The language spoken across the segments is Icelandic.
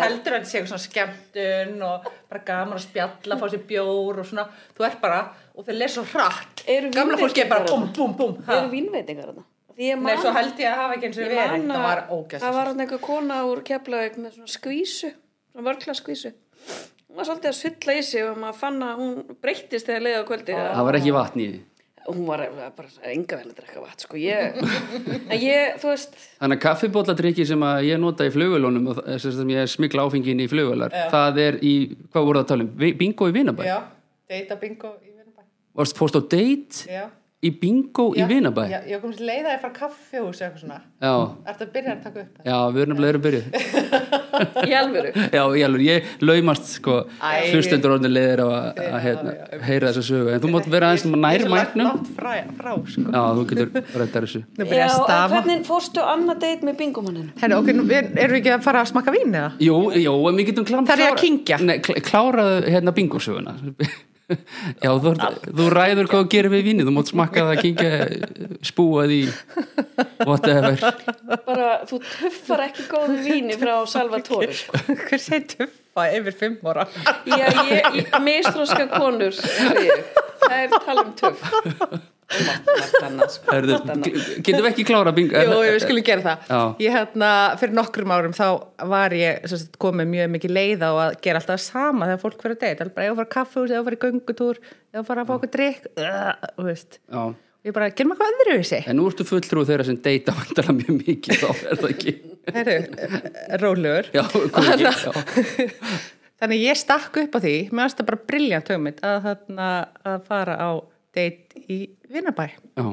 heldur að þetta sé eitthvað svona skemmtun og bara gaman að spjalla, fá sér bjór og svona, þú ert bara, og þeir leir svo hratt Eru gamla fólki er bara búm, búm, vínveitingar búm Við erum vínveitingar þarna. Því ég Nei, man- svo held ég að hafa ekki eins og ég verið man það var að- Það var ógæst hann einhver kona úr keflaug með svona skvísu, svona vörkla skvísu. Hún var svolítið að sulla í sig og maður fann að hún breyttist þegar leiði á kvöldi. Það var ekki vatn í því. Hún var bara enga vel að drekka vatn, sko. Ég, en ég, þú veist, Þannig að kaffibótladrykki sem að ég nota í flugvölunum og það- sem sem ég smikla áfengin í flugvölar, það er í, hvað voru það að tala um? Vi- Bingo í Vinabæ? Já, deyta bingo í vinnabæ Varst fórst á date Já, í bingo já, í Vinabæ? já, Ég komst leiða þér frá kaffihús eitthvað svona Já, Ertu að byrja að taka upp það? já, við erum nefnilega erum byrjuð. í alvöru. Já, ég, alveg, ég laumast sko Æ. hlustendur orðinu leiðir af að, að hérna, heyra þessa sögu en þú mátt vera aðeins nær mæknum Ég er svo langt- langt frá, frá sko Já, þú getur rættar þessu Nú byrja Já, að en stafa hvernig fórstu annað deit með bingumanninu? Herri, ok, nú, við, erum við ekki að fara að smakka vín eða? Jú, jú, en við getum klára Þarf ég að kyngja? Nei, kl- kláraðu hérna bingosöguna Já, þú, ert- þú ræður hvað þú gerir við vinni þú mátt smakka það að kynkja spúa því whatever Bara, þú tuffar ekki góðu víni frá Salvatore, sko. Hver segir tuffa yfir fimm ára? Já, ég, ég mistróska konur, eins og ég. það er tala um tuff. Og margt, margt annað, sko. Herðu, Margt annað. ge- Getum við ekki klára bingo Jú, við skulum gera það. Já. Ég hérna, fyrir nokkrum árum þá var ég sem sagt, komið mjög mikið leið á að gera alltaf það sama þegar fólk fyrir að deyta. Bara ég var að kaffa hús, ég var í göngutúr, ég var að fá okkur drikk, uh, þú veist. Já, Ég bara, gerum eitthvað öðru í sig. en nú ertu fulltrú þeirra sem deyta vandala mjög mikið þá er það ekki Herru, rólegur. Já, hvað ekki, já Þannig ég stakk upp á því, mér fannst það bara briljant hugmynd að, þarna, að fara á deitt í Vinnabæ. Já,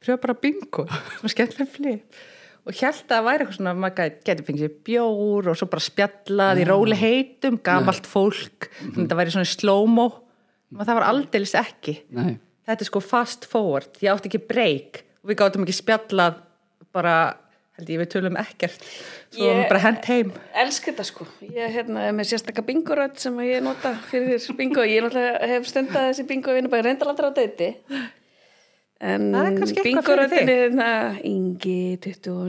pröfa bara bingo, svona skemmtileg flip og held að það væri eitthvað svona að maður geti fengið sér bjór og svo bara spjallað í róli heitum, gamalt fólk Mhm. þannig að það væri svona slow-mo og það var aldeilis ekki nei þetta er sko fast forward, ég átti ekki break og við gátum ekki spjallað bara, held ég við tölum ekkert svo Ég- yeah. bara hent heim elska þetta sko ég hérna, er með sérstaka bingorödd sem að ég nota fyrir bingo ég náttúrulega hef stundað þessi bingo vinna bara reyndalaldra á deiti en Það er kannski eitthvað fyrir bingoröddin þig. er hérna Ingi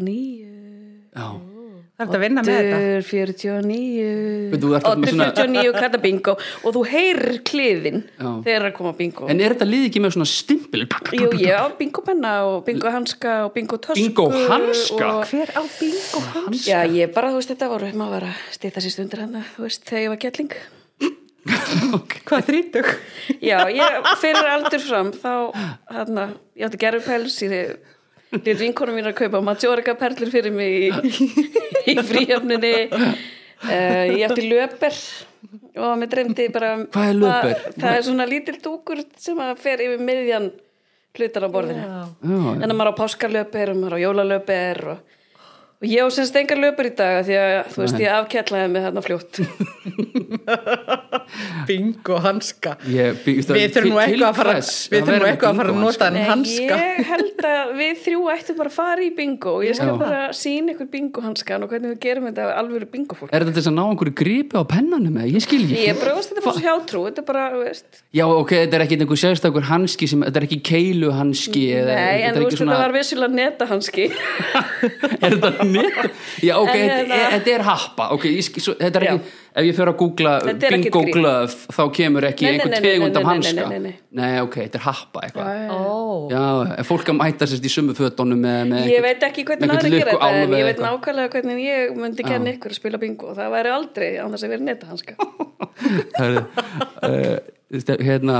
29 Já, það er þetta að vinna með þetta Dur 49 Veit, þú ert alltaf Oddur með svona- 49 kalla bingo og þú heyrir kliðin Já. þegar það er að koma bingo en er þetta lið ekki með svona stimpil? Jú, ég á bingopenna og bingohanska og bingotösku Bingohanska? og- hver á bingo hans? Já, ég bara, þú veist, þetta voru, maður var að stýta sér stundur hann, þú veist, þegar ég var gætling. hvað þrítug? Já, ég fyrir aldur fram, þá, hann, ég átti gerupels, ég lýr vinkonum mín að kaupa matjóriga perlur fyrir mig í, í fríöfninni. Uh, ég átti löper og mér dreymdi bara... um Hvað er löper? Það, það er svona lítil dúkur sem að fer yfir miðjan hlutan á borðinu. Já, En að maður á páskalöpir og maður á jólalöpir og, og ég á semst engar löpir í dag af því að þú veist ég afkjallaði mig þarna fljótt. bingo hanska Ég byggist að- við þurfum nú til- eitthvað að fara til hvers? við þurfum Að nú vera með eitthvað að fara að bingo nota Nei, hann hanska Ég held að við þrjú ættum bara að fara í bingo og ég skal Já. bara sína ykkur bingohanskan og hvernig við gerum þetta af alvöru bingofólk. Er þetta til þess að ná einhverju gripi á pennanum eða? Ég skil ekki. Ég bróðast þetta bara hjátrú, þetta er bara, þú veist, Já, ok, þetta er ekki einhver sérstakur hanski sem, þetta er ekki keilu hanski eða, nei, en þú eh, þetta er veist, ekki svona, þetta var vissulega netahanski. er þetta nýtt? Já, ok, En þetta er- hérna- þetta er happa, ok, ég skil, svo, þetta er ekki, ef ég fer að googla Þetta er ekkert bingo grín. glöf, þá kemur ekki Nei, nei, einhver nei, nei, tegund nei, af nei, hanska. nei, nei, nei. ok, þetta er happa eitthvað. Eh, Ó, Já, en fólk að mæta sérst í sumu fötunum með, með Ég einhvern- veit ekki hvernig með aðra einhvern gera þetta, en lukkuálf ég eða veit eitthvað. nákvæmlega hvernig ég myndi kenna ykkur að spila bingo og það væri aldrei án þess að vera netahanska. Hörðu, uh, þetta- hérna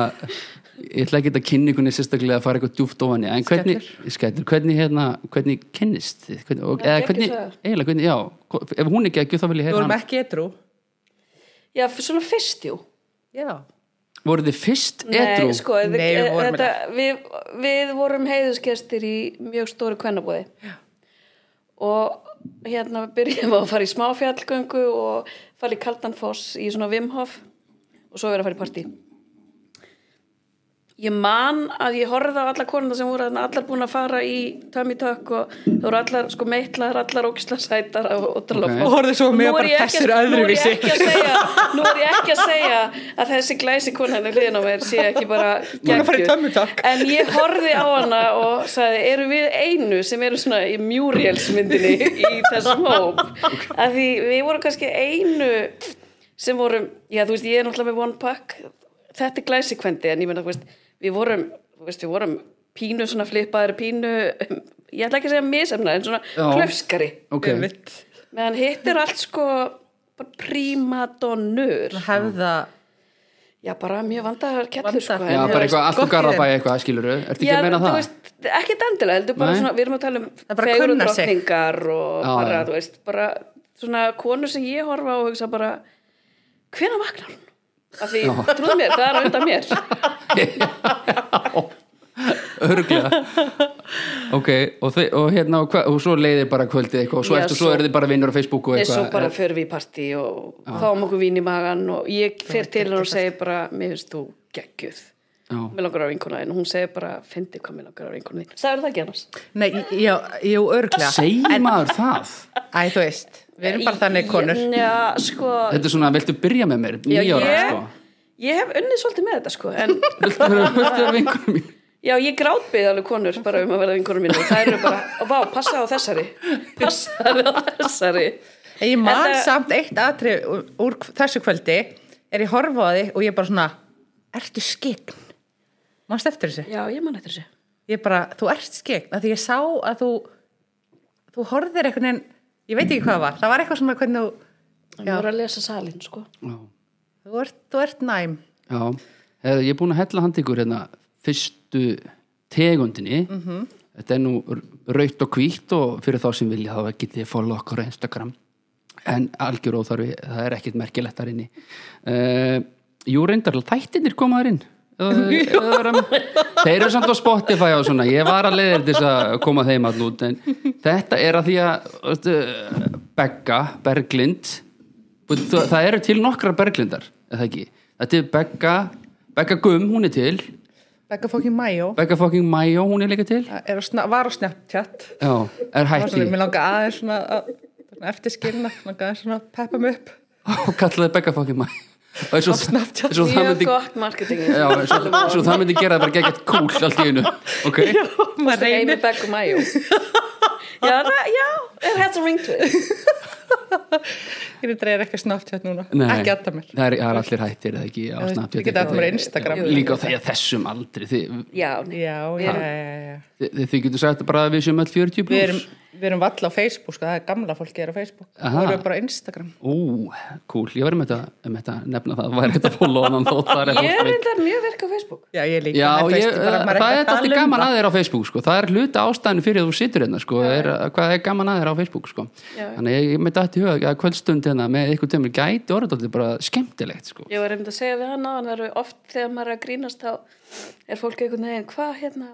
ég ætla ekki að kynni einhvern veginn sérstaklega að fara eitthvað djúft ofan í en hvernig, skættur, hvernig, hérna, hvernig kynnist þið hvernig, og, eða geggjuð hvernig, saga. eiginlega hvernig, já hvo- ef hún er ekki þá vil ég við hérna, heyra vorum hann ekki etrú Já, f- svona fyrst, jú. Já, voru þið fyrst edru? Nei, sko, Nei, við við, vorum þetta, við, við vorum heiðusgestir í mjög stóru kvennabóði og hérna við byrjum að fara í smáfjallgöngu og fara í Kaldanfoss í svona Vimhof og svo vera að fara í partí ég man að ég horfði á alla konuna sem voru þarna, allar búin að fara í Tummy Tuck og það voru allar sko meitlaðar, allar ógisla sætar og, og Ok. dralofa Og horfði svo á mig Nú og er ég bara, ekki að- "Þessi er öðruvísi." Nú er ég ekki að segja, nú er ég ekki að, segja að þessi glæsi kona henni hliðin á mér sé ekki bara Búin að fara í geggjuð. Tummy Tuck. En ég horfði á hana og sagði, eru við einu sem eru svona í Muriels myndinni í þessum hóp? Af því við vorum kannski einu sem vorum, já þú veist, ég er náttúrulega með One Pack, þetta er glæsikvendi en ég meina, þú veist, við vorum, þú veist, við vorum pínu svona flippaðir, pínu, ég ætla ekki að segja misemna, en svona Já. klöfskari. ok, Einmitt. Meðan hitt er allt sko bara prímadonnur. hefða Já, bara mjög Vandaðar. vandaðar kellur sko. en já, þú bara veist- eitthvað allt gott og í garabæ þeim. eitthvað, skilur ertu ekki Já, að meina þú það? veist, ekki dandila, heldur bara Nei. svona, við erum að tala um er bara að kunna sig. og Já, bara, já. þú veist, bara svona konur sem ég horfa á og hugsa bara hvena vaknar hún? Af því, trúðu mér, það er á undan mér örglega ok, og, þi- og hérna og, hva, og svo leiðir bara kvöldið eitthvað og svo, Já, eftir, svo svo- eru þið bara vinnur á Facebook og eins eitthvað og bara förum við í partí og fáum okkur vín í magan og ég fer til hennar og segi bara, mér finnst þú geggjuð Já. mér langar á vinkona þín og hún segir bara, fyndi hvað mér langar á vinkona þín sagði það ekki annars? Nei, já, jú, örglega segir maður það? Æ, þú veist, við erum bara þannig konur Já, sko, þetta er svona, viltu byrja með mér? já, nýjára, ég, sko ég hef unnið svolítið með þetta sko, en viltu vera viltu vera vinkunum mín? Já, ég grátbyði alveg konur bara um að verða vinkonur mínu og það eru bara, vá, passaði á þessari passaði á þessari En eh, Ég man Þetta- samt eitt atri úr, úr þessu kvöldi er ég horfa á þig og ég bara svona Ertu skegn? Manst eftir þessu? Já, ég man eftir þessu Ég bara, þú ert skegn að því ég sá að þú þú horfðir einhvern veginn ég veit ekki hvað það var, það var eitthvað svona hvernig þú Ég voru að lesa salin, sko já, þú ert, þú ert næm já. Heyrðu, ég er búin að hella hand ykkur hérna fyrstu tegundinni þetta er nú raut og hvítt og fyrir þá sem vilja þá getið þið follow okkur á Instagram en algjör óþarfi, það er ekkert merkilegt þar inni uh, Jú reyndar þættinir koma þar inn Eða- eða vera- Þeir eru samt á Spotify og svona, ég var að leiða til þess að koma þeim allir út en þetta er að því að veistu, Begga, Berglind og það það eru til nokkrar Berglindar eða ekki, þetta er Begga Begga Gum, hún er til Becca fucking Mayo Begga fucking Mayo, hún er líka til Það er á sna- var á Snapchat Já, Það er var hætti svona, mér langa aðeins svona að, eftir skilna, langa aðeins svona að peppa mig upp og kallaði Begga fucking Mayo og eins og, Snapchat. sko. eins og það Mjög myndi gott marketing Já, svo, svo það myndi gera það bara geggjart kúl allt í einu ok, maður Amy reynir Beck og Mayo Já, það, já, it has a ring to it ég dreir ekki Snapchat núna, Nei. ekki alltaf mér það er, það er allir hættir eða ekki á Ég veit, Snapchat ég get eitthvað. allir á Instagram. Já, líka á því að þessum aldri þið, Já, nei. já, já, já, já. þið, þið getur sagt bara að við séum öll 40 Við erum, pluss við erum valla á Facebook, sko, það er gamla fólki er á Facebook. Aha. Við erum bara á Instagram. ú, cool, ég var um þetta, um þetta að nefna það, væri þetta fóló annan þótt það ég er er reyndar mjög verk á Facebook Já, ég líka. Já, en þú ég, veist, bara, maður það ekki er að tala alltaf um gaman það. að þér á Facebook sko. það er hluta ástæðinu fyrir að þú situr hérna sko. er, hvað er gaman að þér á Facebook sko. Já. þannig ég, ég með dætt í huga að kvöldstund hérna með eitthvað tömur gæti orðið bara skemmtilegt sko. Ég var reynd að segja við hann á, en það eru oft þegar maður er að grínast þá er fólk einhvern veginn, hvað hérna,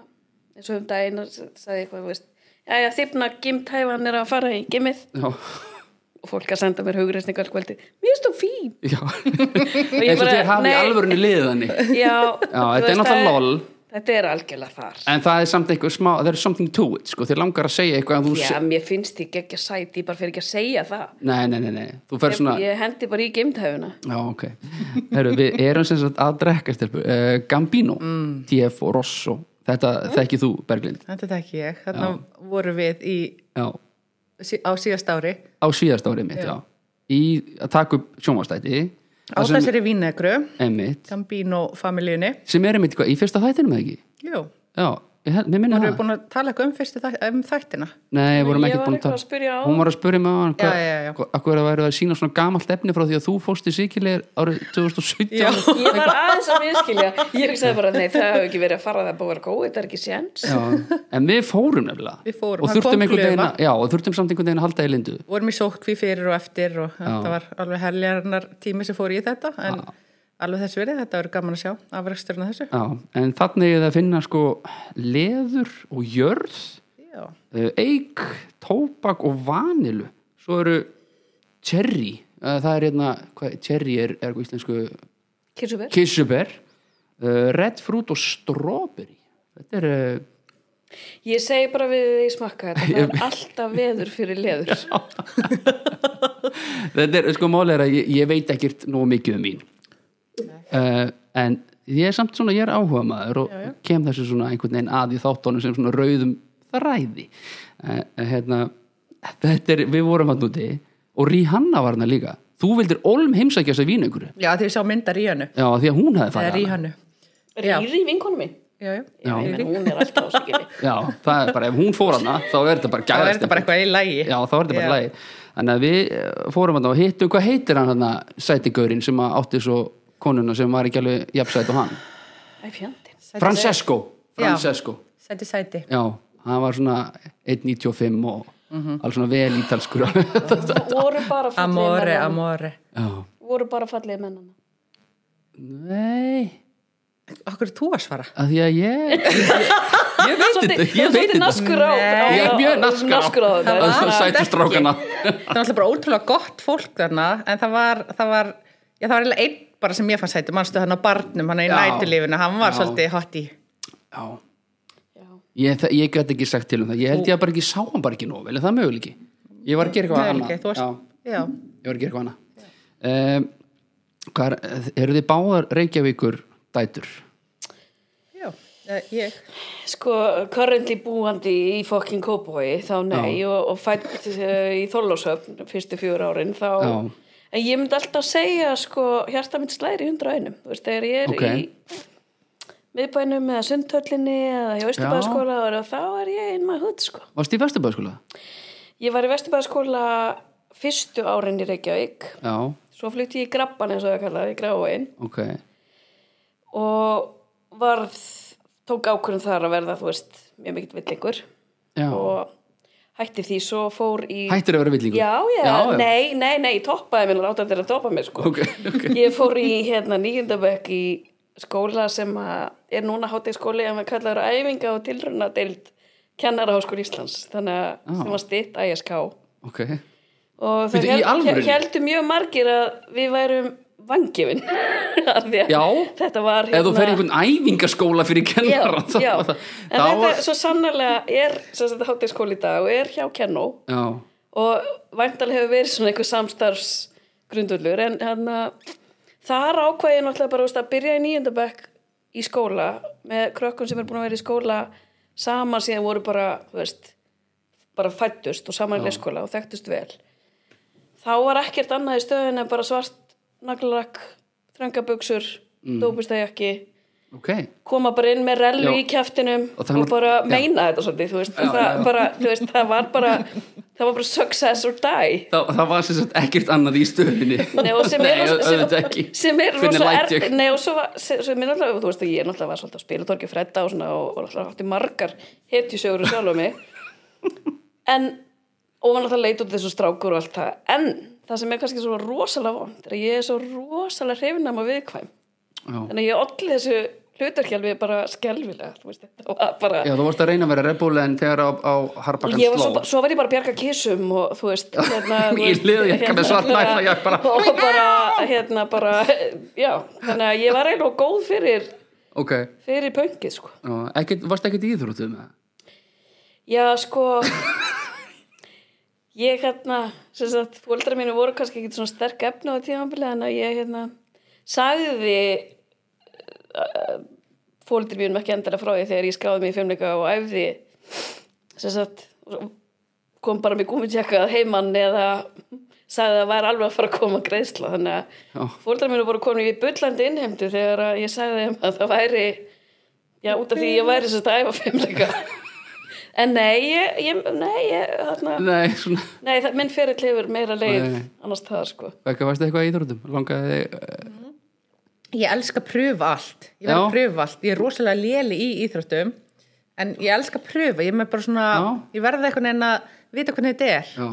eins og um daginn sagði eitthvað, þú veist, já, já, þýrna gimtæfan er að fara í gimmið Já, og fólk að senda mér hugreisningar kvöldi mér finnst þú fín já. Og ég eins og bara, þér hafi nei. alvörinu liðanni já, Já, þú þetta er veist, það náttúrulega lol. þetta er algjörlega þar En það er samt eitthvað smá, það er something to it sko, þér langar að segja eitthvað að þú já, se... mér finnst því geggja sæti, ég bara fyrir ekki að segja það Nei, nei, nei, nei, þú fer svona ég, ég hendi bara í gimtæfuna Já, ok Heru, Við erum sem sagt að drekka stelpur uh, Gambino, TF og Rosso Þetta þekkið þú, Berglind Þetta tek ég. Þarna voru við í, Já, sí- á síðast ári á síðast árið mitt, já, Í að taka upp sjónvastæti á þessari vínegru, Emmitt, Gambino-familjunni. sem er einmitt hvað, í fyrsta þættinum eða ekki Jú, Já, ég held- mér minna við það erum búin að tala eitthvað um, fyrstu þætt, um þættina. Nei, vorum Ég ekki var búin að eitthvað að spyrja á. Hún var að spurja mig á hann Já, já, já. Akkur að væri að sína svona gamalt efni frá því að þú fórst í síkilegir árið 2017 Já. ég var aðeins að miskilja ég hugsaði bara, nei, það hefur ekki verið að fara það er búið að vera góð, þetta er ekki séns Já, en við fórum nefnilega Við fórum, og hann kom þurftum einhvern veginn glufa. að- já, og þurftum samt einhvern veginn að halda í lindu Vorum í sótkví fyrir og eftir og þetta var alveg heljarnar tími sem fór í þetta. En alveg þess verið, þetta verið gaman að sjá, afræksturinn að þessu. já, en þannig er það að finna sko leður og jörð Já. eh, eik, tóbak og vanilu svo eru cherry eh, það er hérna, hvað, cherry er, er á íslensku Kirsuber, kissuber uh, Red Fruit og Strawberry þetta er uh, Ég segi bara við því smakka þetta, það er alltaf veður fyrir leður. þetta er sko máli er að ég, ég veit ekkert nú mikið um mín uh, en ég er samt svona, ég er áhuga maður og kem þessu svona einhvern veginn að í þáttunum sem svona rauðum þræði uh, hérna þetta er, við vorum hann úti og Rihanna var hann líka þú vildir Olm heimsækja þess að vína ykkur Já, því ég sá myndar í hannu. já, því að hún hefði Það er farið í hana. hannu. Já. Rýri vinkonu mín. Já, já. Já, ég meina, hún er alltaf á siginni. já, það er bara, ef hún fór hana þá er þetta bara Það er gæðast þetta bara eitthvað í lagi. Já, þá er þetta bara lægi Þannig að við eh, fórum hann og hittum hvað heitir hann hann sætigaurinn sem að átti svo konuna sem var ekki alveg jafnsæt og hann Æ, fjandinn. Francesco Já. Francesco, Sæti, sæti. já, hann var svona 1.95 og mm alveg svona vel ítalskur Já, Voru bara fallið Amore, mennana. amore. Voru bara fallið mennana. nei Akkur er þú að svara? að því að ég ég veit þetta, ég veit Svolítið þetta naskur á. Nei. Ég er mjög Naskur á naskur á þetta. Það var samt sætu ekki. strákana. Það var alltaf bara ótrúlega gott fólk þarna, en það var, það var, já, það var eiginlega einn bara sem ég fann sæti, mannstu hann á barnum, hann í Já. nætilífinu, hann var Já. svolítið hot í. Já, Já. ég, það- ég gæti ekki sagt til um það ég held ég að bara ekki sá hann bara ekki nóg vel er það möguleiki, ég var að gera eitthvað Möguleiki, annað. þú varst- Já. Já. ég var að gera eitthvað annað um, hvað er, eru þið báðar Reykjavíkur dætur? Já, eh, ég, Sko, currently búandi í fokkin kópói, þá nei, og, og fætt uh, í Þorlósöfn fyrstu fjör árin, þá... Já. En ég myndi alltaf segja, sko, hjarta mitt slæri hundra einum, þú veist, þegar ég er Ok. í miðbænum eða sundhöllinni eða hjá Östubæðaskóla þá er ég inn maður hútt, sko. Varst í Vesturbæðskóla? Ég var í Vesturbæðaskóla fyrstu árin í Reykjavík, Já, svo flytti ég í Grabban eins og það kallaði, í Grávóin ok og varð, tók ákvörðum þar að verða, þú veist, mjög mikill villingur Já, og hætti því svo fór í hættir að vera villingur já, já, já, nei, nei, nei, ég toppaði mér láta þetta að toppa mér sko Ok, ok. ég fór í hérna nýjöndabökk í skóla sem að er núna hátíðskóli en við kallaður æfinga og tilruna deild kennaraháskóli Íslands þannig að Já. sem var stitt ISK Ok, og Bíddu, í alvörunni? heldur mjög margir að við værum vangifin Já. þetta var eða þú fer í einhvern æfingaskóla fyrir kennara Hérna- já, já. það, en það þetta var, svo sannarlega er sem sagt hátíðskóli í dag og er hjá kennó já, og væntal hefur verið svona einhver samstarfs grundullur en hann þar ákvæði ég náttúrulega bara þú veist, að byrja í nýjöndabökk í skóla með krökkum sem er búin að vera í skóla saman síðan voru bara þú veist, bara fættust og saman í leyskóla og þekktust vel þá var ekkert annað í stöðin en bara svart naglarakk, þröngabuxur mm. dópistæjakki ok koma bara inn með rellu Já. í kjæftinum Og og, það var- bara já. meina þetta svolítið, þú veist, það, Bara, þú veist það var bara það var bara success or die Það, það var sem sagt ekkert annað í stöðinni Nei, og sem er Nei, rosa- auðvitað ekki sem er Hvernig rosa læt ég? er, nei, og svo var, sem, sem er náttúrulega, þú veist að ég er náttúrulega var svolítið á spilatorki fredda og svona og, og náttúrulega átti margar hetjusögur og sjálf á mig en og var náttúrulega leit út þessu strákur og allt það en það sem er kannski svo rosalega vond er að ég er svo rosalega hrefinam og viðkvæm Já. þannig að ég olli þessu hlutarkjálfi bara skelvilega þú veist, þetta var bara Já, þú varst að reyna að vera rebbúl en þegar á, á Harbakan ég var sló svo, svo var ég bara að bjarga kísum og þú veist hérna, þú Í veist, hérna, leðurjakka með svart nærlajakk bara. "Oh og bara hérna bara já, þannig að ég var eiginlega góð fyrir Ok, fyrir pöngið sko já, ekkert, varst ekkert í íþróttu með það? já sko ég hérna sem sagt fóldra mínu voru kannski ekki svona sterk efni á tímanbili en að ég hérna sagði fóldri mínum ekki endilega frá því þegar ég skráði mig í fimmleika og æfði sem sagt kom bara með gúmitjekka að heimann eða sagði að það væri alveg að fara að koma greiðsla þannig Já. að fóldrar mínu voru komin í bullandi innheimtu þegar að ég sagði þeim að það væri já út af því ég væri sem þetta æfa fimmleika en nei ég, ég, nei, ég þarna, Nei, svona nei það, minn ferill hefur meira leið Nei. annars það sko Vekka, varstu eitthvað í íþróttum? Langaði eh, þig ég elska að pröfa allt. Ég verð Já. að pröfa allt. Ég er rosalega léli í íþróttum, en ég elska að pröfa. Ég er með bara svona, Já. ég verða eitthvað en að vita hvernig þetta er Já,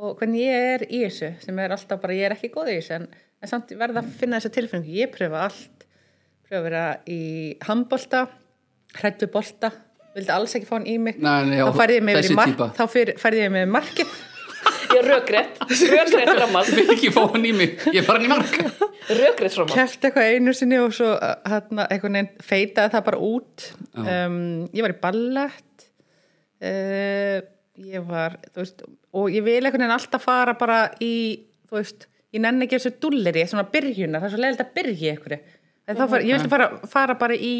og hvernig ég er í þessu, sem er alltaf bara, ég er ekki góð í þessu, en, en samt verða að finna þessa tilfinningu. Ég pröfa allt. Pröfa að vera í handbolta, hrættu bolta, vildi alls ekki fá hann í mig. Nei, nei, já, þá færði ég mig yfir þessi í mark, típa. þá fyr- færði ég mig yfir markið. ég er rökrétt rökrétt framhald Ég vil ekki fá hann í mig, ég er farin í mark rökrétt framhald kæft eitthvað einu sinni og svo uh, hérna, einhvern veginn feitaði það bara út um, ég var í ballett uh, ég var þú veist, og ég vil einhvern veginn alltaf fara bara í þú veist, ég nenni ekki þessu dulleri svona byrjunar, það er svo leiðilegt að byrja einhverju En þá fara, ég vildi fara, fara bara í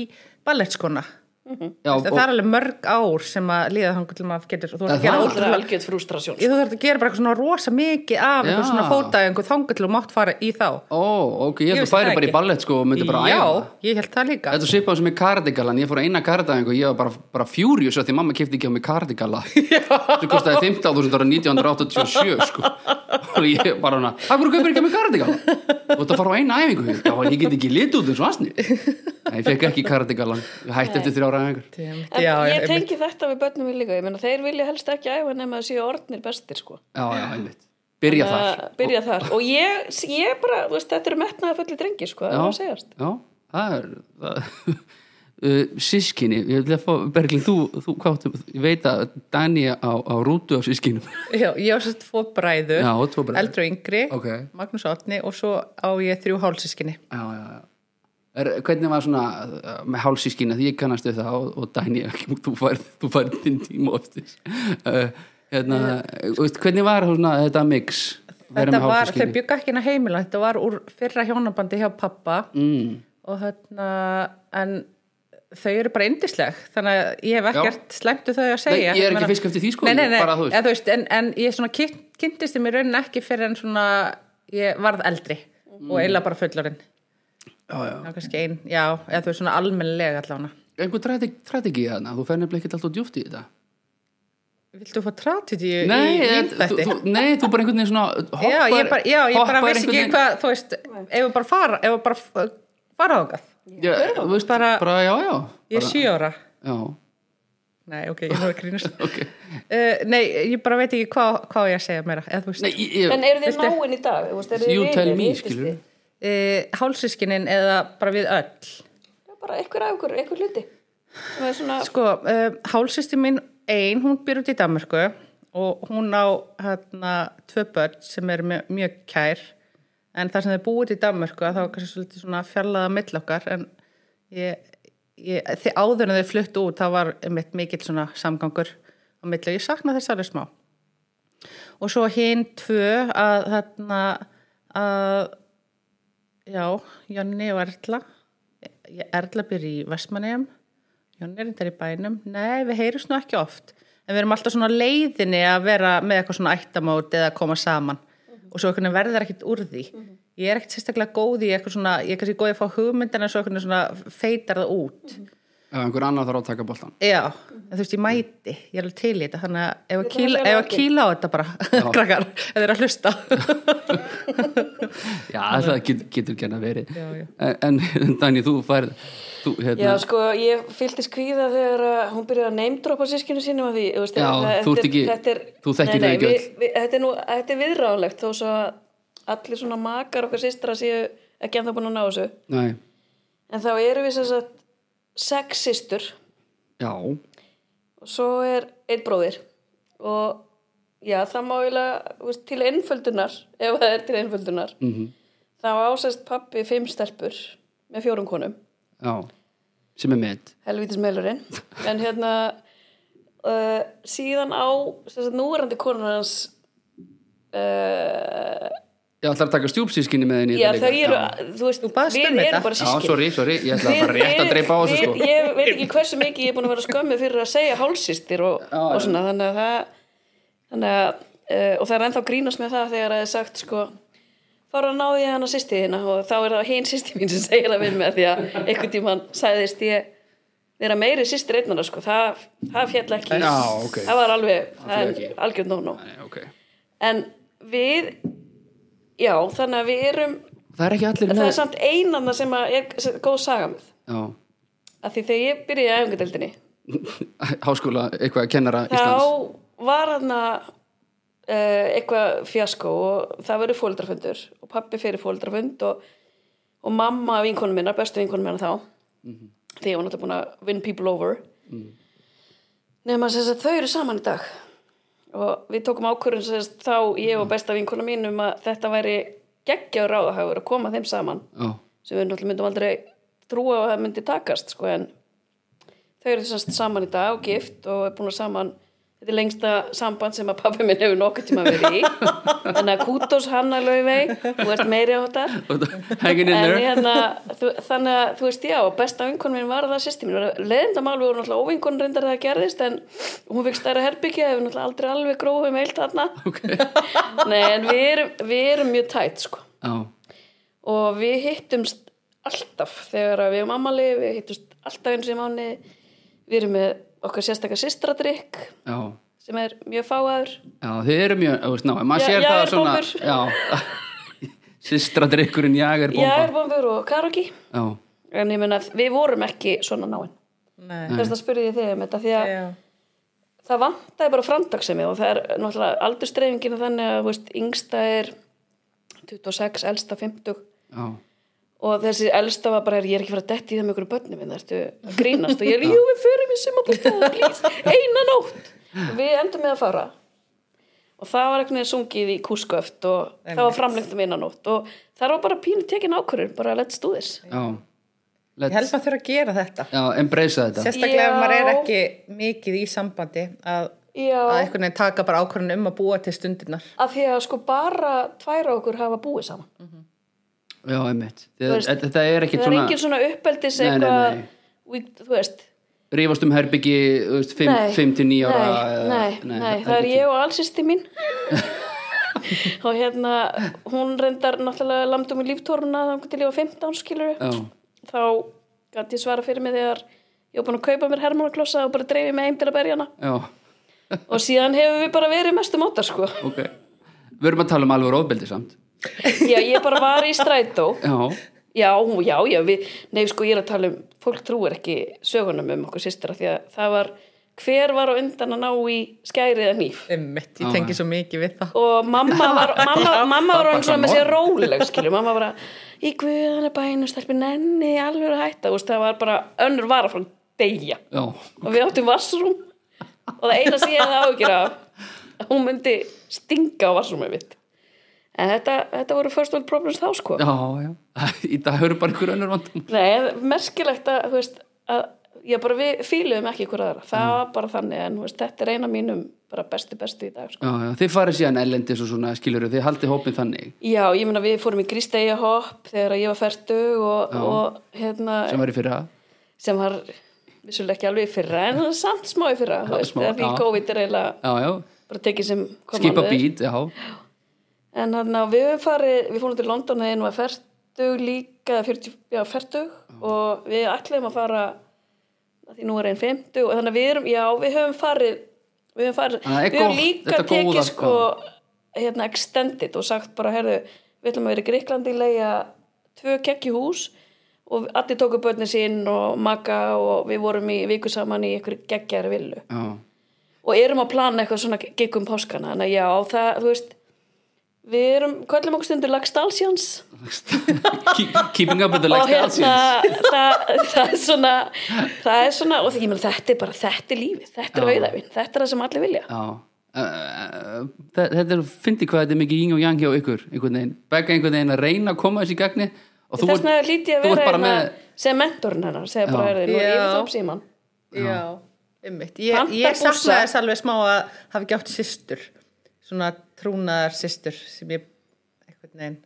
ballettskona Já, Þú veist, það er alveg mörg ár sem að líða þangur til maður getur og þú ert Það að gera var- ótrúlega aldrei algjörð frústrasjón Ég þú þarf að gera bara eitthvað svona rosa mikið af eitthvað Já. svona fótaðingu þangu til og mátt fara í þá Ó, ok, Ég ég vissi held að færi það bara í ekki. ballett sko og myndi bara að Já, æfa ég held það líka Þetta er svipað sem í kardigalan, ég fór að eina kardigalan og ég var bara, bara fjúrius að því mamma kefti ekki á mig kardigala sem kostiði 15.000 ára 1987 sko og ég bara hana, af hverju kaupir ekki á mig kardigala og þetta fara á eina æfingu já, ég get ekki litið út eins og asni Nei, ég fekk ekki kardigalan, ég hætti eftir þrjára æfingar en Já, ég einmitt. tengi þetta við börnum við líka ég meina þeir vilja helst ekki æfa nema að séu orðnir bestir sko Já, já, einmitt, byrja þar Að byrja þar og ég, ég bara, þú veist, þetta eru metnaða fulli drengi sko, það er að segjast já, það er það, uh, sískinni, ég vil að fá Berglind, þú, þú káttum, ég veit að Dani á, á rútu af sískinum Já, ég á sérst tvo bræður, Já, tvo bræður. eldri og yngri, Ok. Magnús Átni og svo á ég þrjú hálsískinni. já, já, já Er, hvernig var svona uh, með hálsískina því ég kannast við það og, og Dæni þú færð þú færð þinn tíma oftis uh, hérna, uh, veist, hvernig var svona, þetta mix vera Eh, Þetta með var, hálsískinni? þau byggu ekki inn á heimila, þetta var úr fyrra hjónabandi hjá pappa mm. og hérna, en þau eru bara indisleg, þannig að ég hef Já. ekkert slæmt við þau að segja. Nei, ég er ekki meina- fisk eftir því, sko, Nei, nei, nei, bara, þú veist. eða, þú veist, en, en ég svona kyn, kynntist þeim í raunin ekki fyrir en svona, ég varð eldri Mm. og eiginlega bara fullorinn. já, já. Það var kannski ein, já, eða þú veist svona almennilega allavega. einhver strategi þarna, þú fær nefnilega ekkert alltaf djúft í þetta Viltu fá trátit í, Nei, í eh, þú, lífbætti? þú, nei, þú bara einhvern veginn svona hoppar, já, ég bara, já, ég bara vissi hoppar ekki einhvern veginn- hvað, þú veist, ef við bara fara, ef við bara f- fara þákað. Já, þú veist, bara, Bara- já, já, Ég er bara, sjö ára. já Nei, ok, ég var að grínast. okay. Uh, nei, ég bara veit ekki hvað hvað á ég að segja meira, eða þú veist. Nei, ég, ég, en eru þið Veistu- náin í dag? Þú veist, eru þið you vinir, tell me, hittist skilur þið? Uh, hálsískinin eða bara við öll. Já, bara einhver af ykkur, einhver hluti sem er svona, Sko, uh, hálsýsti mín ein, hún býr út í Danmarku og hún á hérna tvö börn sem eru mjög, mjög kær en þar sem þau búið í Danmarku að þá var kannski svolítið svona fjallaða mill okkar en ég, ég þið áður en þau fluttu út þá var mitt mikill svona samgangur á milli og ég sakna þess alveg smá og svo hinn tvö að þarna að já, Jonni og Erla ég, Erla byrja í Vestmanneum Jonni er þetta í bænum nei, við heyrjum svona ekki oft en við erum alltaf svona á leiðinni að vera með eitthvað svona ættamóti eða að koma saman og svo einhvern veginn verður ekkit úr því ég er ekkit sérstaklega góð í eitthvað svona ég er kannski góð í að fá hugmyndina en svo einhvern veginn svona feitar það út ef einhver annar þarf að taka boltan Já, en þú veist, ég mæti, ég er alveg til í þetta, þannig að ef að Þetta er kýla, alveg ef að rákin. kýla á þetta bara, krakkar, ef þeir eru að hlusta. Já, það get, getur genna verið Já, já. En, en Dani, þú færð þú, já hérna, sko, ég fylgtist kvíða þegar að hún byrjaði að neymdropa sískinu sínum að því, þú veist, Já, það- þú ert þetta er- ekki- þetta er- þú Nei, þekkir þau nei, ekki við- við- þetta er nú, þetta er viðránlegt þó svo að allir svona makar okkar systra séu ekki en það búin að ná þessu Nei, en þá eru við sem sagt sex systur já, og svo er einn bróðir og já, það má eiginlega þú veist, til einföldunar, ef það er til einföldunar mm Mhm. -hmm. þá ásæst pappi fimm stelpur með fjórum konum já sem er mitt helvítis meilurinn en hérna uh, síðan á sem sagt, núverandi konar hans uh, Ég ætla að taka stjúpsískinni með henni í já, þetta þau líka. eru, Já, þú veist, baðst um við þetta. erum bara já sískin sorry, sorry, ég ætla bara rétt að dreipa á þessu sko Við- Ég veit ekki hversu mikið ég er búin að vera skömmu fyrir að segja hálsistir og, og svona þannig að það þannig að, uh, og það er ennþá grínast með það þegar að það er sagt sko fara að náði ég hana sýsti þína og þá er það hinn sýsti mín sem segir það við með því að einhvern tímann sagðist ég vera meiri sýstir einnana sko það, það fjall ekki Já, ok. það var alveg, féll það ekki. er algjörn nóg nóg Nei, ok. en við já, þannig að við erum Það er ekki allir það með er samt einanna sem að er sem er góð saga með Já, að því þegar ég byrjaði í æfingadeildinni háskóla, eitthvað kennara Íslands þá var hann að eitthvað fjasko og það verið fóldrafundur og pappi fyrir fóldrafund og, og mamma vinkonum minna, bestu vinkonum minna þá því ég var náttúrulega búin að win people over nema sem þess að þau eru saman í dag og við tókum ákvörðun sérst, þá ég og besta vinkona mín um að þetta væri geggja ráðahafur að koma þeim saman já, sem við náttúrulega myndum aldrei trúa að það myndi takast sko, en þau eru sérst saman í dag og gift og er búin að saman þetta er lengsta samband sem að pappi minn hefur nokkuð tíma verið í en að kútos Hanna Laufey þú ert meiri á þetta hanging in en there hérna, þú, þannig að þú veist já besta vinkonum minn var það sýsti mín leðindamál við vorum náttúrulega óvinkon reyndar þegar það gerðist en hún fikk stærra herbyggja hefur náttúrulega aldrei alveg grófum heilt þarna okay. Nei, en við erum, við erum mjög tætt sko já, og við hittumst alltaf þegar að við erum ammali við hittumst alltaf eins og í mánu við erum með okkar sérstakar systradrykk já, sem er mjög fáaður já, þið eru mjög þú veist, ná, maður Já- sér já, það er svona bombur. já, systra drikkurinn ég er ég bomba er bombur og karogi já, en ég meina við vorum ekki svona náinn Nei. þess að spurði ég þig um þetta því að Já. það vantaði bara framtaksemi og það er náttúrulega aldurstreyfingin er þannig að þú veist, yngsta er 26, elsta 50 já, og þessi elsta var bara ég er ekki að fara að detti í það með ykkur börnum minn ertu að grínast og ég er, jú við förum í sumabústað please, eina nótt og við endum með að fara og það var einhvern veginn sungið í kúsköft og það var framlengt um eina nótt og það var bara pínu tekin ákvörður bara let's do this já Ég held maður þurfa að gera þetta. já, embracea þetta Sérstaklega ef Já. maður er ekki mikið í sambandi að, að já, einhvern veginn taka bara ákvörðun um að búa til stundirnar. af því að sko bara tværa okkur hafa búið saman já, einmitt, Þú Þið, veist, þetta er ekki það er svona engin svona uppeldis Nei, nei, eitthvað nei. við- þú veist rífast um herbyggi þú veist, fimm- Nei, fimm til 9 ára nei, eða- nei, nei, það er ekki ég og allsýsti mín og hérna hún reyndar náttúrulega landum í líftóruna þannig til ég var 15 skilur til- já, þá gæti ég svara fyrir mig þegar ég var búin að kaupa mér hermónaklossa og bara dreifið mig heim til að berja hana já, og síðan hefur við bara verið mestu mótar sko ok við erum að tala um alveg ofbeldi samt já, ég bara var í strætó já, já, já, já, við nei, sko, ég er að tala um, fólk trúir ekki sögunum um okkur sýstra því að það var hver var á undan að ná í skærið að nýf Einmitt, Já. ég tengi svo mikið við það. og mamma var mamma, mamma var Pabba hann svona með sama. sér róleg skilju, mamma var að í guðana bænum stelpi nenni alveg að hætta, þú veist, það var bara önnur vara frá degja já, og við áttum vassrúm og það eina sem ég hefði ágjur af að hún myndi stinga á vassrúmið mitt en þetta, þetta voru first world problems þá sko já, já í dag höfum bara einhver önnur vandum Nei, merkilegt að, þú veist, að já, bara við fíluðum ekki ykkur aðra það var bara þannig, en þú veist, þetta er eina mínum bara bestu bestu í dag sko. já, já, þið farið síðan ellendis og svona skilur þið haldið hópin þannig Já, ég meina við fórum í grístegja hopp þegar ég var ferdu og, og hérna, sem var í fyrra sem var vissulega ekki alveg í fyrra, en samt smá í fyrra, þú veist, smá, það fyrir já. COVID er eiginlega já, já, bara tekið sem kom skipa alveg. bít já, En hann að við höfum farið, við fórum til London þegar einu var fertug líka, eða 40, já, fertug og við ætlum að fara, að því nú er einn 50 og þannig að við erum, já, við höfum farið, við höfum farið, Þannig að það er við höfum gott, líka þetta tekið góða, sko, hérna, extended og sagt bara, herðu, við ætlum að vera í Greiklandi, leiða tvö kekki hús og allir tóku börnin sín og maka og við vorum í viku saman í ykkur geggjari villu já, og erum að plana eitthvað svona gig um páskana þannig að já, það, þú veist við erum, kvöllum okkur stundur lagstálsjans Keep- keeping up with the og last hérna dancing það, það er svona það er svona, og ég meina þetta er bara þetta er lífið, þetta er Já. auðæfin, þetta er það sem allir vilja já Uh, uh, þe- þetta er, fyndi hvað þetta er mikið yng og yang hjá ykkur, einhvern veginn begga einhvern veginn að reyna að koma þessi gagni og þú þess vegna líti ég að þú ert vera bara hérna með sem mentorinn hennar, segja bara Já. er nú er ég Já. við þá síman Já, einmitt. Ég, Panta ég bússa. saknaði þess alveg smá að hafa ekki átt systur. Svona trúnaðar systur sem ég einhvern veginn.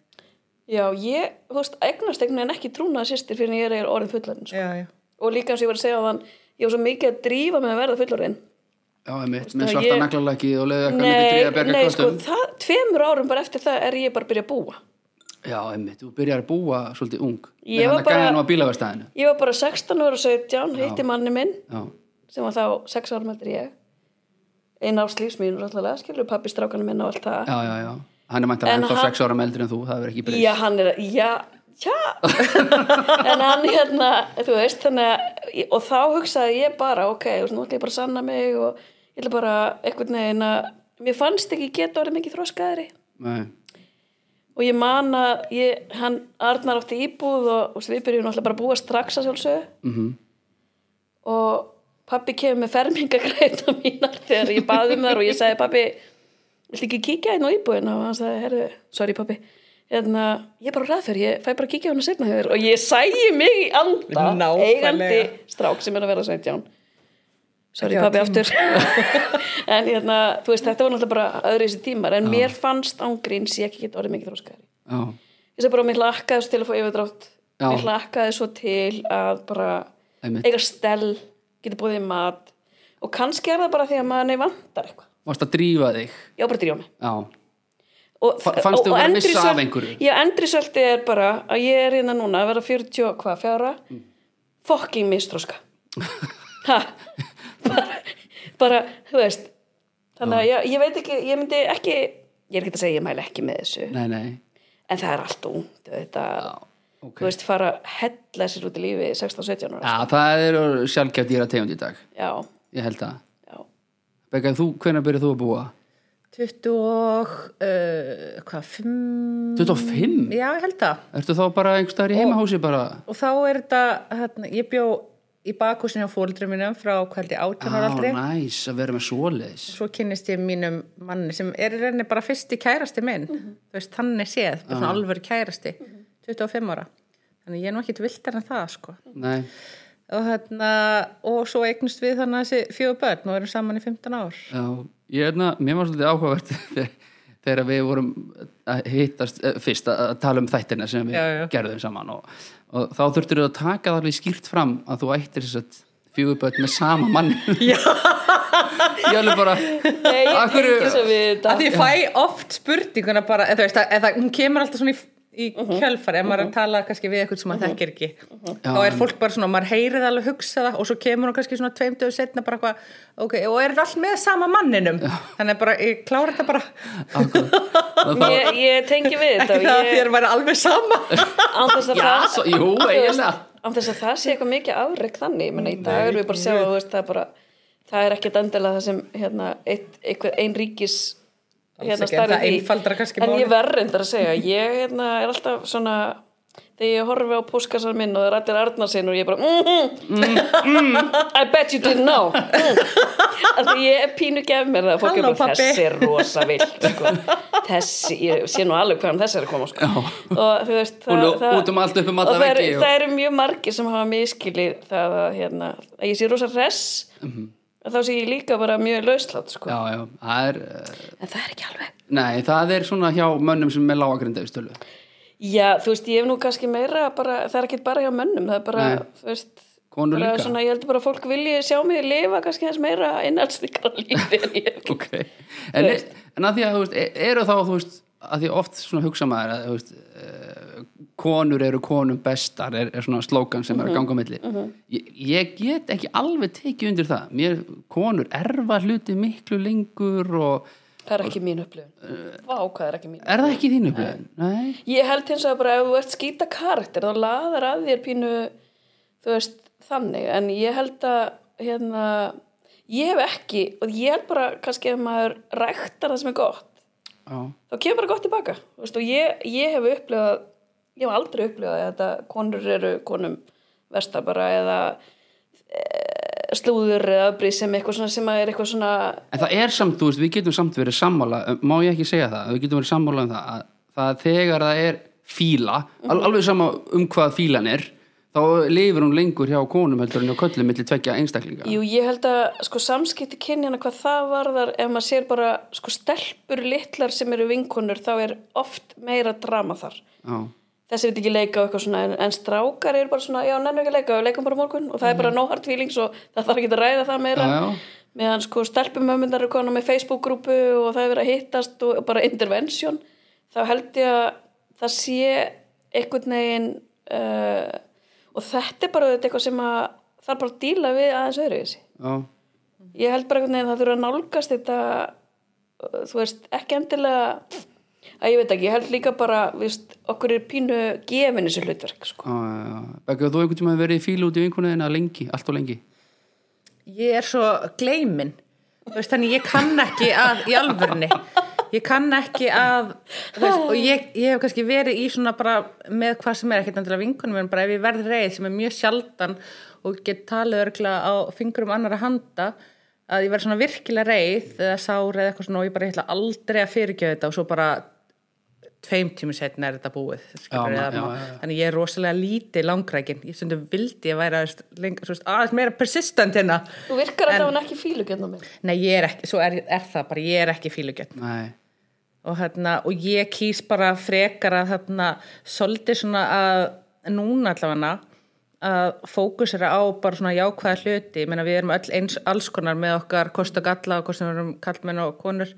já, ég, þú veist, eignast einhvern veginn ekki trúnaða sýstir fyrir en ég er orðin fullarinn sko. Já, já. og líka eins og ég var að segja á þann ég var svo mikið að drífa með að verða fullarinn Já, einmitt, að með svarta ég- naglalaki og leiðu eitthvað mikið Nei, dríða að berga nei sko, kvöldum. það, tveimur árum bara eftir það er ég bara að byrja að búa. Já, einmitt, þú byrjar að búa svolítið ung. Ég Með var hann að bara- gæða nú að bílaverstaðinu. Ég var bara 16 ára og 17, hitti manni minn, Já, sem var þá 6 árum eftir ég. Einn árs lífs mín, alltaf, skilur pappi strákanu minn og allt það. já, já, já. Hann er mæntar En ennþá hann- sex ára meldri en þú, það er ekki Já, breyst. hann er, já, já. en hann hérna, þú veist, þannig að, og þá hugsaði ég bara, ok, þú veist, nú ætla ég bara að sanna mig og ég ætla bara einhvern veginn að, mér fannst ekki geta orðið mikið þroskaðri. Nei, og ég man að ég, hann Arnar átti íbúð og, og við byrjum náttúrulega bara að búa strax að sjálfsög mhm, og pappi kemur með fermingagræta mínar þegar ég baði um þar og ég sagði pappi, viltu ekki kíkja einn á íbúðina og hann sagði, herru, sorry pappi hérna, ég er bara ræð fyrir, ég fæ bara að kíkja hún að setna þér og ég sæi mig í anda Nákvæmlega. eigandi strák sem er að vera 17 sorry Ekki á pappi tíma. aftur en hérna, þú veist, þetta var náttúrulega bara öðru þessi tímar, en mér fannst ángríns ég ekki geta orðið mikið þróskaðari já, ég segi bara að mér lakkaði svo til að fá yfirdrátt Já. mér lakkaði svo til að bara Einmitt. eiga stell geta búið í mat og kannski er það bara því að maður ney vantar eitthvað varst að drífa þig ég var bara að drífa mig já, og, Fa- fannst þér og- og vera að missa endrisölt- af einhverju? já, endrisöldi er bara að ég er hérna núna að vera 40 og hvað, fjara mm. fokking mistróska ha bara, bara, þú veist þannig að ég, ég veit ekki, ég myndi ekki ég er ekki að segja, ég mæli ekki með þessu nei, nei en það er allt ungt þetta já, ok, þú veist, fara að hella sér út í lífi 16-17 ára já, það er sjálfgæft dýra tegund í dag já, ég held að, já. Begga, þú, hvenær byrjuð þú að búa? 20 og, uh, hvað, 5? 25? Já, ég held það. Ertu þá bara einhvers staðar í heimahúsi bara? Og þá er þetta, hérna, ég bjó í bakhúsinu á fóldri mínum frá hverdi Já, 18 ára aldrei. næs að vera með svoleiðis. Svo kynnist ég mínum manni sem er í rauninni bara fyrsti kærasti minn. Þú veist, hann er séð, bara svona alvöru kærasti, 25 ára. Þannig ég er nú ekkit viltar en það, sko. Nei, Og, hérna, og svo eignust við þannig þessi fjögur börn og erum saman í 15 ár. já, ég erna, mér var svolítið áhugavert þegar- þegar við vorum að hittast eh, fyrst að að tala um þættina sem við Já, já. gerðum saman og, og þá þurftur þú að taka það alveg skýrt fram að þú ættir þess að fjöguböld með sama mann. Já. ég alveg bara, Nei, Af ég hverju- tengi svo við þetta að ég fæ oft spurninguna bara, eða þú veist, að, eða hún kemur alltaf svona í, í kjölfar, ef maður er að tala kannski við eitthvað sem maður þekkir ekki þá er fólk bara svona, maður heyrið alveg hugsa það og svo kemur hún kannski svona tveim döðu setna bara eitthvað, ok, og er þetta allt með sama manninum þannig að bara, ég klára þetta bara það var, ég, ég tengi ekki við þetta það og að ég, þér væri alveg sama án þess að já, það svo, jú, þú veist, eiginlega. án þess að það sé eitthvað mikið afreg þannig menn í dag erum við bara að sjá að þú veist, það, er bara, það er ekkert endilega það sem hérna, eitt, einhver, ein ríkis Alls ekki, en starfið það í. einfaldar kannski en málið. ég verð reyndar að segja ég hérna, er alltaf svona þegar ég horfi á póskasar minn og það er allir Arnarsinn og ég bara mm I bet you didn't know mm. að því ég er pínu gef mér það fólk Halló, er bara pabbi. þessi er rosa vilt sko. þessi, ég sé nú alveg hvaðan þessi er að koma sko. og þú veist það, Hún er út um allt, upp um alla og það, veggi er, og- það eru mjög margir sem hafa miskilið það að, hérna, að ég sé rosa res og þá sé ég líka bara mjög lauslátt sko. Mhm. já, já, það er, eh, en það er ekki alveg nei, það er svona hjá mönnum sem er með lágagrindavistölu. Já, þú veist, ég hef nú kannski meira bara, það er ekki bara hjá mönnum, það er bara, Nei. þú veist, Konur bara líka. svona, ég heldur bara að fólk vilji sjá mig lifa kannski hans meira innanslíkra lífi en ég hef. ok en, en að því að þú veist e- eru þá þú veist að því oft svona hugsa maður að þú veist eh, konur eru konum bestar er, er svona slókan sem er að ganga á milli ég, ég get ekki alveg tekið undir það mér konur erfa hluti miklu lengur og það er ekki mín upplifun. Eh. Vá, hvað er ekki mín? er það ekki í þínu upplifun? Nei, Ég held hins vegar bara ef þú ert skýta karakter, þá laðar að þér pínu, þú veist, þannig, en ég held að, hérna, ég hef ekki, og ég held bara kannski ef maður ræktar það sem er gott, já, þá kemur bara gott tilbaka Þú veist, og ég, ég hef upplifað ég hef aldrei upplifað að þetta konur eru konum vestar bara eða e, slúður eða öfri sem eitthvað svona sem að er eitthvað svona En það er samt, þú veist, við getum samt verið sammála, eh, má ég ekki segja það, við getum verið sammála um það að það þegar það er fíla, al alveg sama um hvað fílan er, þá lifir hún lengur hjá konum heldur en hjá köllum millir tveggja einstaklinga. jú ég held að sko samskipti kynjana hvað það varðar ef maður sér bara sko stelpur litlar sem eru vinkonur þá er oft meira drama þar Já, þessi veit ekki leika og eitthvað svona en, en strákar eru bara svona, já, nennum ekki að leika við leikum bara á morgun og það er bara no hard feelings og það þarf ekki að ræða það meira Mhm. Já, já. meðan sko stelpumömmundar eru konar með Facebook-grúpu og það er verið að hittast og bara intervention þá held ég að það sé einhvern veginn uh, og þetta er bara auðvitað eitthvað sem að það er bara að díla við aðeins öðru þessi já, ég held bara einhvern veginn að það þurfa að nálgast þetta uh, þú veist, ekki endilega að ég veit ekki, ég held líka bara viðst, okkur er pínu gefin þessu hlutverk sko. já, já, já. Begga, þú einhvern tímann verið í fílu út í vinkunniðina lengi, allt og lengi. ég er svo gleimin veist, þannig ég kann ekki að í alvörni ég kann ekki að þú veist, og ég, ég hef kannski verið í svona bara með hvað sem er ekkert endilega vinkunum en bara ef ég verð reið sem er mjög sjaldan og get talið örgla á fingurum annara handa að ég verð svona virkilega reið eða sár eða eitthvað svona og ég bara ég ætla aldrei að fyrirgjöða þetta og svo bara tveim tími setna er þetta búið skilur, Já, já, ma- já, já, já. þannig ég er rosalega lítið langrækin ég stundum vildi að væri aðeins, lengra, svo veist, aðeins meira persistent hérna Þú virkar alltaf hann ekki fílugjörnum minn. nei ég er ekki, svo er, er það bara ég er ekki fílugjörn Nei, og, hérna, og ég kýs bara frekar að þarna, svolítið svona að núna allavega að fókusera á bara svona jákvæða hluti, ég meina við erum öll eins alls konar með okkar kost og galla og hvort sem við erum kallmenn og konur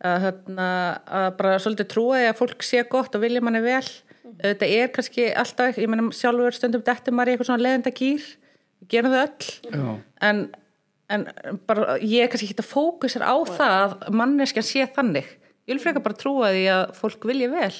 að, þarna, að bara svolítið trúa því að fólk sé gott og vilja manni vel þetta er kannski alltaf, ég meina sjálfur stundum dettum maður í eitthvað svona leðenda gýr við gerum það öll já, en, en bara, ég er kannski ekki að fókusir á það að manneskjan sé þannig ég vil frekar bara trúa því að fólk vilja vel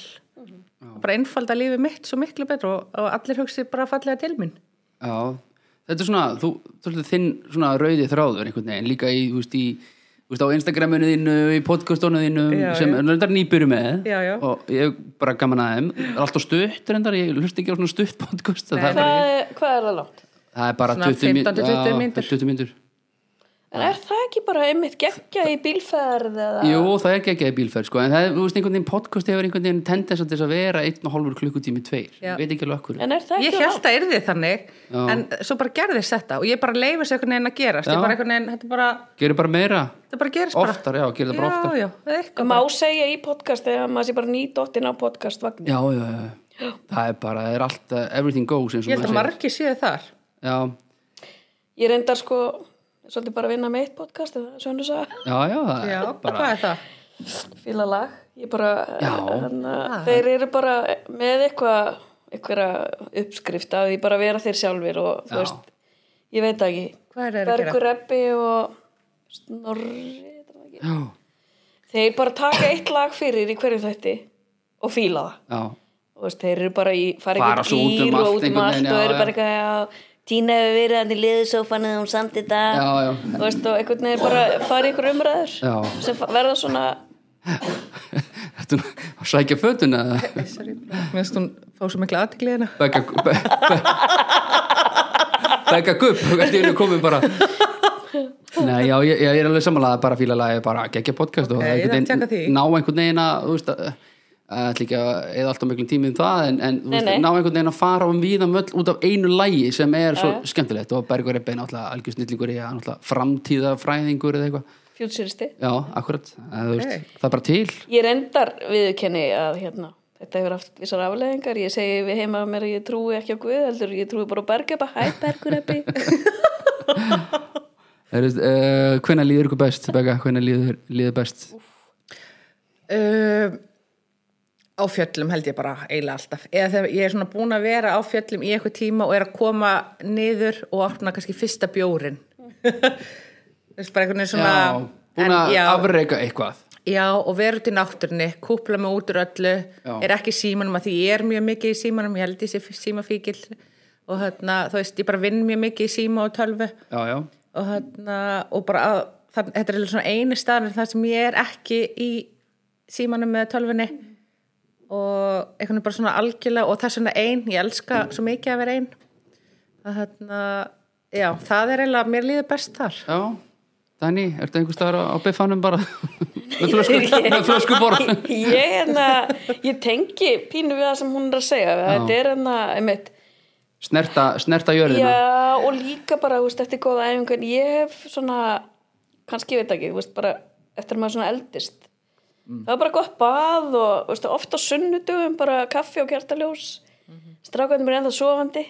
bara einfalda lífið mitt svo miklu betur og, og allir hugsið bara fallega til mín já Þetta er svona, þú, þú veist, þinn svona rauði þráður einhvern veginn, líka í, þú veist, í þú veist, á Instagraminu þínu, í podcastonu þínu Já, sem já. er reyndar nýbyrju með Já, já. og ég hef bara gaman að þeim alltaf stutt reyndar, ég hlust ekki á svona stutt podcast það, er bara, Hvað, er- hvað er það langt? það er bara Svona 20 mí- 15 til 20 já, mínútur. 20 mínútur En er það ekki bara einmitt geggja í bílferð eða? Jú, það er geggjaði bílferð sko, en það er, þú veist, einhvern veginn podcast hefur einhvern veginn tendens til þess að vera einn og hálfur klukkutími tveir, Já. ég veit ekki alveg okkur En er það ég ekki held að yrði þannig Já. en svo bara gerðist þetta og ég bara leifis einhvern veginn að gerast Já. ég bara einhvern veginn, þetta bara, Gerir bara meira, þetta bara gerist oftar, já, gerir það bara bara oftar já, já, eða eitthvað Má segja í podcast eða maður sé bara nýdottinn á podcast Já, já, já, það er bara, það er allt uh, everything goes eins og ég held að maður segir. margi séu þar Já, Ég reyndar sko svolítið bara að vinna með eitt podcast eða svona þess að já, já, það já, er bara hvað er það? fíla lag. Ég bara, Já. Ah. hana, þeir eru bara með eitthvað, eitthvað uppskrift að því bara að vera þeir sjálfir og þú Já. veist, ég veit það ekki. Hvað eru þeir að gera? Bergur Eppi og Snorri, þetta var ekki. Já, Þeir bara taka eitt lag fyrir í hverjum þætti og fíla það. já, og veist, þeir eru bara í fara Fara einhvern svo út um gír allt og út um einhvern allt veginn, og já, eru já. bara eitthvað já, Tína hefur verið hann í liðsófan eða hún samt í dag Já, já. og veist, og einhvern veginn bara fara í ykkur umræður Já. sem fa- verða svona þetta er nú að sækja fötuna eða? mér finnst hún fá svo mikla aðtikli hérna Begga be, be, Begga gupp, þetta er komið bara Nei, já, ég, ég er alveg samanlega bara fíla lagi, bara geggja podcast og Ok, það ég þarf einhvern að tjekka því. veginn- ná einhvern veginn að, þú veist að að ætla ekki að eða alltaf miklum tímið um það en, en þú Nei, veist, nei. ná einhvern veginn að fara um víðan völl út af einu lægi sem er svo skemmtilegt og Bergur Ebbi er náttúrulega algjör snillingur í að náttúrulega framtíðafræðingur eða eitthvað, fjútsýristi já, akkurat að, okay. veist, það er bara til ég reyndar viðkenni að hérna Þetta hefur haft vissar afleðingar, ég segi við heima að mér að ég trúi ekki á Guð, heldur ég trúi bara á Bergeba, hæ Bergurabbi. uh, hvenær líður ykkur best, Begga, hvenær líður, líður best Um, á fjöllum held ég bara eiginlega alltaf eða þegar ég er svona búin að vera á fjöllum í eitthvað tíma og er að koma niður og opna kannski fyrsta bjórin þú veist bara einhvern veginn svona Já, búin að en já, afreika eitthvað já, og vera út í náttúrunni kúpla mig út úr öllu Já. er ekki í símanum að því ég er mjög mikið í símanum ég held ég sé símafíkil og þarna, þú veist, ég bara vinn mjög mikið í síma og tölvu Já, já, og, þarna, og bara að, þann, þetta er eiginlega svona eini staðan þar sem ég er ekki í símanum með tölfunni og einhvern veginn bara svona algjörlega og það er svona ein, ég elska svo mikið að vera ein að þarna já, það er eiginlega, mér líður best þar já Dani, ertu einhvers staðar á, á biffanum bara með flösku, með flösku ég, hérna, ég tengi pínu við það sem hún er að segja, þetta er hérna, einmitt, snerta, snerta jörðina Já, og líka bara, þú veist, eftir góða æfingu en ég hef svona, kannski ég veit ekki, þú veist, bara eftir að maður svona eldist það var bara gott bað og, þú veist, oft á sunnudugum bara kaffi og kjartaljós mm -hmm. strákaðum er ennþá sofandi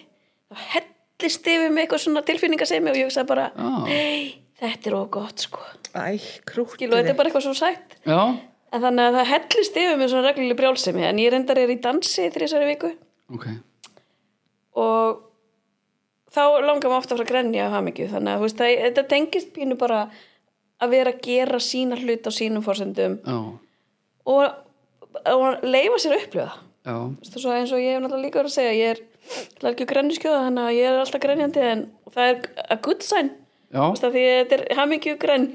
þá hellist yfir mig eitthvað svona tilfinninga sem og ég hugsaði bara, Já. nei, þetta er ógott, sko, Æ, gilu, þetta krútið er bara eitthvað svo sætt Já, en þannig að það hellist yfir mig svona regluleg brjálsemi, en ég reyndar er í dansi þrísari viku ok og þá langar maður ofta að fara að grenja af hamingju þannig að þú veist, það, þetta tengist pínu bara að vera að gera sína hlut á sínum forsendum Já, og, og leifa sér að upplifa það. já, Þú veist, og svo eins og ég hef náttúrulega líka verið að segja ég er náttúrulega ekki grenjuskjóða þannig að ég er alltaf grenjandi en það er a good sign já Þú veist, af því að þetta er hamingju grenj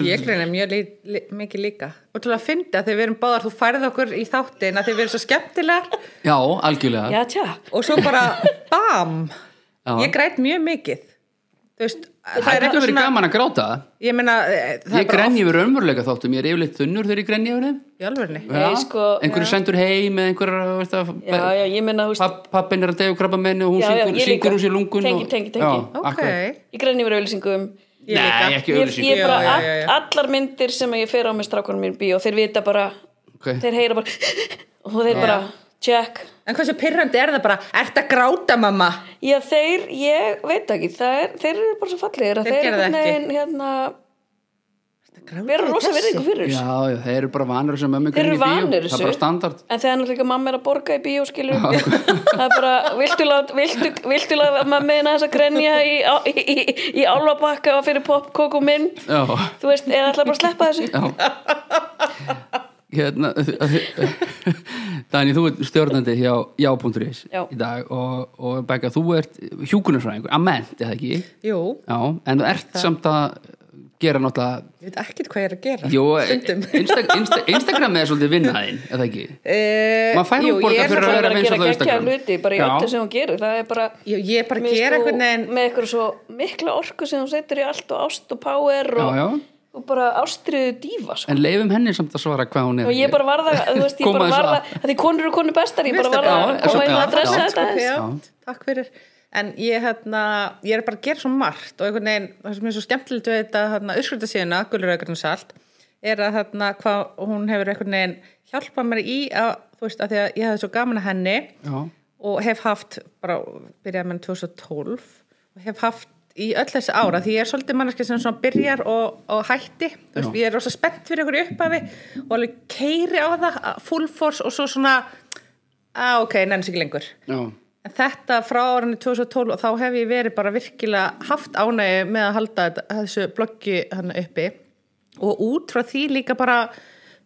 Ég greina mjög lí, lí, mikið líka. Og til að fyndi að þegar við erum báðar, þú færð okkur í þáttin að þegar við erum svo skemmtilegar Já, algjörlega Já, tja. og svo bara bam, Já. ég græt mjög mikið. Þú veist, Það er ekki verið gaman að gráta Ég meina, eh, það Ég er bara grenji yfir raunveruleika þáttum, ég er yfirleitt þunnur þegar ég grenji yfir þeim oft í alvörni. Nei, Já. sko, Einhverju já. sendur heim eða einhverjar, veist það Já, já, ég minna, þú veist, papp, Pappin er að deyja krabba menni og hún Já, já, syngur, ég líka. syngur úr sér lungun Tengi, og, tengi, tengi. Já, Ok, akkurat. ég græni yfir auðlýsingum. Ég líka. Nei, ekki Ég, auðlýsing ég bara, Já, já, já, já. all- allar myndir sem ég fer á með strákunum mín bíó, þeir vita bara, Ok. þeir heyra bara, og þeir bara, check. en hversu pyrrandi er það bara, ert að gráta mamma? Já, þeir, ég veit ekki, það er, þeir eru bara svo fallegir að Þeir þeir gera það einhvern ekki. veginn, hérna, Ertu að gráta vera í rosa þessu? verðingu fyrir Já, þessu. já, þeir eru bara vanur þessu að mömmu Þeir eru grenja í bíó. vanir Það þessu. er bara standard En þegar náttúrulega mamma er að borga í bíó, skilur, það er bara, viltu lát, viltu, viltu lát, mamma er að grenja í, á- í, í, í álfabakka og fyrir popkók og mynd, Já, þú veist, eða ætla bara að sleppa þessu. já Hérna Dani, þú ert stjórnandi hjá já.is Já. í dag og, og Becca, þú ert hjúkunarfræðingur, ament, eða ekki Jú, Já, en þú ert samt að gera náttúrulega ég veit ekkert hvað ég er að gera. Jó, e, Stundum. eh, Insta, Insta, Instagram er svolítið vinnaðinn, eða ekki? Eh, Maður fær nú jú, ég er borgað fyrir Það náttúrulega- er bara að gera vinsæll á geggja Instagram. hluti, bara í Já. öllu sem hún gerur, það er bara... Jú, Ég er bara að Mér gera finnst þú einhvern veginn með eitthvað svo mikla orku sem þú setur í allt og ást og power og, Já, já. og bara ástriðu dífa sko. En leifum henni samt að svara hvað hún er og ég bara varða, þú veist, ég Koma bara þessu varða að. að því konur eru konur bestar, ég bara Veist varða það, að já, koma já, inn að já, dressa já. þetta já, aðeins. takk fyrir en ég, hérna, ég er bara að gera svo margt og einhvern veginn, það sem er svo skemmtilegt við þetta hérna, uppskrita síðuna, Gulluraukarinn Salt er að hérna, hvað hún hefur einhvern veginn hjálpað mér í að þú veist, að því að ég hafði svo gaman að henni Já, og hef haft, bara byrjaði með 2012 og hef haft í öll þessi ára, því ég er svolítið manneski sem svona byrjar og, og hætti þú veist, Já. ég er rosa spennt fyrir ykkur upphafi og alveg keiri á það full force og svo svona að ok, nenni sig lengur já, En þetta frá árinu 2012 og þá hef ég verið bara virkilega haft ánægju með að halda þetta- þessu bloggi hann uppi og út frá því líka bara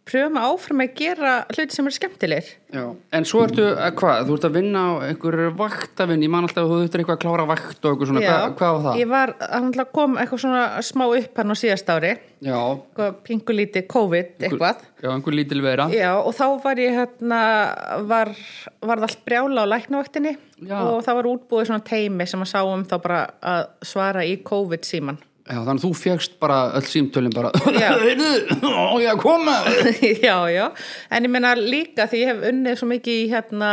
pröfum áfram að gera hluti sem eru skemmtilegir. já En svo ertu, að hvað, þú ert að vinna á einhver vaktavinn, ég man alltaf að þú ert eitthvað að klára vakt og eitthvað svona, Já. hvað, hvað á það? Ég var, hann kom eitthvað svona smá upp hann á síðast ári, Já, eitthvað pingulítið COVID eitthvað. já, einhver lítil vera Já, og þá var ég hérna, var, varð allt brjála á læknavaktinni Já. og það var útbúið svona teimi sem að sá um þá bara að svara í COVID-síman. Já, þannig að þú fegst bara öll símtölin bara Já. Heyrðu, á ég að koma já, já, en ég meina líka því ég hef unnið svo mikið í hérna,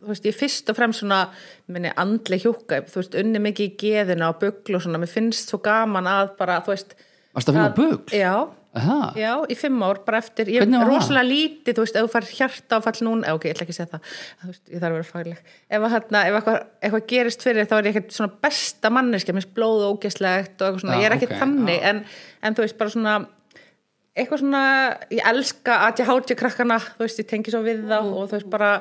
þú veist, ég fyrst og fremst svona minni andli hjúka, þú veist, unnið mikið í geðina og bugl og svona, mér finnst svo gaman að bara, þú veist, Varst að finna bugl? já, Það? já, í fimm ár bara eftir, ég Hvernig er var það? rosalega lítið, þú veist, ef þú fær hjartáfall núna, eh, ok, ég ætla ekki að segja það, þú veist, ég þarf að vera fagleg, ef að hérna, ef eitthvað, eitthvað gerist fyrir þér, þá er ég ekkert svona besta manneskja, minnst blóð og ógeslegt og eitthvað svona, Já, ég er ekkert ok, þannig, en, en þú veist, bara svona, eitthvað svona, ég elska að ég háti krakkana, þú veist, ég tengi svo við þá Mm. og þú veist bara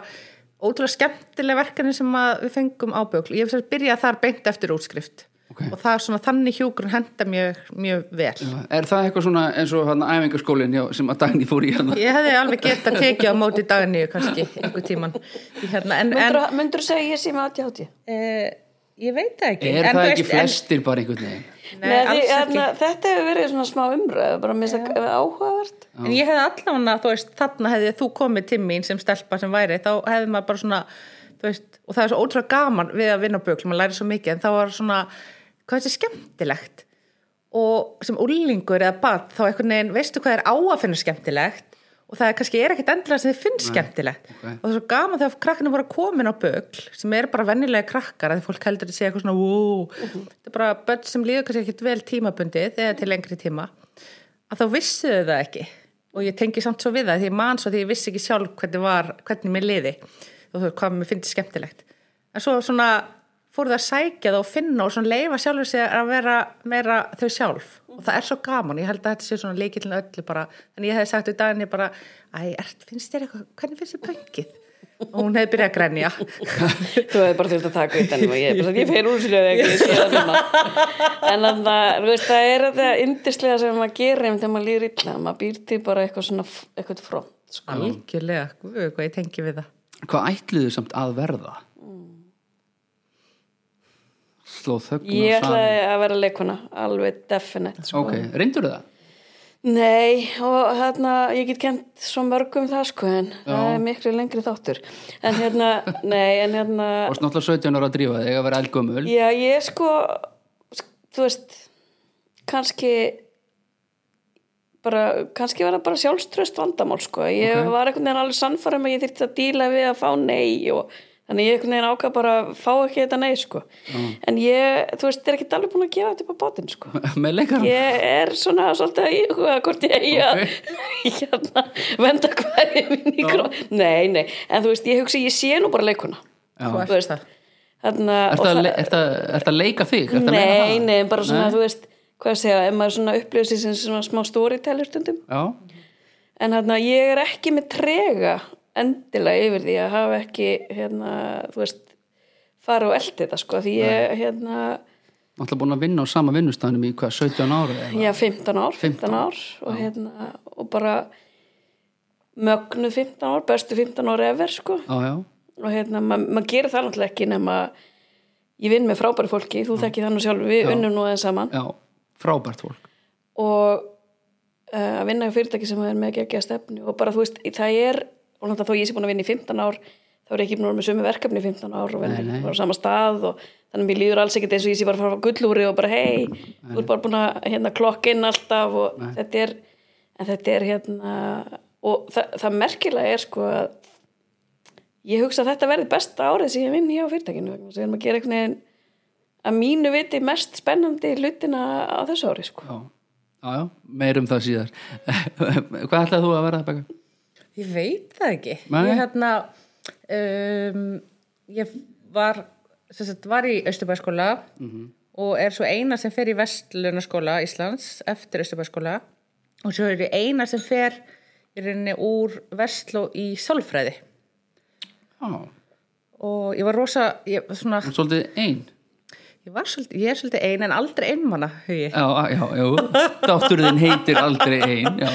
ótrúlega skemmtileg verkefni sem að við fengum á bjögl. Ég hef sér byrjað þar beint eftir útskrift Ok. og það er svona þannig hjúkur henda mjög, mjög vel. Er það eitthvað svona eins og hann æfingaskólin já, sem að Dagný fór í hérna? Ég hefði alveg gett að tekið á móti daginu kannski einhver tíman. Hérna, en en Myndur, myndur segja að ég sé með 80-80? e, ég veit það ekki. Er en, það þú ekki veist, flestir bara einhvern veginn? En, Nei, nei, því, alls ekki. hérna, þetta hefur verið svona smá umræð, bara minnst það áhugavert. En ég hefði allavega, þú veist, þarna hefði þú komið til mín sem stelpa sem væri, þá hefði maður bara svona, þú veist, og það er svo ótrúlega gaman við að vinna á böklu, maður læri svo mikið, en þá var svona, hvað er þetta skemmtilegt? Og sem úlingur eða barn, þá einhvern veginn, veistu hvað er á að finna skemmtilegt? Og það er kannski er ekkert endilega sem þið finnst skemmtilegt. ok. Og það er svo gaman þegar krakkinu voru komin á bögl, sem eru bara vennilega krakkar, að því fólk heldur að segja eitthvað svona, wow, þetta er bara börn sem líður kannski ekkert vel tímabundið eða til lengri tíma að þá vissu þau það ekki og ég tengi samt svo við það því ég man svo því ég vissi ekki sjálf hvernig var, hvernig mér liði og þú veist hvað mér finnst skemmtilegt en svo svona fór það að sækja það og finna og svona leifa sjálfur sig að vera meira þau sjálf og það er svo gaman, ég held að þetta sé svona leikillin öllu bara, þannig ég hefði sagt við daginn ég bara, æ, ert, finnst þér eitthvað hvernig finnst þér pöngið? og hún hefði byrjað að grenja Þú hefði bara þurft að taka utan um og ég, er bara, ég fer úr sér ekki, ég sé það svona. En þannig að, þú veist, það er það yndislega sem maður gerir um þegar maður líður illa, maður býr til bara eitthvað svona, f- eitthvað front. Sko. algjörlega, guð, hvað ég tengi við það Hvað ætluðu samt að verða? Sló þögn Ég og saman ætlaði að vera leikuna, alveg definite. Sko. Ok, reyndur það? Nei, og hérna, ég get kent svo mörgum það sko, en það er miklu lengri þáttur. En hérna, nei, en hérna, Og snáttúrulega 17 ára að drífa þig að vera eldgömmul. já, ég sko, sk- þú veist, kannski, bara, kannski var það bara sjálfströst vandamál sko. Ég Ok. var einhvern veginn alveg sannfærum að ég þyrfti að díla við að fá nei og þannig ég einhvern veginn ákvað bara að fá ekki þetta nei sko. En ég, þú veist, er ekki alveg búin að gefa þetta upp á bátinn sko. Með leikarann. Ég er svona svolítið að íhuga hvort ég eigi að hérna, venda hverju mín í kró Nei, nei, en þú veist, ég hugsa ég sé nú bara leikuna Þú ert Þú veist, það. þarna Er og það, það- le- ertu að- ertu að leika þig? Ertu að meina Nei, það? nei, en bara svona, þú veist hvað að segja, ef maður svona upplýsir sem svona smá storyteller stundum Já, en hérna, ég er ekki með trega endilega yfir því að hafa ekki hérna, þú veist fara og eldi þetta, sko, því ég hérna, náttúrulega búin að vinna á sama vinnustæðanum í hvað, 17 ára? eða? Já, 15 ár, 15 15 ár og, hérna, og bara mögnu 15 ár, bestu 15 ár efer sko Já, já. og hérna, ma- maður gerir það náttúrulega ekki nema ég vinn með frábæri fólki, þú þekki þannig sjálf, við Já. unnum nú aðeins saman Já, frábært fólk. og eh, að vinna hjá fyrirtæki sem er með geggja stefnu og bara þú veist, það er og náttúrulega þó ég sé búin að vinna í 15 ár þá er ég ekki búin að vera með sömu verkefni í 15 ár og Nei, nei. vinna á sama stað og þannig að mér líður alls ekkert eins og ég sé bara að fara á gullúri og bara hei, þú ert bara búin að hérna, klokka inn alltaf og þetta er en þetta er hérna og það, það merkilega er sko að ég hugsa að þetta verði besta árið sem ég vinn hjá fyrirtækinu vegna þess að við erum að gera einhvern veginn að mínu viti mest spennandi hlutina á þessu ári sko Já, já, já meir um það síðar. Hvað ætlaði þú að verða, Becca? Ég veit það ekki. Nei. Ég hérna, um, ég var, sem sagt, var í Östubæskóla og er svo eina sem fer í Vestlunaskóla Íslands eftir Östubæskóla og svo er ég eina sem fer í rauninni úr Vestló í Sálfræði Já, og ég var rosa, ég, var svona, hún er svolítið einn. ég var svolítið, ég er svolítið ein en aldrei einmana, hugi. Já, já, já, dáttur þinn heitir aldrei einn, já.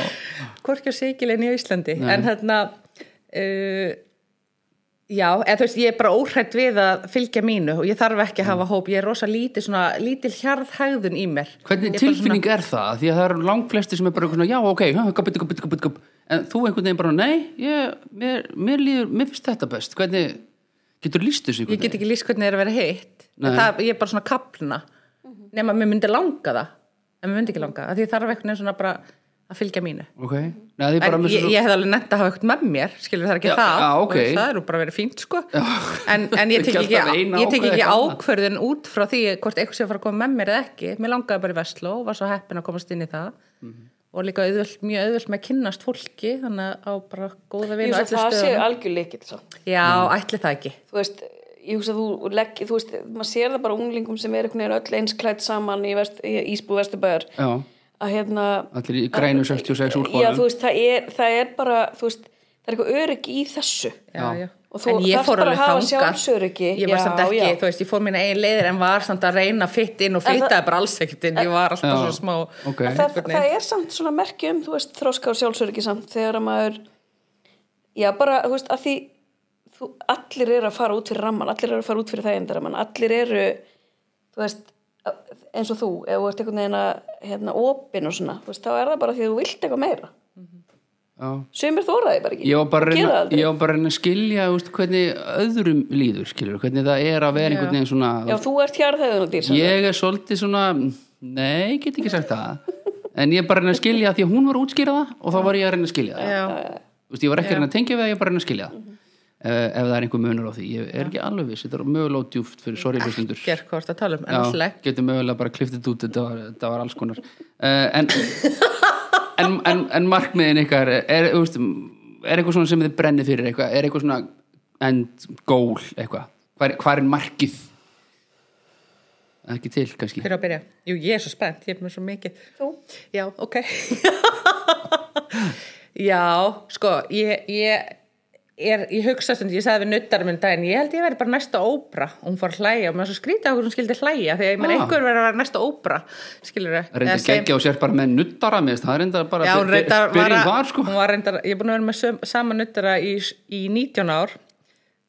hvorki á Sigilin í Íslandi en hérna uh, já, eða þú veist ég er bara óhrætt við að fylgja mínu og ég þarf ekki að Mm. hafa hóp, ég er rosa lítið svona lítil hjarðhægðun í mér Hvernig Ég er bara tilfinning er það? Því að það eru langflesti sem er bara eitthvað svona, já, ok, hö, gup, gup, gup, gup, gup. en þú einhvern veginn bara, nei, ég, mér, mér, líður, mér finnst þetta best. Hvernig, getur líst þessu ég einhvern get ekki líst hvernig það er að vera hitt Nei. það, ég er bara svona kaplna nema mér myndi langa það en mér myndi ekki langa, af því ég þarf einhvern veginn svona bara að fylgja mínu Ok, nei, því bara En með ég, svo... ég hef alveg nett að hafa eitthvað með mér, skilur það er ekki Já, það, já, og ok. það er nú bara verið fínt sko, en, en ég tek Ekki ekki, alltaf eina ég tek ákveða ekki eitthvað ákverðin út frá því hvort eitthvað sé að fara að koma með mér eða ekki, mér langaði bara í Vestló og var svo heppin að komast inn í það Mhm. og líka auðvöld, mjög auðvöld með að kynnast fólki, þannig að á bara góða Ég vinu hugsa að það sé algjörleikil samt. Já, Mhm. ætli það ekki, Þú veist, ég hugsa að þú legg, þú veist, maður sér það bara á unglingum sem er einhvern veginn öll einsklætt saman í, vest, í Ísbú Vesturbæjar Já, að hérna... allir í grænu 66 Já, þú úrbólum. veist, það er, það er bara, þú veist, það er eitthvað öryggi í þessu. já, já. Og þú þarft bara að hafa sjálfsöryggi. ég var Já, samt ekki, já. þú veist, ég fór mín eigin leiðir en var samt að reyna fitt inn og En það- fittaði bara alls ekkert inn, ég var alltaf Já, svona smá ok. En Það, það er samt svona merki um, þú veist, þróska og sjálfsöryggi samt þegar að maður, já, bara, þú veist, að því þú, allir eru að fara út fyrir ramman, allir eru að fara út fyrir þægindaramann, allir eru, þú veist, eins og þú, ef þú ert einhvern veginn að, hérna, opin og svona, þú veist, þá er það bara því að þú vilt eitthvað meira. Já. Sumir þóraði bara ekki. Ég var bara Gera að reyna, það aldrei. ég var bara að reyna að skilja þú veist, hvernig öðrum líður, skilur, hvernig það er að vera einhvern veginn svona... Já, þú ert hjarðhæðun og dýr, sem Ég er svolítið svona, nei, get ekki sagt það. En ég er bara að reyna að skilja því að hún var að útskýra það og þá var ég að reyna að skilja það. já. Þú veist, ég var ekki að reyna að tengja við það, ég var bara að reyna að skilja það. Uh, ef það er einhver munur á því, ég er ekki alveg viss, þetta er mögulega djúft fyrir sorry hlustundur. gerð hvort að tala um, en Já, alltaf ekki. getur mögulega bara kliftið út þetta var, þetta var alls konar uh, en, en, en, en markmiðin ykkar er, er, þú veist, er eitthvað svona sem þið brennið fyrir eitthvað, er eitthvað svona end goal eitthvað hvað, hvað er markið Það er ekki til kannski Fyrir að byrja. Jú, ég er svo spennt, ég er með svo mikið. þú. Já, ok. Já, sko, ég, ég er, ég hugsa stund, ég sagði við nuttar minn um daginn, ég held ég verið bara næsta óbra og hún fór að hlæja og maður svo skrítið okkur hún skildi hlæja þegar ég meina Ah. einhver verið að vera næsta óbra, skilur það. reynda að gegja og sér bara með nuttara mér finnst það reynda bara Já, hún reyndar var byrjum að, var sko hún var reyndar, ég er búin að vera með söm, sama nuttara í, í 19 ár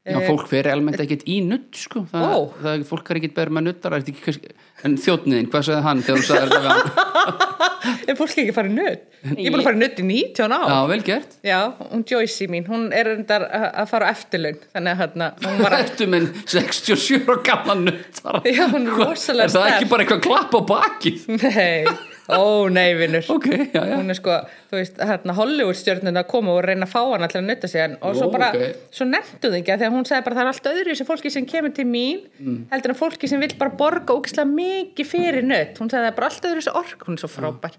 Já, fólk fer almennt ekkert í nutt, sko. Það, Eh, Ó. það er, fólk er ekkert verið með nuttar, eftir ekki hvers... En þjóttniðin, hvað sagði hann þegar þú sagði þetta við hann? Er fólk ekki farið nutt? Ég er búin að fara nutt í 19 ár. Já, vel gert. Já, hún Joyce mín, hún er reyndar að að fara á eftirlaun, þannig að hérna, hún var að, Ertu minn 67 og gamla nuttara? Já, hún er Hvað- rosalega Er það sterk. ekki bara eitthvað klapp á bakið? nei, ó nei vinnur. Ok, já, já. Hún er sko, þú veist, hérna Hollywood stjörnum að koma og reyna að fá hana til að nutta sig en, og svo Ó, bara, ok. svo nefndu þið ekki að því að hún sagði bara það er allt öðru sem fólki sem kemur til mín Mm. heldur en fólki sem vil bara borga ógislega mikið fyrir nutt, hún sagði það er bara allt öðru sem ork, hún er svo frábær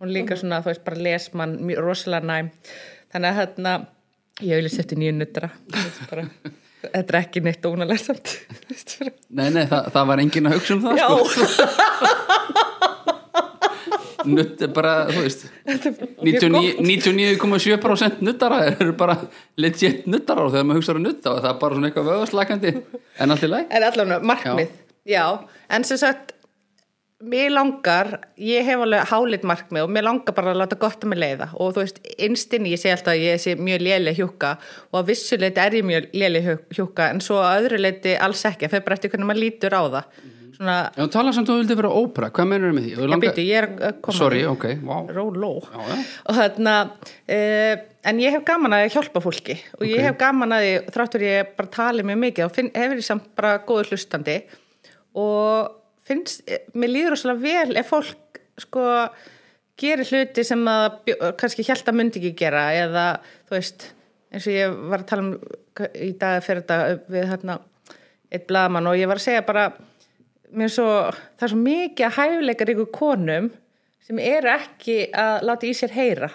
hún er Mm. líka svona, þú veist, bara lesmann mjög- rosalega næm, þannig að hérna ég vil setja nýju nuttara Þetta er bara- þetta er ekki neitt ónalega samt Þetta er bara- Nei, nei, það, það var enginn að hugsa um það, Já. sko. Nutt er bara, þú veist, 99 99,7% nuttara eru bara legit nuttara og þegar maður hugsa um nutta og það er bara svona eitthvað vöðaslækandi en allt í læg. En allavega markmið, já. en sem sagt, mér langar, ég hef alveg hálit markmið og mér langar bara að láta gott að mig leiða og þú veist, innstinni ég segi alltaf að ég sé mjög léleg hjúkka og að vissu leiti er ég mjög léleg hjú- hjúkka en svo að öðru leiti alls ekki, það er bara eftir hvernig maður lítur á það. Svona, Já, tala samt um þú vildi vera ópera, hvað mennur með því? Mhm. Þú ég langar- byrju, ég er að koma. Sorry, ok, wow. Róló. Já, já. Og þarna, uh, en ég hef gaman að hjálpa fólki og ég hef gaman að því, þráttur ég bara tali mjög mikið og finn, hefur ég samt bara góður hlustandi og finnst, eh, mér líður rosalega vel ef fólk sko gerir hluti sem að bjó- kannski hjælta myndi ekki gera eða þú veist, eins og ég var að tala um í dag fyrir þetta við þarna eitt blaðamann og ég var að segja bara mér er svo, það er svo mikið að hæfileikar ykkur konum sem eru ekki að láta í sér heyra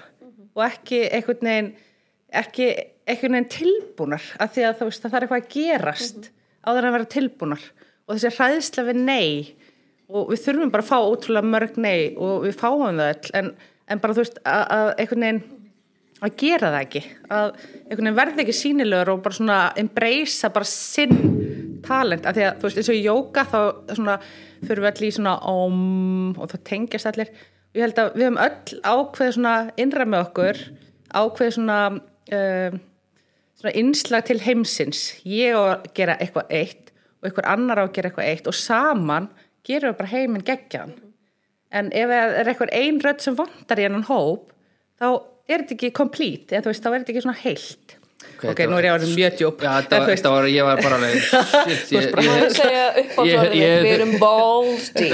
og ekki einhvern veginn ekki einhvern veginn tilbúnar af því að þú veist að það er eitthvað að gerast áður en að vera tilbúnar og þessi hræðsla við nei og við þurfum bara að fá ótrúlega mörg nei og við fáum það all en, en bara þú veist að, að einhvern veginn að gera það ekki að einhvern veginn verði ekki sínilegur og bara svona embracea bara sinn talent, af því að þú veist eins og í jóka þá svona fyrir við allir í svona om og það tengjast allir og ég held að við höfum öll ákveð svona innra með okkur ákveð svona um, svona innslag til heimsins ég á að gera eitthvað eitt og einhver annar á að gera eitthvað eitt og saman gerum við bara heiminn geggjan en ef það er eitthvað ein rödd sem vandar í hennan hóp þá er þetta ekki complete, eða þú veist, þá er þetta ekki svona heilt ok, þetta nú er ég að vera mjög djúb Já, þetta var, þetta var, ég var bara alveg, shit, ég, Má ég, ég segja upp á tórið Ég- ég- við erum bóldi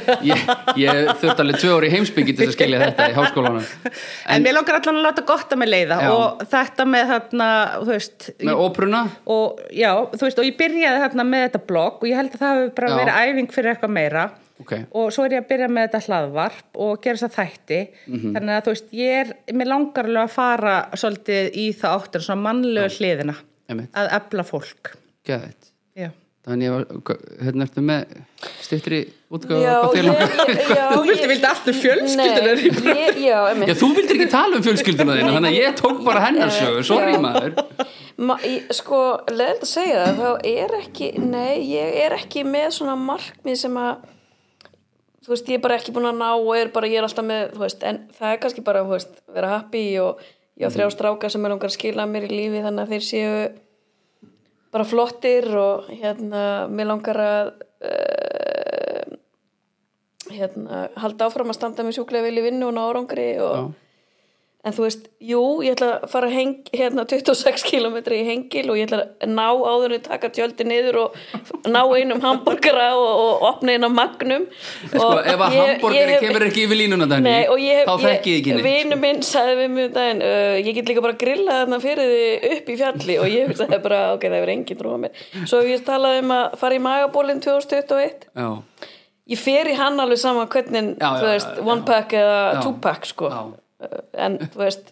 ég, ég þurfti alveg tvö ári heimsbyggi til þess að skilja þetta í háskólanum. en, mér langar allan að láta gott að mig leiða Já. og þetta með þarna, þú veist Með ópruna, og já, þú veist, og ég byrjaði þarna með þetta blogg og ég held að það hefur bara Já. verið æfing fyrir eitthvað meira ok. og svo er ég að byrja með þetta hlaðvarp og gera þess að þætti Mhm. þannig að þú veist, ég er, mér langar alveg að fara svolítið í það áttur svona mannlegu hliðina Einmitt. að efla fólk Gæðið. já Þannig ég var, hva- hérna ertu með stuttri útgáðu Já, Sko, hvað þér langar? Þú vildi- vildi um alltaf fjölskylduna Nei, ég- Já, Já, emmi þú vildir ekki tala um fjölskylduna þína, þannig að ég tók bara hennar sögu, sorry Eh, Já. maður. Sko, leðild að segja það þá er ekki, nei, ég er ekki með svona markmið sem að þú veist, ég er bara ekki búin að ná og er bara, ég er alltaf með, þú veist, en það er kannski bara, þú veist, vera happy og ég á þrjá stráka sem er langar að skila mér í lífi þannig að þeir séu bara flottir og hérna, mér langar að uh, hérna, halda áfram að standa með sjúklega vel í vinnu og ná árangri og Já. En þú veist, jú, ég ætla að fara heng, hérna 26 km í hengil og ég ætla að ná áður en ég taka tjöldi niður og ná einum hamburgara og, og opna einum magnum. Sko, ef að hambúrgari kemur ekki yfir línuna Nei, þannig, og ég hef, þá þekki ég ekki sko. neitt. Vinu minn sagði við mjög daginn, uh, ég get líka bara grillað þarna fyrir þið upp í fjalli og ég sagði bara, ok, það er engin trúa mér. Svo hef ég talað um að fara í magabólinn 2021. Já, Ég fer í hann alveg sama hvernig, Já, já, þú veist, já, já. one pack eða Já. two pack, sko. Já. Uh, En, þú veist,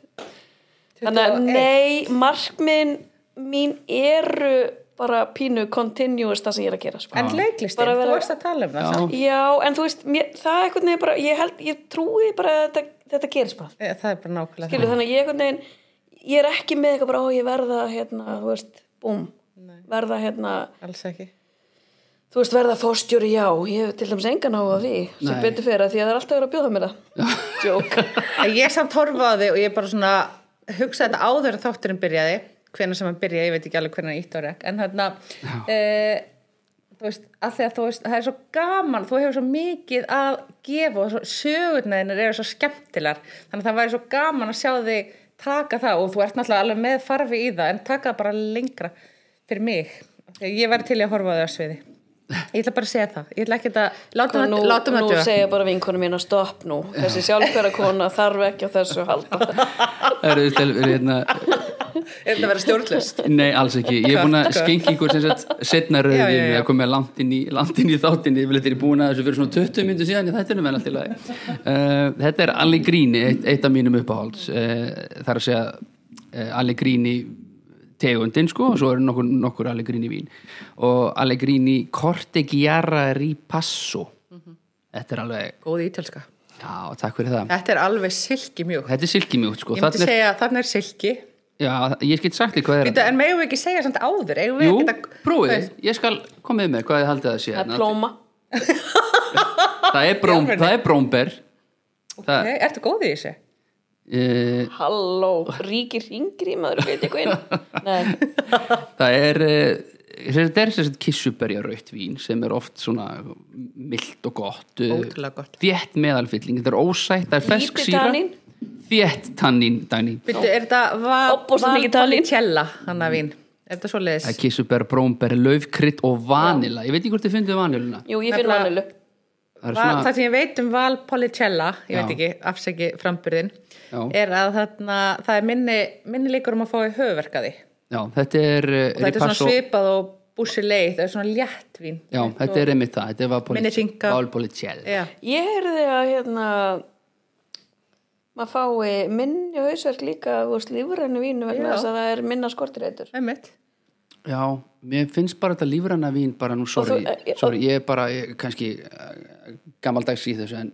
þannig að nei, markminn mín eru bara pínu continuous það sem ég er að gera, sko. En leiklistin, Bara þú vera- varst að tala um það já, samt. Já, en þú veist, mér, það er eitthvað bara, ég held, ég trúi bara að þetta, þetta gerist bara. Eh, Það er bara nákvæmlega Skilu, þannig að ég einhvern veginn, ég er ekki með eitthvað bara, ó, ég verða, hérna, þú veist, búm, verða, hérna, það, alls ekki þú veist, verða fórstjóri, já, ég hef til dæmis engan á að því, sem Nei. betur fyrir að því að það er alltaf verið að bjóða mér það. Jók. En Ég samt horfa á þig og ég bara svona hugsaði þetta áður en þátturinn byrjaði hvenær sem hann byrja, ég veit ekki alveg hvenær hann ítt á rekk en þarna uh, þú veist, að því að þú veist, það er svo gaman þú hefur svo mikið að gefa og svo, sögurnaðinir eru svo skemmtilar þannig að það væri svo gaman að sjá þig taka það og þú ert náttúrulega alveg með farfi í það en taka það bara lengra fyrir mig, ég væri til í að horfa á þau á sviði ég ætla bara að segja það, ég ætla ekki að látum, Sko, nú, nú, látum nú það duga segja bara vinkonu mín að stopp nú þessi sjálfkværa kona þarf ekki á þessu að halda er, er, er, hérna, er þetta að vera stjórnlust nei, alls ekki ég er búin að Gott, gott. skengi ykkur sem sett setna Já, já, rauðin já. við að koma langt inn í, langt inn í þáttin ég vil þetta er búin að þessu fyrir svona 20 myndu síðan í þættinum en allt í lagi uh, þetta er Alli Gríni, eitt, eitt af mínum uppáhalds uh, þar að segja uh, Alli Gríni tegundin sko og svo eru nokkur, nokkur Alli Gríni vín og Alli Gríni Cortegiara Ripasso þetta er alveg, góð ítalska já, takk fyrir það Þetta er alveg silki mjög. þetta er silkimjútt sko Ég myndi Þarna er- segja að þarna er silki. Já, ég get sagt þér hvað er Býtu, en megum við ekki segja samt áður? Eigum við Jú, ekki að... prófið, ég skal komið með hvað ég haldið að sé það er hérna. plóma það er, bróm, Í alvöru? það er brómber það, Nei, ertu góð í þessu? uh, halló, ríkir yngri maður veit ég hvað nei, það er uh, þetta er þess að kissuberja rautt vín sem er oft svona mild og gott eh, Ótrúlega gott. þétt meðalfylling, þetta er ósætt það er fesk Lítið síra tannín. þétt tannin, tannin Býtu, er þetta Ofboðslega mikið talín. valpolicella, Mm. hann að vín? Er þetta svo leiðis? það er kissuber, brómber, laufkrydd og vanila ég veit ekki hvort þið fundið vaniluna jú, ég finn Nefnilega- vanilu það er Svona... svona, Það sem ég veit um valpolicella, ég Já. veit ekki, afsæki framburðin, Já. er að þarna, það er minni, minni líkur um að fá í höfuverkaði. já, þetta er, eh, Þetta er svona Ripasso- svipað og búsi leið, það er svona léttvín. já, þetta er einmitt það, þetta Minni er hringa. valpolicell Já. ég heyrði að hérna maður fái minni hausverk líka þú veist, lífrænu vínu Já. vegna þess að það er minna skortireitur Einmitt. Já, mér finnst bara þetta lífræna vín bara nú, sorry, þú- eh, sorry ég er bara ég, er kannski eh, gammaldags í þessu en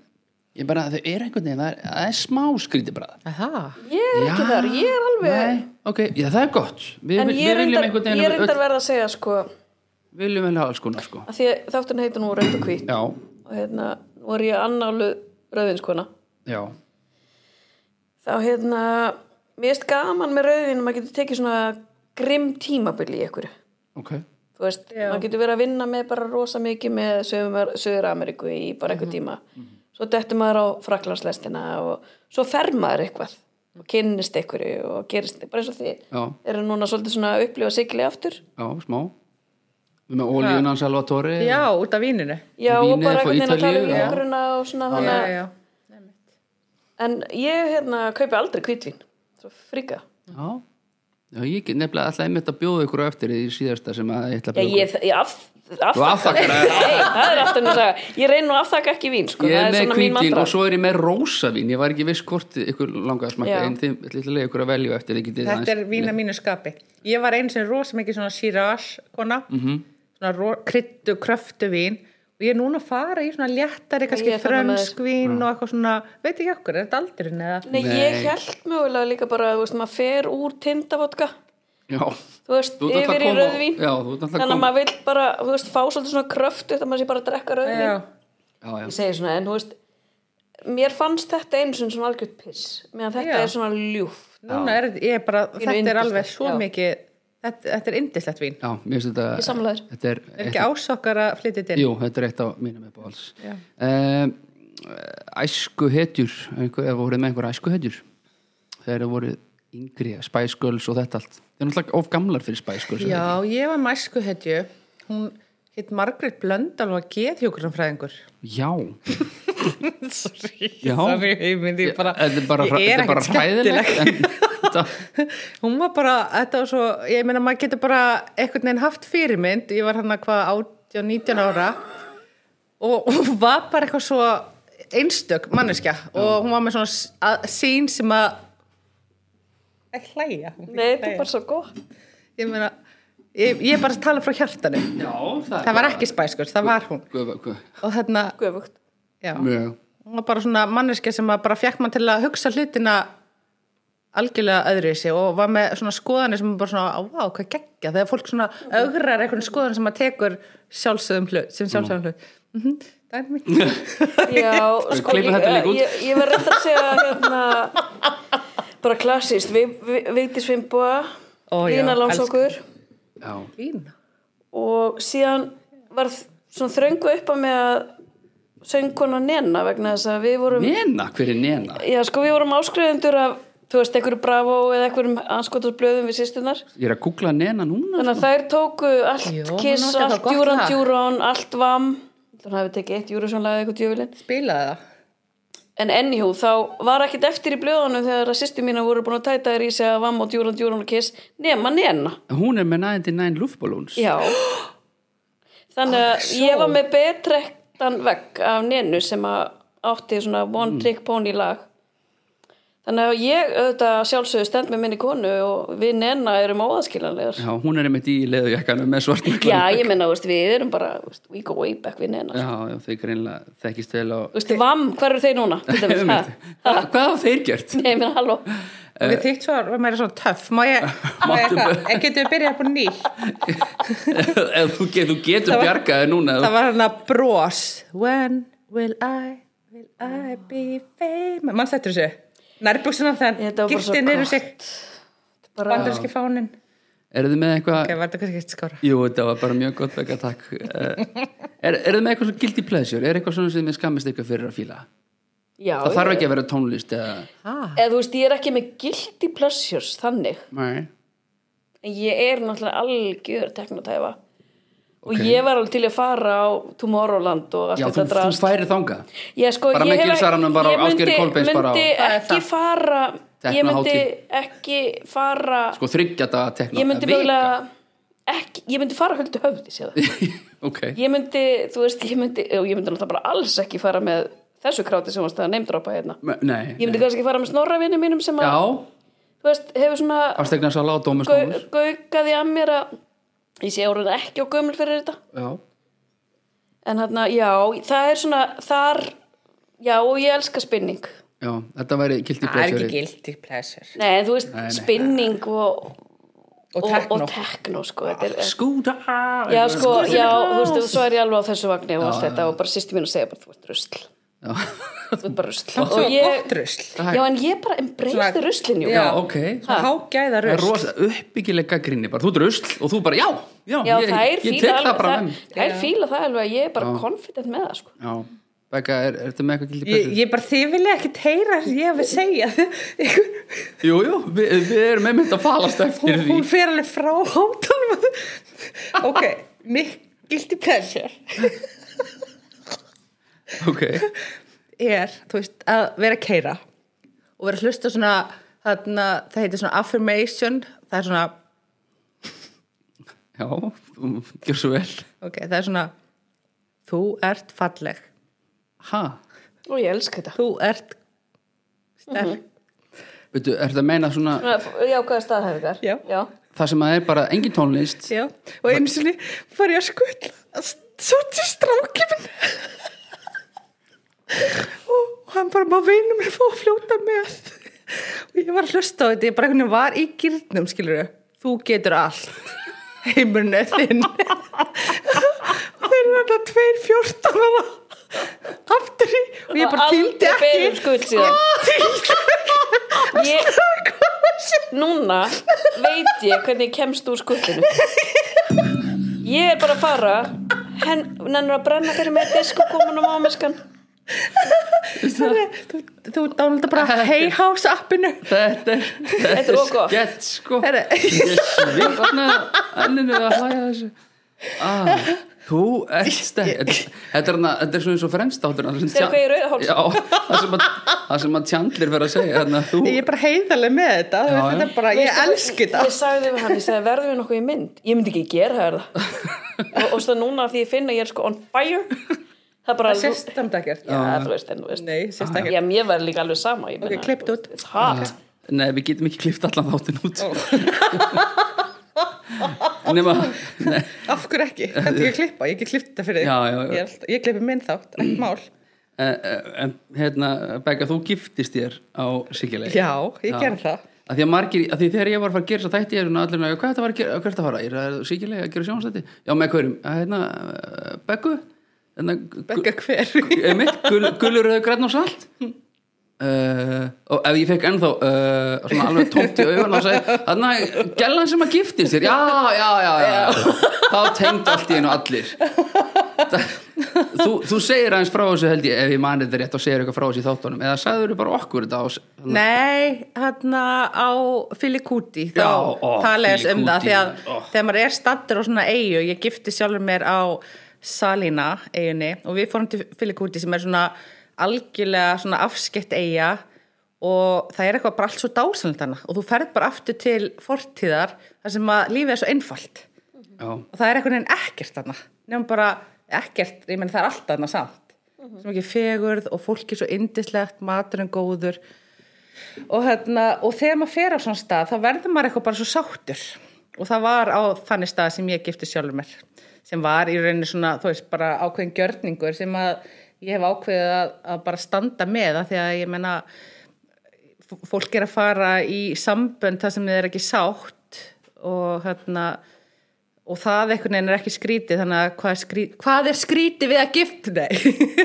ég bara, þau er einhvern veginn það er, það er smá skrítið bara Það. ég er ekki þar, ég er alveg Nei, ok, já það er gott Við, en vil, ég við viljum reyndar, einhvern ég veginn reyndar öll, verða að segja sko að viljum vel hafa alls konar sko því að þátturinn heitir nú rauð og hvít Já, og hérna voru ég annálu rauðinskona já, þá hérna mér erst gaman með rauðin maður getur tekið svona grimm tímabil í einhverju ok þú veist, maður getur verið að vinna með bara rosa mikið með sögur, sögur Ameríku í bara einhver tíma svo dettur maður á fraklandslestina og svo fer maður eitthvað og kynnist einhverju og gerist bara eins og því Já, eru núna svolítið svona að upplifa sigli aftur já, smá Við með ólíunan Salvatore Já, út af víninu. já og Vínið bara frá einhvern veginn að tala Ítalíu, um já. jörgruna og svona Já, þannig að- já. en ég hérna kaupi aldrei kvítvín svo fríka já. Já, ég get nefnilega alltaf einmitt að bjóða ykkur á eftir í síðasta sem að ég ætla að já bjóða ég, ég af, Þú afþakka afþakkar Nei, það. það er aftur nú að segja ég reyn nú að afþakka ekki vín sko. Ég það er með svona mín kvítin mantra. og svo er ég með rósavín Ég var ekki viss hvort ykkur langaði að smakka Já. En þið ætla að lega ykkur að velja eftir þið getið Þetta er vína mínu skapi. Ég var einu sem rosa mikið svona sírage kona, Mhm. svona ro- kryddu, kröftu vín og ég er núna að fara í svona léttari, kannski er þarna með frönsk Mm. vín og eitthvað svona, veit ekki okkur, er þetta aldurinn eða? Nei, Nei. ég held mögulega líka bara, þú veist, maður fer úr tindavodka, Já, þú veist, Þú ert alltaf yfir í að koma- rauðvín. Já, þú ert alltaf að Þannig að koma- maður vil bara, þú veist, fá svolítið svona kröftu þannig að maður sé bara að drekka rauðvín. Já, já, já Ég segi svona, en þú veist, mér fannst þetta einu sinni svona algjörð piss, meðan þetta Já. er svona ljúft. núna er ég er bara, þetta er yndislegt, alveg svo já. mikið, þetta, þetta er indislegt vín. Já, mér finnst Ég þetta samlaður. Þetta er, Er ekki ásokkar að flytja þetta inn? Jú, þetta er eitt á mínum uppáhalds um, Æsku hetjur einhver, Ef voruð með einhver æsku hetjur Þegar þið voruð yngri Spice Girls og þetta allt Þeir eru náttúrulega of gamlar fyrir Spice Girls er Já, ég var mæsku hetju, hún hitt Margrét Blöndal og að geðhjókurumfræðingur. það ekki? Já, Sorry, Já. sorry, ég myndi ég bara, þetta er bara, ég þetta er er bara ekkert skemmtileg. hræðilegt en, þetta, hún var bara, þetta var svo ég meina maður getur bara einhvern veginn haft fyrirmynd ég var hann að hvað 18, 19 ára og hún var bara eitthvað svo einstök manneskja og hún var með svona s- að- sín sem að að hlæja hún Nei, þetta er bara svo gott. ég meina, ég, ég er bara að tala frá hjartanu Já, það, það var ekki spæskurs, það var hún Guð, guð, og þarna, Guðvögt. já mjög hún var bara svona manneskja sem að bara fekk mann til að hugsa hlutina algjörlega öðru í sig og var með svona skoðanir sem bara svona, á, vá, hvað geggja þegar fólk svona ögrar einhvern skoðan sem að tekur sjálfsögum hlut, sem sjálfsögum hlut mm -hmm, það er mikið Já, sko, klipum ég, þetta líka út. ég, ég var reynd að segja, hérna, bara klassist, við, við, Vigdís Fimboa, Ó, já, Lína elsku- Lánsokur já, Lína. og síðan var þ- svona þröngu upp að með að söngkona Nena vegna þess að við vorum nena, hver er nena? já sko við vorum áskrifundur af þú veist einhverju Bravo eða einhverjum anskotarsblöðum við sýstunar Ég er að googla nena núna þannig að þær tóku allt Jú, hún Kiss, átti að fá allt gott Djúran lag. Djúran, allt VAM þannig að við tekið eitt Júrasjónlega eitthvað djöfilinn Spilaði það. en enjú þá var ekkert eftir í blöðunum þegar að sýstu mína voru búin að tæta þér í sig að VAM og Djúran Djúran og Kiss nema Nena Hún er með 99 luftballons Já Þannig að so. ég var með betrektan vegg af nenu sem að átti svona One Mm. Trick Pony lag Þannig að ég auðvitað að sjálfsögðu stend með minni konu og við nena erum óaðskiljanlegar Já, hún er einmitt í leðujakkanum með svartum Já, ég meina, þú veist, við erum bara þú veist, we go way back við nena já, já, þeir greinlega þekkist vel á Þú veist, vam, hver eru þeir núna? Til dæmis, ha? Einmitt. Hvað hvað hafa þeir gjört? Nei, ég meina, halló Og við þýtt svo, maður er svona töff, má ég, má ég, Máttu hvað, en getum við byrjað upp á nýtt? Ef þú, get, þú getur Það var- bjargaði núna Það var hann að brós. When will I, will I be famous? Mann þetta þessu? Nærbúksina þann, Þetta var bara svo giltin eru sig, gott. bara, bandarinski fánin. Eru þið með eitthvað Ok, var þetta kannski eitt skára? Jú, þetta var bara mjög gott vekka takk Eh, Er, er það með eitthvað svona guilty pleasure? Er eitthvað svona sem þið skammist eitthvað fyrir að fíla? Já, Það þarf ekki að vera tónlist eða... eða þú veist, ég er ekki með guilty pleasures, þannig Nei. En ég er náttúrulega algjör teknotæfa. Og Ok. ég var alveg til að fara á Tomorrowland og allt Já, þú, þetta þú drast. færi þangað Ég sko, bara ég með Gilsaranum, bara á Ásgeiri Kolbeins, bara á- myndi Hvað er ekki það? fara, ég myndi Teknohátíð. ekki fara, Sko þryggja daga tekna ég myndi mögulega, ekki, ég myndi fara höldu höfði, sé það. Ok, Ég myndi, þú veist, ég myndi, og ég myndi náttúrulega bara alls ekki fara með þessu kráti sem varst að neymdrópa hérna. Me- nei Ég myndi kannski fara með snorravinni mínum sem Já, að, þú veist, hefur svona fastegna sala á Dómus gau- Nómus gaukaði að mér að, ég sé orðin ekki á gömul fyrir þetta. Já, En hérna, já, það er svona, þar, já, og ég elska spinning. já, þetta væri guilty Það er pleasure ekki guilty pleasure. Nei, en þú veist, Nei, nei. spinning og, Og tekno. og techno, sko, þetta Ah, er, Skúta já, sko, já, þú veist, og svo er ég alveg á þessu vagni og allt þetta og bara sýstu mín að segja bara, þú ert rusl, Já, þú ert bara rusl. Það var Og ég, gott rusl. já, en ég bara Svona- embracei ruslin, jú. Já. ok Svo hágæða Það er rusl. rosa uppbyggilega grinni bara, þú drusl og þú bara, já, já, Já, það er ég, ég tek fíla það alveg, bara það, með mér. það er fíla það alveg að ég er bara confident með það, sko. Já, Becca, er, er þetta með eitthvað guilty Ég, pleasure? ég bara, þið vilja ekkert heyra það sem ég hef að segja. Ykkur- Jú, jú, við, við erum einmitt að falast eftir hún, því hún fer alveg frá hátanum. ok, mitt guilty pleasure Ok, er, þú veist, að vera að keira og vera að hlusta svona, þarna, það heitir svona affirmation, það er svona, já, þú- gjör svo vel ok, það er svona, þú ert falleg, Ha, Og ég elska þetta. þú ert sterk. veitu, er þetta að meina svona Svona, f- Já, hvaða staðhæfingar? Já. Já. það sem að er bara engin tónlist Já, og einu sinni var ég að skutla svo til strákifin og hann bara má vinur mér fá að fljóta með og ég var að hlusta á þetta ég bara einhvern veginn var í gyrnum skilur þú getur allt heimurinn er þinn þeir eru alltaf tveir fjórtán aftur í og ég bara Aldrei týndi beðið um ekki skuld síðan. Sko, Ég, núna veit ég hvernig ég kemst úr skuldinu ég er bara að fara henn, nennur að brenna fyrir með disk og komin á mámeskan Þannig, þú, þú dánalda bara hey house appinu Þetta er, Þetta er of gott. skett, sko Herra. Ég svip hann ennum við að hlæja þessu ah, Þú ert stekk Þetta þetta er hana- þetta er svona eins og fremst áttur Þegar hvað í rauða hálsinn? Já, það sem að, það sem að tjandlir verið að segja hana, þú, ég er bara heiðarlega með þetta já, Já, þetta er bara, ég Veistu, elski þetta ég sagði við hann, ég sagði verðum við nokkuð í mynd ég myndi ekki gera það og, og svo núna af því ég finna ég er sko on fire það er bara Það sést það ekkert já, þú veist, en þú veist Nei, sést ekkert já, mér var líka alveg sama ég Ok, meina, klippt þú veist, út. it's hot. Nei, við getum ekki klift allan þáttin út Nefna Nei, Af hverju ekki? Hvernig ég klippa? Ég get klippt þetta fyrir þig Já, já, já. Ég, er alltaf- ég klippi minn þátt, ekki mál en, en eh, hérna, Begga, þú giftist þér á Sikileg Já, ég gerði það að því að margir, að því þegar ég var að fara að gera þess að þætti ég er svona allir með, hvað þetta var að gera, hvert að fara ég er sýkilega að gera sjónstætti, já með hverjum að hérna, eh, Beggu hérna, Begga hver mitt, gul, gulur eða græn og salt Uh, og ef ég fekk ennþá uh, svona alveg tómt í augun og segi þannig að gellan sem að gifti sér já, já, já, já, já. þá tengd allt í einu allir Þa- þú, þú segir aðeins frá þessu held ég ef ég mani þetta rétt og segir eitthvað frá þessu í þáttunum eða sagður þú bara okkur þetta á s- Nei, hann á Filikúti, þá Já, ó, talaðis um það Filikúti, því að ó. þegar maður er stattur á svona eigu, ég gifti sjálfur mér á Salina eigunni og við fórum til Filikúti sem er svona algjörlega svona afskett eiga og það er eitthvað bara allt svo dásalend hana og þú ferð bara aftur til fortíðar þar sem að lífið er svo einfalt já, og það er einhvern veginn ekkert þarna nefnum bara ekkert, ég menn það er allt þarna samt sem ekki fegurð og fólki svo indislegt, maturinn góður og, hérna, og þegar maður fer á svona stað þá verður maður eitthvað bara svo sáttur og það var á þannig stað sem ég gifti sjálfur mér sem var í rauninni svona, þú veist, bara ákveðin gjörningur sem að ég hef ákveðið að, að bara standa með að því að ég menna f- fólk er að fara í sambönd þar sem þið er ekki sátt og hérna og það einhvern veginn er ekki skrítið þannig að hvað er, skrý, hvað er skrítið við að gift nei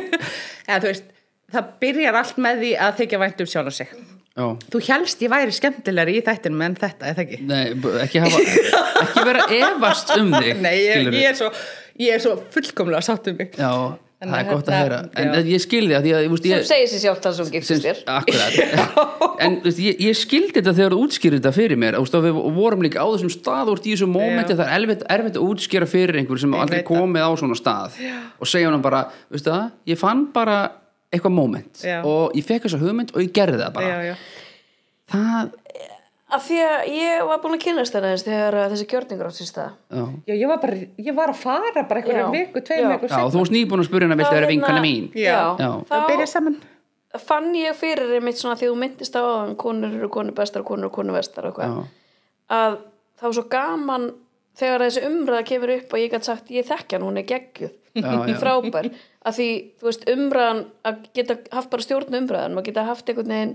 eða þú veist það byrjar allt með því að þykja vænt um sjálf og sig já þú helst ég væri skemmtilegri í þættinum en þetta er það ekki Nei, b- ekki, hafa, ekki vera að efast um þig nei, ég, skilurðu. ég, er, svo, ég er svo fullkomlega sátt um mig já, En það er gott að hérna, heyra en já. ég skildi það því að ég, veist, sem ég, segir sér sjálft að sem sem, giftist þér akkurat en þú veist, ég, ég skildi þetta þegar þú útskýrði þetta fyrir mér þú veist, og við vorum líka á þessum stað úr í þessum mómenti, það er erfitt, erfitt að útskýra fyrir einhver sem aldrei veit það. komið á svona stað Já. og segja hann bara, veistu það ég fann bara eitthvað móment Já. og ég fekk þessa hugmynd og ég gerði það bara já, já. það, af því að ég var búin að kynast það aðeins þegar að þessi gjörningur átt sér stað já, Já, ég, var bara, ég var að fara bara einhverju Já. viku, tveim Já. viku já þú varst nýbúin að spyrja hana vilt það vera vinkana mín hérna- Já. Já. þá byrja saman hérna- fann ég fyrir einmitt svona því þú myndist á að konur eru konur bestar og konur eru konur vestar og Já. eitthvað að það var svo gaman þegar þessi umræða kemur upp og ég gæti sagt ég þekkja hann, hún er geggjuð Já, já. frábær, að því þú veist umræðan, að geta haft bara stjórn umræðan og geta haft einhvern veginn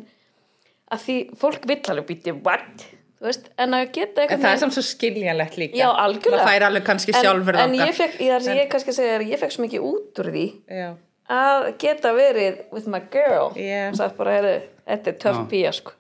að því fólk vill alveg býti what, þú veist, en að En geta einhvern það er samt svo skiljanlegt líka já, algjörlega Það fær alveg kannski sjálfur en, en þangað. ég fekk, ég, það sem ég kannski að segja er að ég fekk svo mikið út úr því Já. að geta verið with my girl Já. og sagt bara, heyrðu, þetta er töff píja sko.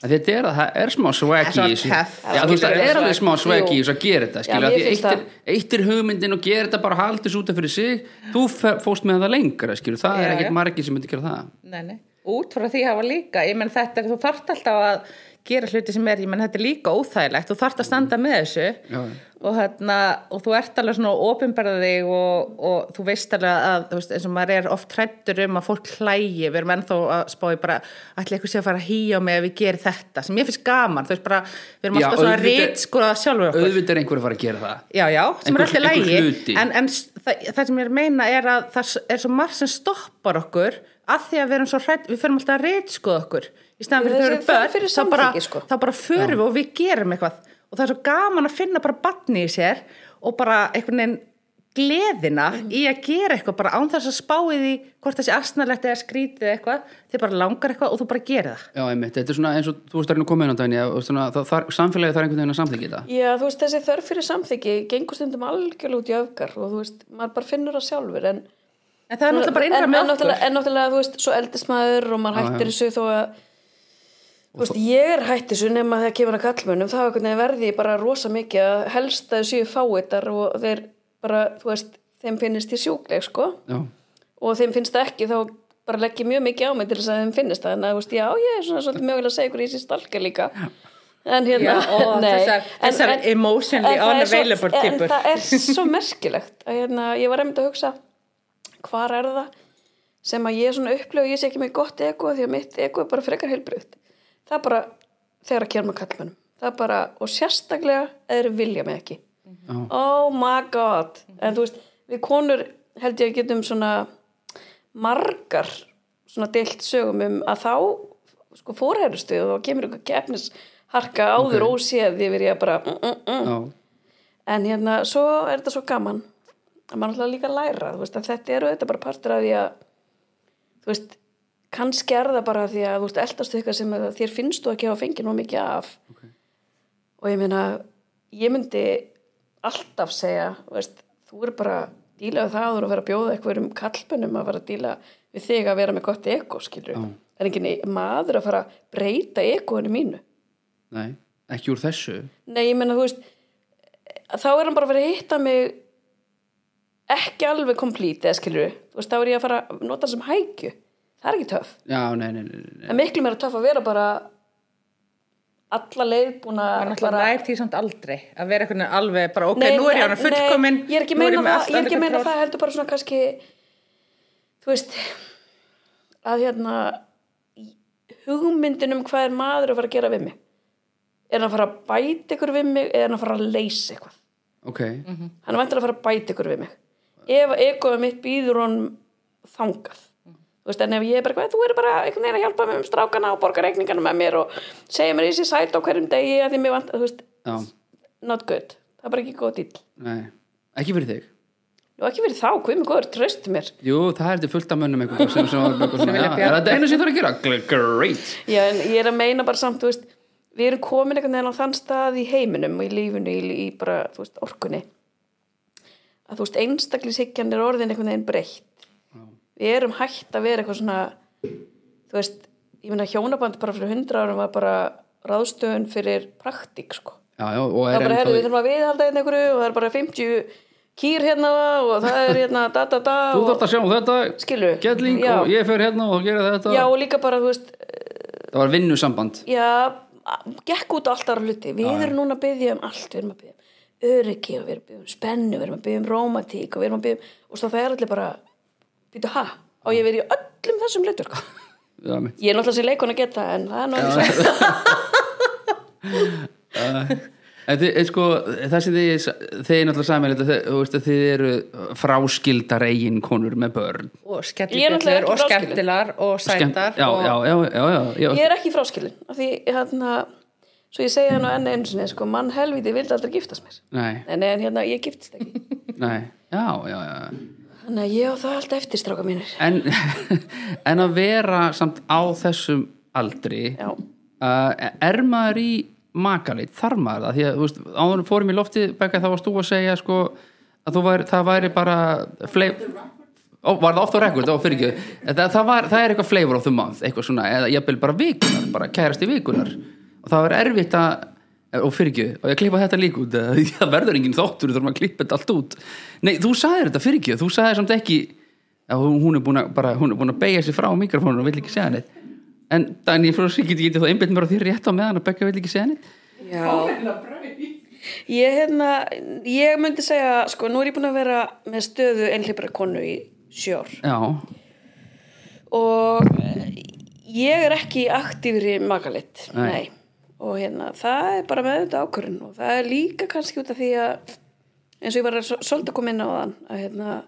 Að Þetta er að það er smá swag í Það er þessu svona töff. Já, þú veist, það er alveg smá swag í Jú. þessu að gera þetta Já, skilja, mér því finnst eitt er, eitt er hugmyndin og gera þetta bara haldis út af fyrir sig þú fe- fórst með það lengra, skilja, það er Já, já. ekkert margir sem myndi gera það Nei, nei. Út frá því hafa líka, ég menn þetta, er- þú þarft alltaf að gera hluti sem er, ég menn þetta er líka óþægilegt, þú þarft að standa með þessu Já. og, hérna, og þú ert alveg svona ofinberði og, og þú veist alveg að, þú veist, eins og maður er oft hrættur um að fólk hlægi, við erum ennþá að spáði bara, ætli eitthvað sé að fara að hýja mig ef við gerum þetta, sem ég finnst gaman, þú veist bara, við erum Já, alltaf svona auðvitað- rít sko að sjálfur okkur. auðvitað er einhver að fara að gera það Já, já, sem Einhver- er alltaf einhver lægi hluti. en, en s- það, það sem ég er að meina er að það s- er svo margt sem stoppar okkur að því að við erum svo hrætt, við förum alltaf að reitskoða okkur í staðan fyrir Við- þau eru við förum börn fyrir þá bara, samþykki, sko. þá bara förum við og við gerum eitthvað og það er svo gaman að finna bara batni í sér og bara einhvern veginn gleðina Mhm. í að gera eitthvað bara án þess að spáið því hvort það sé astnalegt eða skrítið eða eitthvað þið bara langar eitthvað og þú bara gerir það Já, einmitt, þetta er svona eins og þú veist það er nú komið inn á daginn já, og svona, það, það, samfélagi þarf einhvern veginn að samþykja þetta Já, þú veist, þessi þörf fyrir samþyggi gengur stundum algjörlega út í öfgar og þú veist, maður bara finnur það sjálfur en, en það er náttúrulega bara innra en, en, með okkur náttúrulega, en náttúrulega, þú veist, svo eldist maður og maður hættir þessu þó að Þú veist, ég er hætt þessu nema þegar kemur að kallmönnum, þá einhvern veginn verði ég bara rosa mikið að helst að þau séu fáitar og þeir bara, þú veist, þeim finnist ég sjúkleg, sko. Já, og þeim finnst það ekki þá bara legg ég mjög mikið á mig til þess að þeim finnist það en að, þú veist, já, ég er svona svolítið mögulega að segja ykkur í þessi stalka líka en hérna, Já, ó, nei þessar- En- þessar en- emotionally en það er svo- unavailable týpur. en það er svo merkilegt að hérna, ég var einmitt að hugsa hvar er það sem að ég svona upplifa og ég sé ekki með gott ego því að mitt ego er bara frekar heilbrygt það er bara þegar að kemur að kallmönnum það er bara, og sérstaklega eða vilja mig ekki já, oh my god en þú veist, við konur held ég að getum svona margar svona deilt sögum um að þá sko fórherðustu og þá kemur eitthvað gefnis harka áður okay. óséð yfir ég bara mm, mm, mm. já, en hérna, svo er þetta svo gaman að maður alltaf líka að læra þú veist, að þetta eru þetta bara partur af því að þú veist, kannski er það bara því að þú veist, eldastu eitthvað sem að þér finnst þú ekki hafa fengið nóg mikið af og ég meina ég myndi alltaf segja þú veist, þú er bara díla við það áður að vera að bjóða eitthvað um kallbönnum að vera að díla við þig að vera með gott eko, skilur. Já. Það er enginn maður að fara að breyta ekoinu mínu. Nei, ekki úr þessu Nei, ég menna, þú veist, þá er hann bara að vera að hitta mig ekki alveg komplít, eða skilur. Þú veist, þá er ég að fara að nota það sem hækju. Það er ekki töff. Já, nei, nei, nei, nei. Það er miklu meira töff að vera bara alla leið búin Það er að náttúrulega nær því samt aldrei að vera einhvern veginn alveg bara ok, nú er ég hana nei, fullkomin nei, ég er ekki nú að meina með það, allt ég er ekki að under meina control. það heldur bara svona kannski þú veist að hérna hugmyndin um hvað er maður að fara að gera við mig er hann að fara að bæta ykkur við mig eða er hann að fara að leysa eitthvað Ok, hann er vantilega að fara að bæta ykkur við mig ef ekoðum mitt býður hann þangað þú veist en ef ég er bara, hvað, þú eru bara einhvern veginn að hjálpa mér um strákana og borga reikningana með mér og segja mér í sér sæt á hverjum degi að því mér vant, þú veist, já, not good það er bara ekki góð dýll nei Ekki fyrir þig og ekki verið þá, hvað er mér góður, tröst mér Jú, það er þetta fullt af mönnum einhverjum sem, sem, sem, sem, sem vilja já, bjarga. Er þetta einu sem það er að gera? Gl- Great já en ég er að meina bara samt, þú veist við erum komin einhvern veginn á þann stað í heiminum og í lífinu, í, í bara, þú veist, orkunni að þú veist, einstaklishyggjan er orðin einhvern veginn breytt við erum hægt að vera eitthvað svona þú veist, ég meina hjónaband bara fyrir hundra árum var bara ráðstöðun fyrir praktík sko Já, já, og það er er bara, herri, við ennþá þurfum að viðhalda hérna einhverju og það er bara 50 kýr hérna og það er hérna da da da Þú og þarft að sjá um þetta skilur Gelling já, og ég fer hérna og gera þetta já, og líka bara, þú veist Það var vinnusamband já, gekk út á allt aðra hluti við erum núna að byggja um allt við erum að byggja um öryggi og við erum að byggja um spennu við erum að byggja um rómatík og við erum að byggja um og svo það er allir bara, býtu ha og ég verið í öllum þessum hlutur Já, mitt ég er náttúrulega sem leikon að geta en það er náttúrulega svo En þið, en sko, það sem þið, þið er náttúrulega saman, þú veist að þið eru fráskildar eigin konur með börn. og Ég er náttúrulega skellibillur og ekki fráskilin. skemmtilar og sætar já, og já, já, já, já, já, ég er ekki fráskilin af því hérna svo ég segi hann á enn einu sinni sko, mann helviti vildi aldrei giftast mér nei, nei, nei, en hérna ég giftist ekki nei, já, já, já. þannig að ég á það allt eftir stráka mínir En, en að vera samt á þessum aldri, já, uh, er maður í makaleit, þarf maður það? Því að, þú veist, áður en fórum í loftið, Bekka, þá varst þú að segja, sko, að þú væri, það væri bara fleip... Ó, var það oft á rekord, þá fyrir ekki það, það, var, það er eitthvað flavor of the month eitthvað svona, eða jafnvel bara vikunar, bara kærasti vikunar og það er erfitt að og fyrir ekki, og ég klippa þetta líka út eða, það verður engin þáttur, þú þurfum að klippa þetta allt út nei, þú sagðir þetta fyrir ekki, þú sagðir samt ekki að hún- hún er búin að bara, hún er búin að beigja sig frá mikrofónun og vill ekki segja neitt en Dani, frá sér geti getið þá einbytt mér á því rétt á meðan að Becca vill ekki segja neitt já. ég hérna ég myndi segja, sko, nú er ég búin að vera með stöðu einhleipra konu í sjór já, og eh, ég er ekki í aktífri magalitt Nei. nei. og hérna, það er bara með þetta ákvörðin og það er líka kannski út af því að eins og ég var að s- svolítið að koma inn á þann að hérna,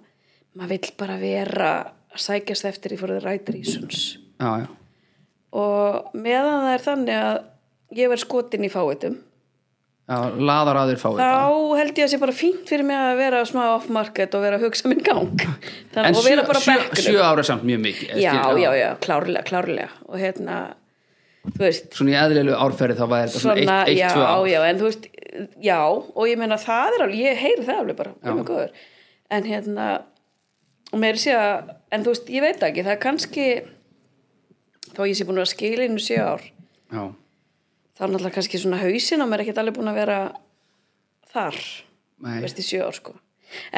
maður vill bara vera að sækjast eftir í fórið rætir í sunns já, já, og meðan það er þannig að ég verð skotin í fáitum já laðar að þér fáið þá held ég að sé bara fínt fyrir mig að vera smá off-market og vera að hugsa minn gang þannig, en og sjö, vera bara á sjö, bekknum. sjö ára er samt mjög mikið já, já, já, klárlega, klárlega og hérna, þú veist svona í eðlilegu árferði þá var þetta svona eitt, eitt, já, tvö ár já, en þú veist já, og ég meina það er alveg, ég heyri það alveg bara, um og góður en hérna, og meir sé að en þú veist, ég veit það ekki, það er kannski þó ég sé búin að vera skilinu sjö ár, já, þá er náttúrulega kannski svona hausin og maður er ekkert alveg búin að vera þar, nei, þú veist, í sjö ár sko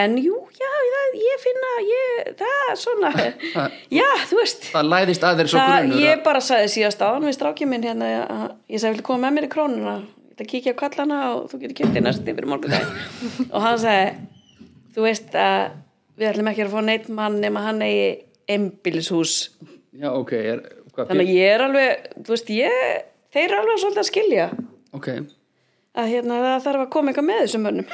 en jú, já, það, ég finna ég, það, svona já, þú veist það læðist að þér svo Það, grunur ég bara sagði síðast áðan við strákjum minn hérna að ég sagði, viltu koma með mér í krónuna ég ætla að kíkja á kallana og þú getur kjöptið næst yfir morgundag og hann sagði, þú veist að við ætlum ekki að fá neitt mann nema hann eigi einbýlishús já, ok, er, hvað, þannig að ég er alveg, þú veist ég þeir eru alveg svolítið að skilja ok að hérna, það þarf að koma eitthvað með þessum mönnum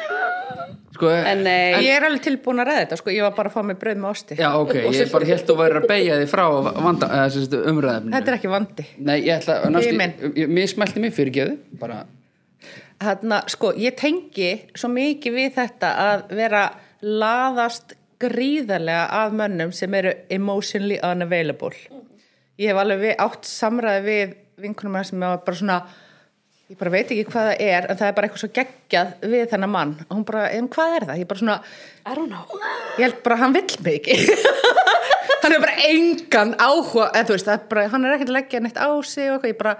sko, en e- eh, nei, ég er alveg tilbúin að ræða þetta sko, ég var bara að fá mér brauð með osti já, ok, ég er bara helt og væri að beigja þig frá vanda, eða, sem sagt, umræðefninu þetta er ekki vandi nei, ég ætla, næst, Himinn. ég, ég mismælti mig fyrir geðu bara, Þarna, sko, ég tengi svo mikið við þetta að vera laðast gríðarlega af mönnum sem eru emotionally unavailable. Ég hef alveg við, átt samræði við vinkunum mér sem var bara svona ég bara veit ekki hvað það er en það er bara eitthvað svo geggjað við þennan mann og hún bara, en hvað er það? Ég bara svona, I don't know ég held bara að hann vill mig ekki hann er bara engan áhuga eða þú veist, það er bara, hann er ekkert að leggja neitt á sig og eitthvað, ég bara,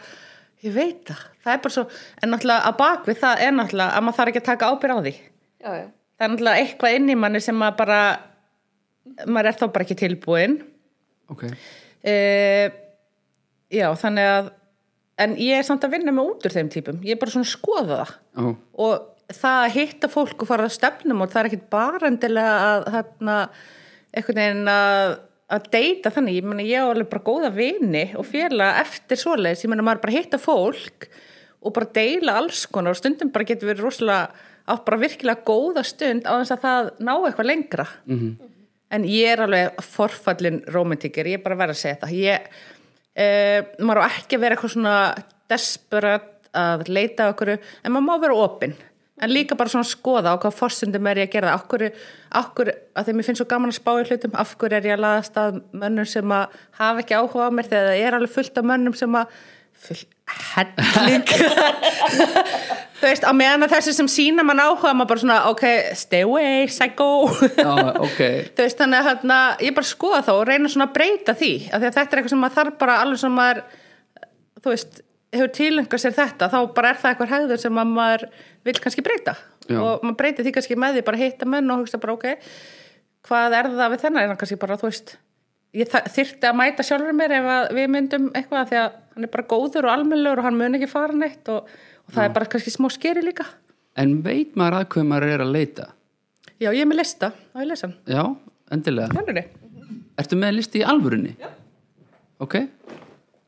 ég veit það það er bara svo, en náttúrulega að bakvið það er náttúrulega að maður þarf ekki að taka ábyrð á því Já, já það er náttúrulega eitthvað inn í manni sem maður bara maður er þá bara ekki tilbúin ok, Uh, já, þannig að en ég er samt að vinna með út úr þeim típum ég er bara svona að skoða það ó, og það að hitta fólk og fara að stefnum og það er ekkit bara endilega að þarna, einhvern veginn að að deyta þannig, ég meina ég á alveg bara góða vini og félaga eftir svoleiðis ég meina maður bara hitta fólk og bara deila alls konar og stundum bara getur verið rosalega, átt bara virkilega góða stund á þess að það ná eitthvað lengra En ég er alveg forfallin romantiker, ég er bara að vera að segja þetta. Ég, uh, maður á ekki að vera eitthvað svona desperat að leita að okkur, en maður má vera opinn. En líka bara svona skoða á hvað forsundum er ég að gera það. Okkur, okkur, að þegar mér finnst svo gaman að spá í hlutum, af hverju er ég að laðast að mönnum sem að hafa ekki áhuga á mér þegar það er alveg fullt af mönnum sem að full, helling þú veist, á meðan að þessi sem sína mann áhuga, maður bara svona, ok, stay away, psycho já, ok þú veist, þannig að hérna, ég bara skoða þá og reyna svona að breyta því, af því að þetta er eitthvað sem maður þarf bara alveg sem maður þú veist, hefur tilengað sér þetta þá bara er það eitthvað hegður sem að maður vil kannski breyta Já. og maður breytir því kannski með því bara að hitta menn og hugsa bara ok hvað er það við þennan, En kannski bara þú veist ég þa- þyrfti að mæta sjálfur mér ef að við myndum eitthvað af því að hann er bara góður og almennlegur og hann mun ekki fara neitt og, og það er bara kannski smá skeri líka en veit maður að hvað maður er að leita já, ég er með lista, á ég lesa hann já, endilega Tölunni. ertu með listi í alvörunni? já ok,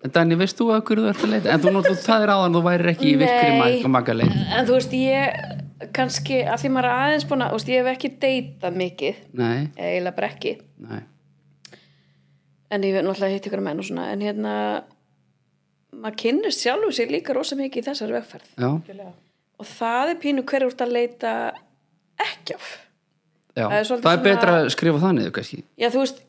en Dani, veist þú að hverju þú ert að leita? en þú náttúrulega það er áðan, þú værir ekki í virkri Nei. mag magaleit En þú veist, ég kannski, að því maður er aðeins búin að, þú veist, ég hef ekki deytað mikið, nei, eða eiginlega bara ekki, nei, en ég hef náttúrulega hitt ykkur menn og svona, en hérna, maður kynnist sjálfu sér líka rosa mikið í þessari vegferð. já, Og það er pínu hverju úr að leita ekki af. já Það er svolítið það er betra svona- að skrifa það niður kannski Já, þú veist,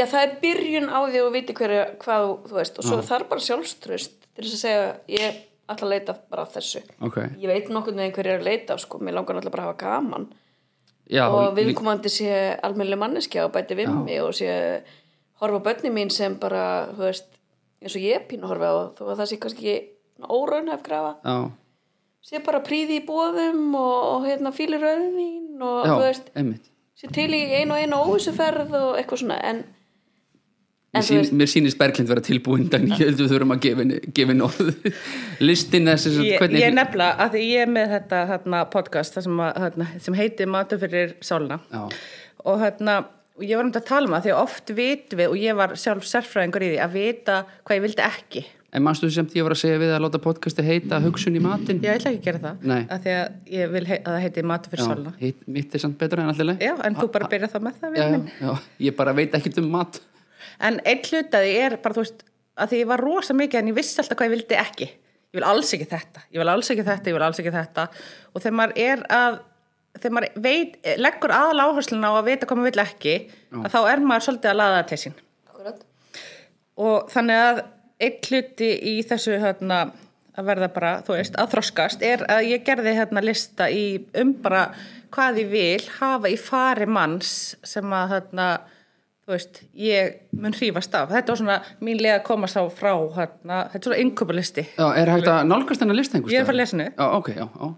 já, það er byrjun á því og viti hverju, hvað, þú- þú veist, og svo það er bara sjálfströst til þess að segja, ég ætla að leita bara að þessu. ok, Ég veit nokkurn veginn hverju er að leita, af, sko, mér langar náttúrulega bara að hafa gaman. já, og lí- viðkomandi sé almennileg manneskja og bæti við mig og sé horfa á börni mín sem bara þú veist, eins og ég pínu horfa á þó að það sé kannski óraunhef grafa já, sé bara príði í bóðum og, og hérna fíli rauðvín og þú já, veist, einmitt sé til í einu og einu óvissuferð og eitthvað svona en, Mér, En þú sín, veist- mér sýnist Berglind vera tilbúin en ég heldur við þurfum að gefa henni- gefa henni orð listin þessi ég, hvernig, ég nefnilega að því ég er með þetta hérna, podcast þar sem, að, hérna, sem heitir Matur fyrir sálna Já. og hérna, og ég var um þetta að tala um það því að oft vitum við og ég var sjálf sérfræðingur í því að vita hvað ég vildi ekki en manstu sem ég var að segja við að láta podcasti heita hugsun í matin ég ætla ekki að gera það Nei. að því að ég vil hei, að það heiti Matur fyrir sálna hitt, mitt er samt betra en allir leið já, en þú bara byrja það með það já, vinur minn. já, ég bara veit ekkert um mat En einn hlut að ég er bara, þú veist, að því ég var rosa mikið en ég vissi alltaf hvað ég vildi ekki. Ég vil alls ekki þetta, ég vil alls ekki þetta, ég vil alls ekki þetta. Og þegar maður er að, þegar maður veit, leggur aðal áhersluna á að vita hvað maður vil ekki, að þá er maður svolítið að laða það til sín. akkurat, Og þannig að einn hluti í þessu hérna, að verða bara, þú veist, að þroskast er að ég gerði hérna lista í um bara hvað ég vil hafa í fari manns sem að hérna, þú veist, ég mun hrífast af. Þetta var svona mín leið að komast á frá hérna, þetta er svona innköpulisti. já, er hægt að nálgast hennar list einhvers Ég er að staðar? fara að lesa henni. já, ok, já, já,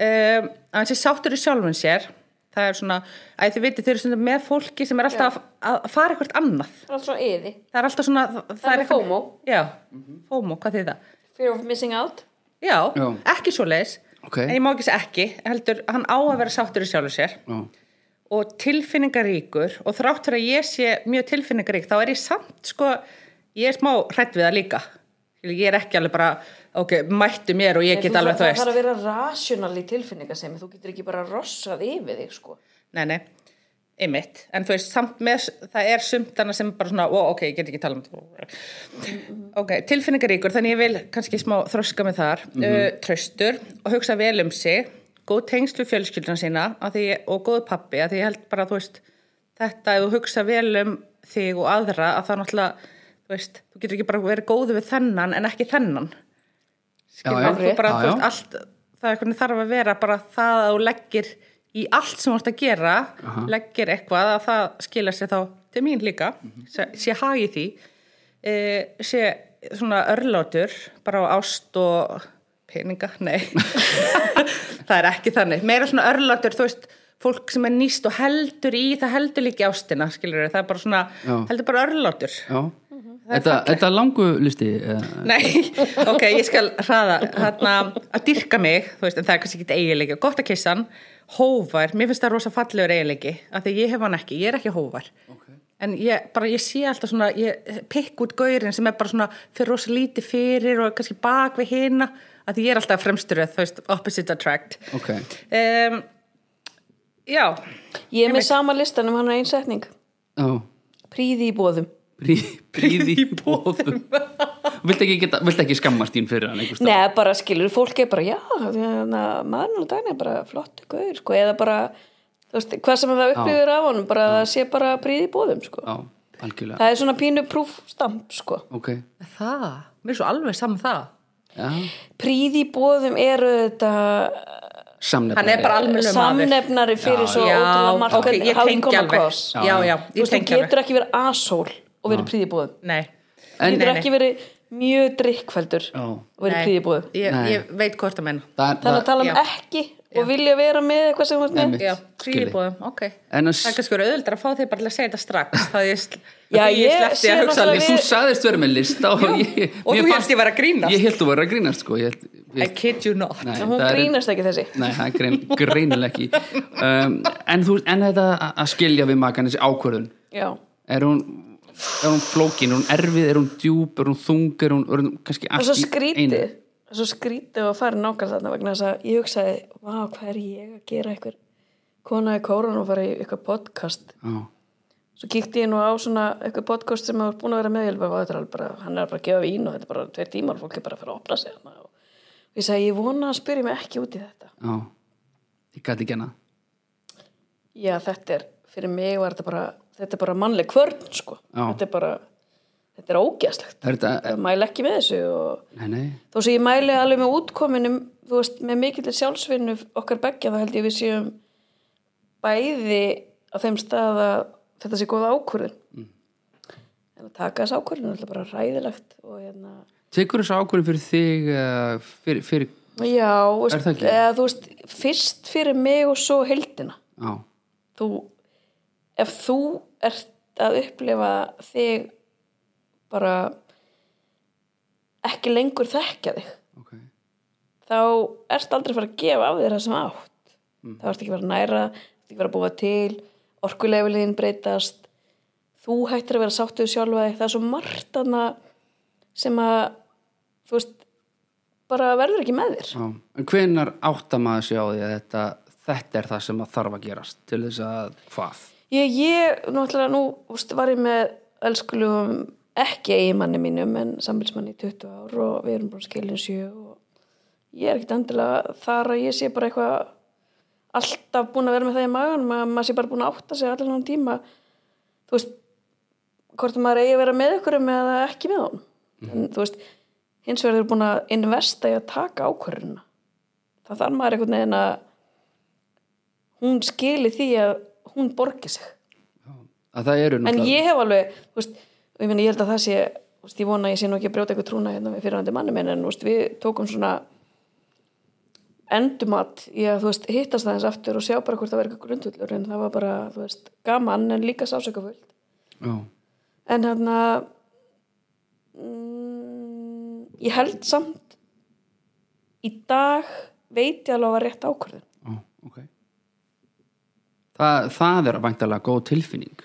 um, að hann sé sáttur í sjálfun sér það er svona, að þið vitið þau eru stundum með fólki sem er alltaf að, að fara eitthvað annað það er allt svona yði það er alltaf svona það, Það er eitthvað- FOMO. já, FOMO, hvað þið það? fear of missing out já, Já. ekki svo leis Ok. en ég má ekki segja ekki, heldur hann á að vera sáttur í sjálfun sér já, og tilfinningaríkur og þrátt fyrir að ég sé mjög tilfinningarík þá er ég samt sko ég er smá hrætt við það líka ég er ekki alveg bara, ok, mættu mér og ég Nei, get þú alveg þarf- þú veist það þarf að vera rational í tilfinningasemi þú getur ekki bara rossað yfir þig sko Nei, nei, einmitt. En þú veist, samt með, það er sumt annað sem bara svona, ó, ok, ég get ekki tala um þetta. Mhm. Ok, tilfinningaríkur, þannig ég vil kannski smá þroska með þar. Mhm. Mm tröstur og hugsa vel um sig, góð tengsl við fjölskylduna sína að því, og góð pappi, að því ég held bara, þú veist, þetta, ef þú hugsa vel um þig og aðra, að það náttúrulega, þú veist, þú getur ekki bara verið góðu við þennan en ekki þennan. Já, já. Skilur, þú bara, Já, þú já. veist, allt, það er hvernig þarf að vera bara það að þú leggir í allt sem þú ert að gera, leggir eitthvað að það skila sér þá til mín líka, sé, sé hagi því, e, sé svona örlátur, bara á ást og peninga, nei, það er ekki þannig, meira svona örlátur, þú veist, fólk sem er nýst og heldur í, það heldur líka í ástina, skilur það er bara svona, Já. heldur bara örlátur. Já. Mhm. Þetta, þetta er langu listi eh, Nei, ok, ég skal hraða hérna, að dyrka mig, þú veist, en það er kannski ekki eiginleiki, gott að kissa hann hóvar, mér finnst það rosa fallegur eiginleiki af því ég hef hann ekki, ég er ekki hóvar en ég, bara, ég sé alltaf svona ég pikk út gaurin sem er bara svona fyrir rosa lítið fyrir og kannski bak við hina, af því ég er alltaf fremsturöð, þú veist, opposite attract Ok, um, Já, Ég er með sama listan um hann er einsetning. já Príði í bóðum. Prí, Príði í bóðum Vilt ekki, geta, vilt ekki skammast þín fyrir hann einhvers staðar? Nei, bara skilur, fólk er bara, já, þarna, maðurinn og daginn er bara flottu gauður, sko, eða bara, þú veist, hvað sem það upplýður af honum, bara að það sé bara príði í bóðum, sko. Já, algjörlega Það er svona pínu prúfstamp, sko. Ok, það, mér er svo alveg saman það já Príði í bóðum eru þetta eh, Samnefnari Hann er bara almennur maður samnefnari fyrir svo já, ótrúlega margt ok, hvernig- ég how you tengi come alveg. across. Já, já, ég Þú veist, þú tengi alveg. getur ekki verið asól og verið príði í bóðum. Nei Þú En- getur Nei, nei. ekki verið mjög drikkfældur Já. og verið Nei, príði í bóðum. ég, Nei. ég veit hvort að menna Það, Þannig það, að tala um Já. ekki og vilja vera með eitthvað sem þú ert með. Einmitt. Já, Skilji. fríbúðum, ok En að- Það er kannski verið auðvitað að fá þig bara til að segja þetta strax Það ég, sl- Já, því ég sleppti sé að hugsa náttúrulega alveg Þú sagðist verið með lista og, ég, og mér þú fannst- hélst ég væri að grínast. Ég held þú verið að grínast sko ég, held- I ég, kid you not nei, En hún það er- grínast ekki þessi. Nei, það er grein, greinileg ekki um, en, þú, en þetta að- að skilja við makan þessi ákvörðun Já. er hún, er hún flókin, er hún erfið er hún djúp, er hún þung er hún, er hún kannski Og allt svo í skrítið, einu? og svo skrítið að fara nákvæmlega þarna vegna þess að ég hugsaði, vá, hvað er ég að gera eitthvað kona í kórun og fara í eitthvað podcast. Já, Svo kíkti ég nú á svona eitthvað podcast sem er búin að vera með, ég bara, "Vá, þetta er alveg bara, hann er bara að gefa vín og þetta er bara tveir tímar, fólk er bara að fara að opna sig þarna. Og ég sagði, ég vona að spyrja mig ekki út í þetta. já, ég gæti ekki hana Já, þetta er, fyrir mig var þetta bara, þetta er bara mannleg kvörn, sko. Já. Eh. Þetta er bara, þetta er ógæslegt. það er þetta, Ég mæla ekki með þessu og nei, nei, þó sem ég mæli alveg með útkominum þú veist, með mikill sjálfsvinnu okkar beggja þá held ég við séum bæði á þeim stað að þetta sé góða ákvörðun Mm. en að taka þess ákvörðun er alltaf bara ræðilegt og hérna tekur þessu ákvörðun fyrir þig eh, fyrir, fyrir já, þú Er veist, það ekki? eða, þú veist fyrst fyrir mig og svo heldina já, þú, ef þú ert að upplifa þig bara ekki lengur þekkja þig ok þá ert aldrei að fara að gefa af þér það sem átt þá ert ekki að vera að næra ert ekki að vera að búa til orkulegviliðin breytast þú hættir að vera sáttuð sjálfa þig það er svo margt hana sem að þú veist, bara verður ekki með þér já. en hvenar átta maður sig á því að þetta þetta er það sem að þarf að gerast til þess að hvað ég, ég náttúrulega nú þú veist, var ég með elskulegum ekki eigimanni mínum en sambilsmanni í 20 ár og við erum bara skilin sjö og ég er ekkit endilega þar að ég sé bara eitthvað alltaf búin að vera með það í maganum að maður sé bara búin að átta sig allan hann tíma þú veist hvort maður eigi að vera með ykkur eða ekki með honum en þú veist hins vegar er búin að investa í að taka ákvörðuna það þarf maður einhvern veginn að hún skili því að hún borgi sig að það eru en náttúrulega ég hef alveg þú veist, og ég, meina, ég held að það sé þú veist, ég vona að ég sé nú ekki að brjóta eitthvað trúna hérna við fyrirhandi mannum minn en þú veist, við tókum svona endumat í að þú veist, hittast aðeins aftur og sjá bara hvort það var eitthvað grundullur en það var bara þú veist, gaman en líka sásökafullt já, en hérna mm, ég held samt í dag veit ég alveg að var rétt ákvörðin já, ok það, það er væntalega góð tilfinning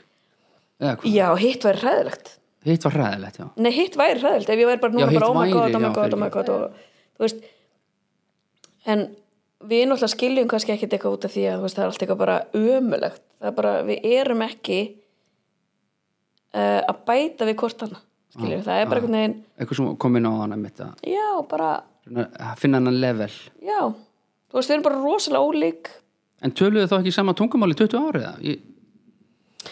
eða hvað, já, hitt væri hræðilegt hitt var hræðilegt já Nei, hitt væri hræðilt ef ég væri bara núna Já, hitt bara oh my væri, god, oh já, my god, oh my god og, þú veist en við náttúrulega skiljum kannski ekkit eitthvað út af því að þú veist, það er allt eitthvað bara ömulegt það er bara, við erum ekki uh, að bæta við hvort annað Mm, skiljum, það ah. er bara einhvern veginn eitthvað sem kom inn á hana mitt að já, bara, reyna að finna hana level já þú veist, við erum bara rosalega ólík en töluðu þá ekki sama tungumáli í 20 ári eða? Í-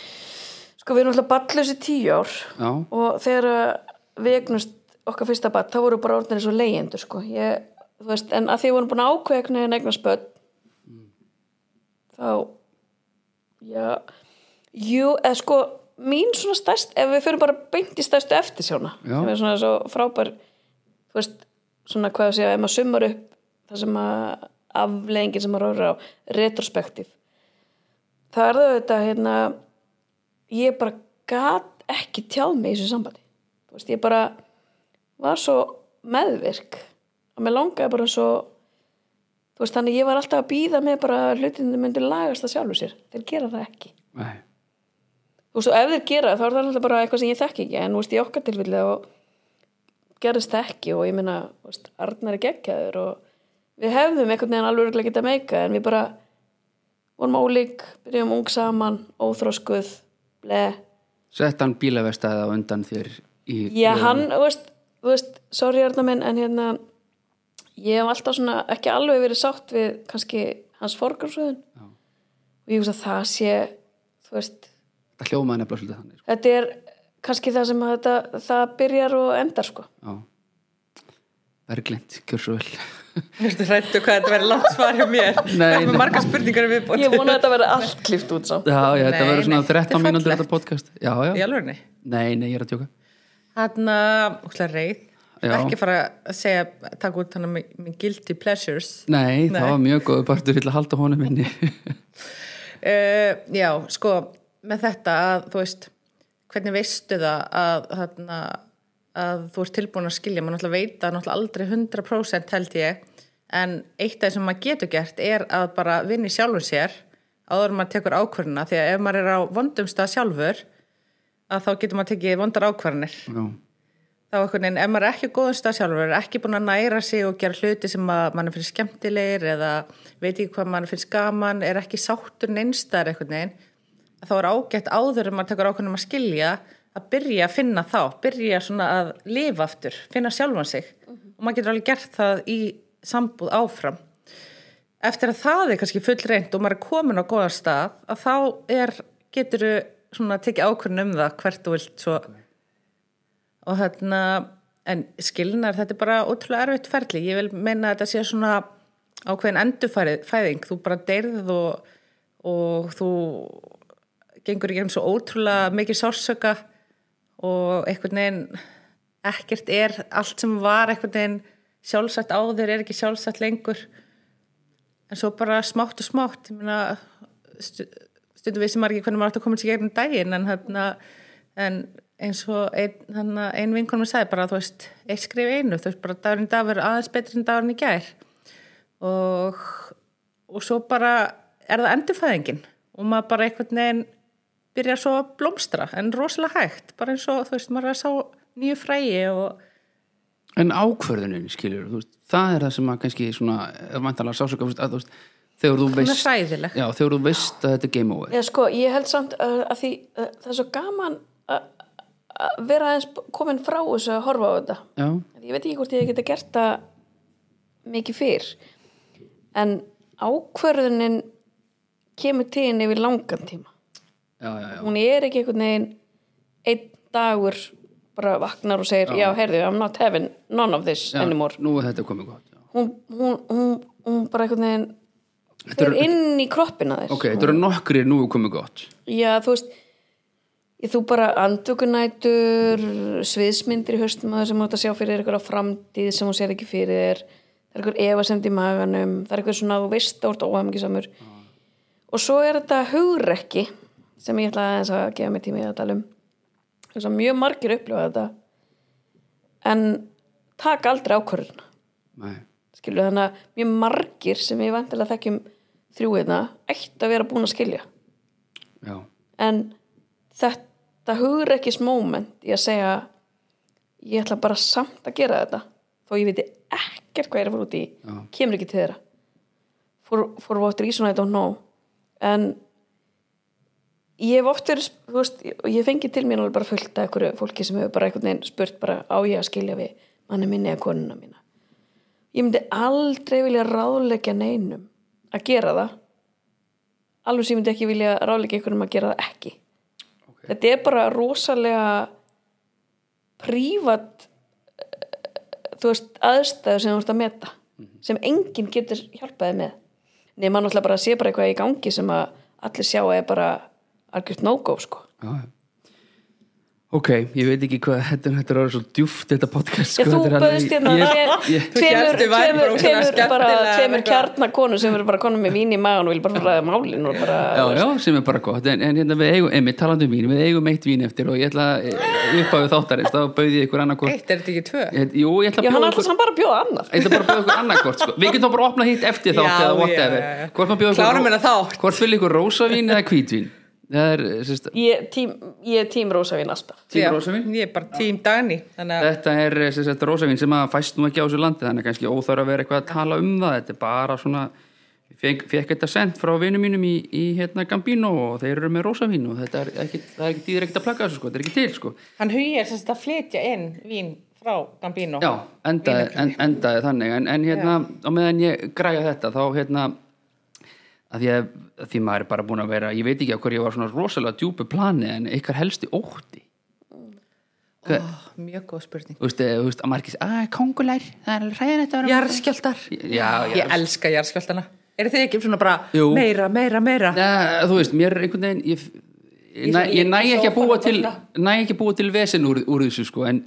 sko, við erum alltaf ballusi tíu ár já, og þegar uh, við egnust okkar fyrsta bat, þá voru bara orðinir svo leyendur sko. ég, þú veist, en að því vorum búin að ákveðna en eignar spöld þá já jú, eða sko mín svona stærst, ef við fyrir bara beint í stærstu eftirsjóna Já. sem er svona svo frábær þú veist, svona hvað að segja ef maður summar upp það sem að afleðingin sem maður orður á retrospektiv það er það auðvitað hérna ég bara gat ekki tjáð mig í þessu sambandi þú veist, ég bara var svo meðvirk og mér langaði bara svo þú veist, þannig ég var alltaf að býða með bara að hlutinni myndu lagast það sjálfu sér þeir gera það ekki Nei. þú veist, og ef þeir gera það, þá er það alltaf bara eitthvað sem ég þekki ekki en þú veist, í okkar tilfellið og gerist það ekki og ég meina þú veist, Arnar er geggjaður og við hefðum einhvern veginn alveg örugglega getað meika en við bara vorum ólík byrjum ung saman, óþróskuð bleh Sett hann bílavestæði á undan þér í... Já, hann, þú veist, þú veist sorry Arna minn, en hérna ég hef alltaf svona, ekki alveg verið sátt við kannski hans forgarsöðun og ég veist að það sé þú veist, Það hljómaði nefnilega svolítið þannig. sko. þetta er kannski það sem að þetta, það byrjar og endar sko. Já. Berglind, gjör svo vel. Verður hrættu hvað þetta verður langt svar hjá mér Nei, Það er nei. með marga spurningar við bótt Ég vona að þetta verði allt klift út samt Já, já, þetta Nei, verður svona nei, 13 þetta er mínútur fallegt. þetta podcast. Já, já. Í alvegni Nei, nei, ég er að tjóka. Hanna, útla reið Já. Ekki fara að segja, taka út hana með, með guilty pleasures Nei, Nei. það var mjög góð partur, ég ætla að halda honum inni. uh, Já, sko, með þetta að þú veist, hvernig veistu það að, þarna, að þú ert tilbúin að skilja, maður náttúrulega veit það náttúrulega aldrei 100% held ég en eitt af það sem maður getur gert er að bara vinni sjálfum sér áður en maður tekur ákvörðina því að ef maður er á vondum stað sjálfur að þá getur maður tekið vondar ákvörðinir já, þá einhvern veginn, ef maður er ekki á góðum stað sjálfur er ekki búin að næra sig og gera hluti sem að mann finnst skemmtilegir eða veit ekki hvað mann finnst gaman er ekki sáttur neinstar einhvern veginn þá er ágætt áður en maður tekur ákveðnum að skilja að byrja að finna þá byrja svona að lifa aftur finna sjálfan sig og maður getur alveg gert það í sambúð áfram eftir að það er kannski full reynd og maður er komin á góðan stað að þá er, getur svona tekið ákvörðin um það hvert þú vilt svo og þarna en skilnar, þetta er bara ótrúlega erfitt ferli ég vil meina að þetta sé svona ákveðin endurfæðing þú bara deyrð og, og þú gengur í gegnum svo ótrúlega mikið sársöka og einhvern veginn ekkert er, allt sem var einhvern veginn sjálfsagt áður er ekki sjálfsagt lengur en svo bara smátt og smátt ég meina, stu- stundum vissi maður ekki hvernig maður átt að koma sér gegnum daginn en, hana, en eins og ein, hana, ein vinkonum sagði bara þú veist, eitt skrif í einu þú veist bara dagurinn í dag verður aðeins betri en dagurinn í gær og og svo bara er það endurfæðingin og maður bara einhvern veginn byrjar svo að blómstra en rosalega hægt, bara eins og þú veist maður er að sá nýju fræi og En ákvörðunin, skilur, þú veist, það er það sem að kannski svona, er vantanlega sásöka, þú veist, að þú veist, þegar þú hún er veist, hræðileg já, þegar þú veist að þetta er game over. Já, sko, ég held samt að, að því að það er svo gaman að, að vera aðeins komin frá þessu að horfa á þetta Já, ég veit ekki hvort ég geta gert það mikið fyrr en ákvörðunin kemur tíðin yfir langan tíma já, já, já. hún er ekki einhvern veginn einn dagur bara vaknar og segir já, heyrðu, I'm not having none of this já anymore Nú er þetta komið gott, já. hún, hún, hún, hún bara einhvern veginn Þetta fer eru- inn í kroppina þér Ok, þetta eru nokkri nú er komið gott. Já, þú veist ég, þú bara andvökunætur sviðsmyndir í höstum að sem þú átt að sjá fyrir eitthvað framtíð sem hún sér ekki fyrir þér það er eitthvað efasemd í maganum það er eitthvað svona að þú veist að þú ert óhæmingisamur Ah. og svo er þetta hugrekki sem ég ætla aðeins að gefa mig tími að tala um þess að mjög margir upplifa þetta en taka aldrei ákvörðuna Nei, skilur þannig að mjög margir sem ég vantilega þekkjum þrjúiðna ætti að vera búin að skilja já, en þetta hugrekkis moment í að segja ég ætla bara samt að gera þetta þó ég viti ekkert hvað ég er að fara út í Já. kemur ekki til þeirra for, for what reason I don't know en ég hef oft verið þú veist, og ég fengi til mér alveg bara fullt af einhverju fólki sem hefur bara einhvern veginn spurt bara á ég að skilja við manni minni eða konuna mína ég myndi aldrei vilja ráðleggja neinum að gera það alveg sem ég myndi ekki vilja ráðleika ykkur um að gera það ekki Ok. þetta er bara rosalega prívat eh, þú veist, aðstæður sem þú ert að meta sem enginn getur hjálpaði með nema náttúrulega bara að sé bara eitthvað í gangi sem að allir sjá að er bara algjört no-go sko Já, já. Ok, ég veit ekki hvað þetta, þetta er orðið svo djúft þetta podcast Já, sko, þú þetta er alveg- bauðst hérna ég- tve- ég- tveimur, Hjartið væri bara ótrúlega tveimur, tveimur, bara skemmtilega tveimur eitthvað. kjarnakonu sem eru bara konum með vín í magan og vil bara fara að málin og bara Já, já, sem er bara gott en, en hérna við eigum, einmitt talandi um vín við eigum eitt vín eftir og ég ætla að uppáðu þáttarins, þá bauði ég ykkur annarkort Eitt er þetta ekki tvö. Jú, ég ætla að Já, hann bjóða alltaf ykkur hann bara að bjóða annað Já, já, já. Ég ætla bara að bjóða ykkur annarkort sko. Við getum þá bara að opna hitt eftir þátt eða whatever Hvort maður bjóða Klárum hérna þátt. Hvort vil ykkur rósavín eða hvítvín Það er, eh, sérst, Ég tím, ég tím rósavín alltaf Tím Já, Rósavín? Ég er bara tím Dani, þannig að Þetta er sem sagt, rósavín sem að fæst nú ekki á þessu landi þannig að kannski óþarf að vera eitthvað að tala um það þetta er bara svona ég fekk, fekk þetta sendt frá vinum mínum í, í hérna Gambino og þeir eru með rósavín og þetta er ekki, það er ekki tíður ekkert að plaka þessu sko, þetta er ekki til sko hann hugið er sérst að flytja inn vín frá Gambino. Já, endaði, en, endaði þannig en, en hérna, á meðan ég græja þetta þá hérna að því að að því maður er bara búin að vera ég veit ekki á hverju ég var svona rosalega djúpu plani en ykkar helsti ótti Ó, mjög góð spurning. Þú veist, eh, þú veist, að margis, að kongulær það er alveg hræðin þetta að vera Jarðskjaldar. Já, já, Ég elska jarðskjaldana. Er þið ekki svona bara Jú. meira, meira, meira? Nei, þú veist, mér er einhvern veginn ég, ég, næ, ég næ ekki að búa til næ ekki að búa til vesen úr, úr þessu sko, en,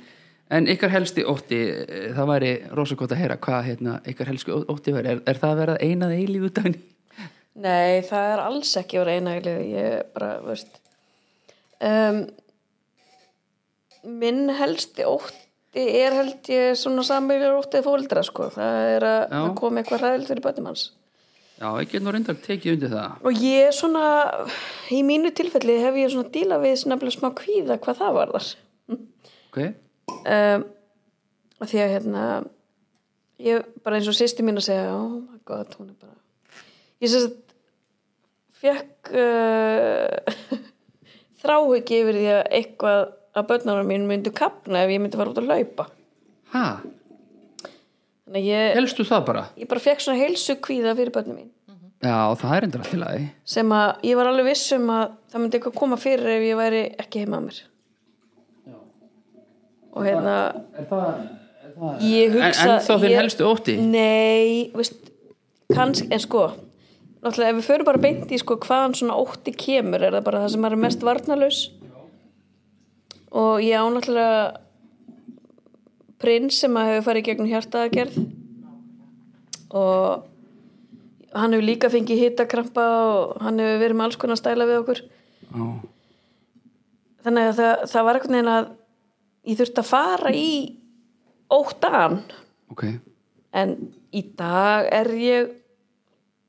en ykkar helsti ótti eh, það væri rosa gott að heyra hvað hérna, ykkar helsti ó- ótti væri er, er það að vera einað eilíf út af henni? Nei, það er alls ekki úr einæglið, ég er bara, veist um, Minn helsti ótti er held ég svona sammeilur óttið fóldra, sko það er að Já. það komi eitthvað hræðilegt fyrir bönnum hans Já, ég get nú reyndar tekið undir það Og ég svona, í mínu tilfelli hef ég svona díla við svona nefnilega smá kvíða hvað það var þar ok, um, að því að hérna ég bara eins og sýsti mín að segja oh my god, hún er bara ég sem sagt fekk uh, þráhuggi yfir því að eitthvað að börnarar mín myndu kapna ef ég myndi fara út að laupa ha, þannig að ég, helstu það bara ég bara fekk svona heilsu kvíða fyrir börnum mín Já, það er reyndar alltaf lagi sem að ég var alveg viss um að það myndi eitthvað koma fyrir ef ég væri ekki heima að mér og hérna Er það, er það ég En, hugsa en þá þinn ég- helstu ótti Nei, veist, kannski, en sko, náttúrulega ef við förum bara beint í sko hvaðan svona ótti kemur, er það bara það sem maður er mest varnalaus? Og ég á náttúrulega prins sem að hefur farið í gegnum hjartaðagerð og hann hefur líka fengið hitakrampa og hann hefur verið með alls konar stæla við okkur Já, þannig að það, það var eitthvað að ég þurfti að fara í óttan ok en í dag er ég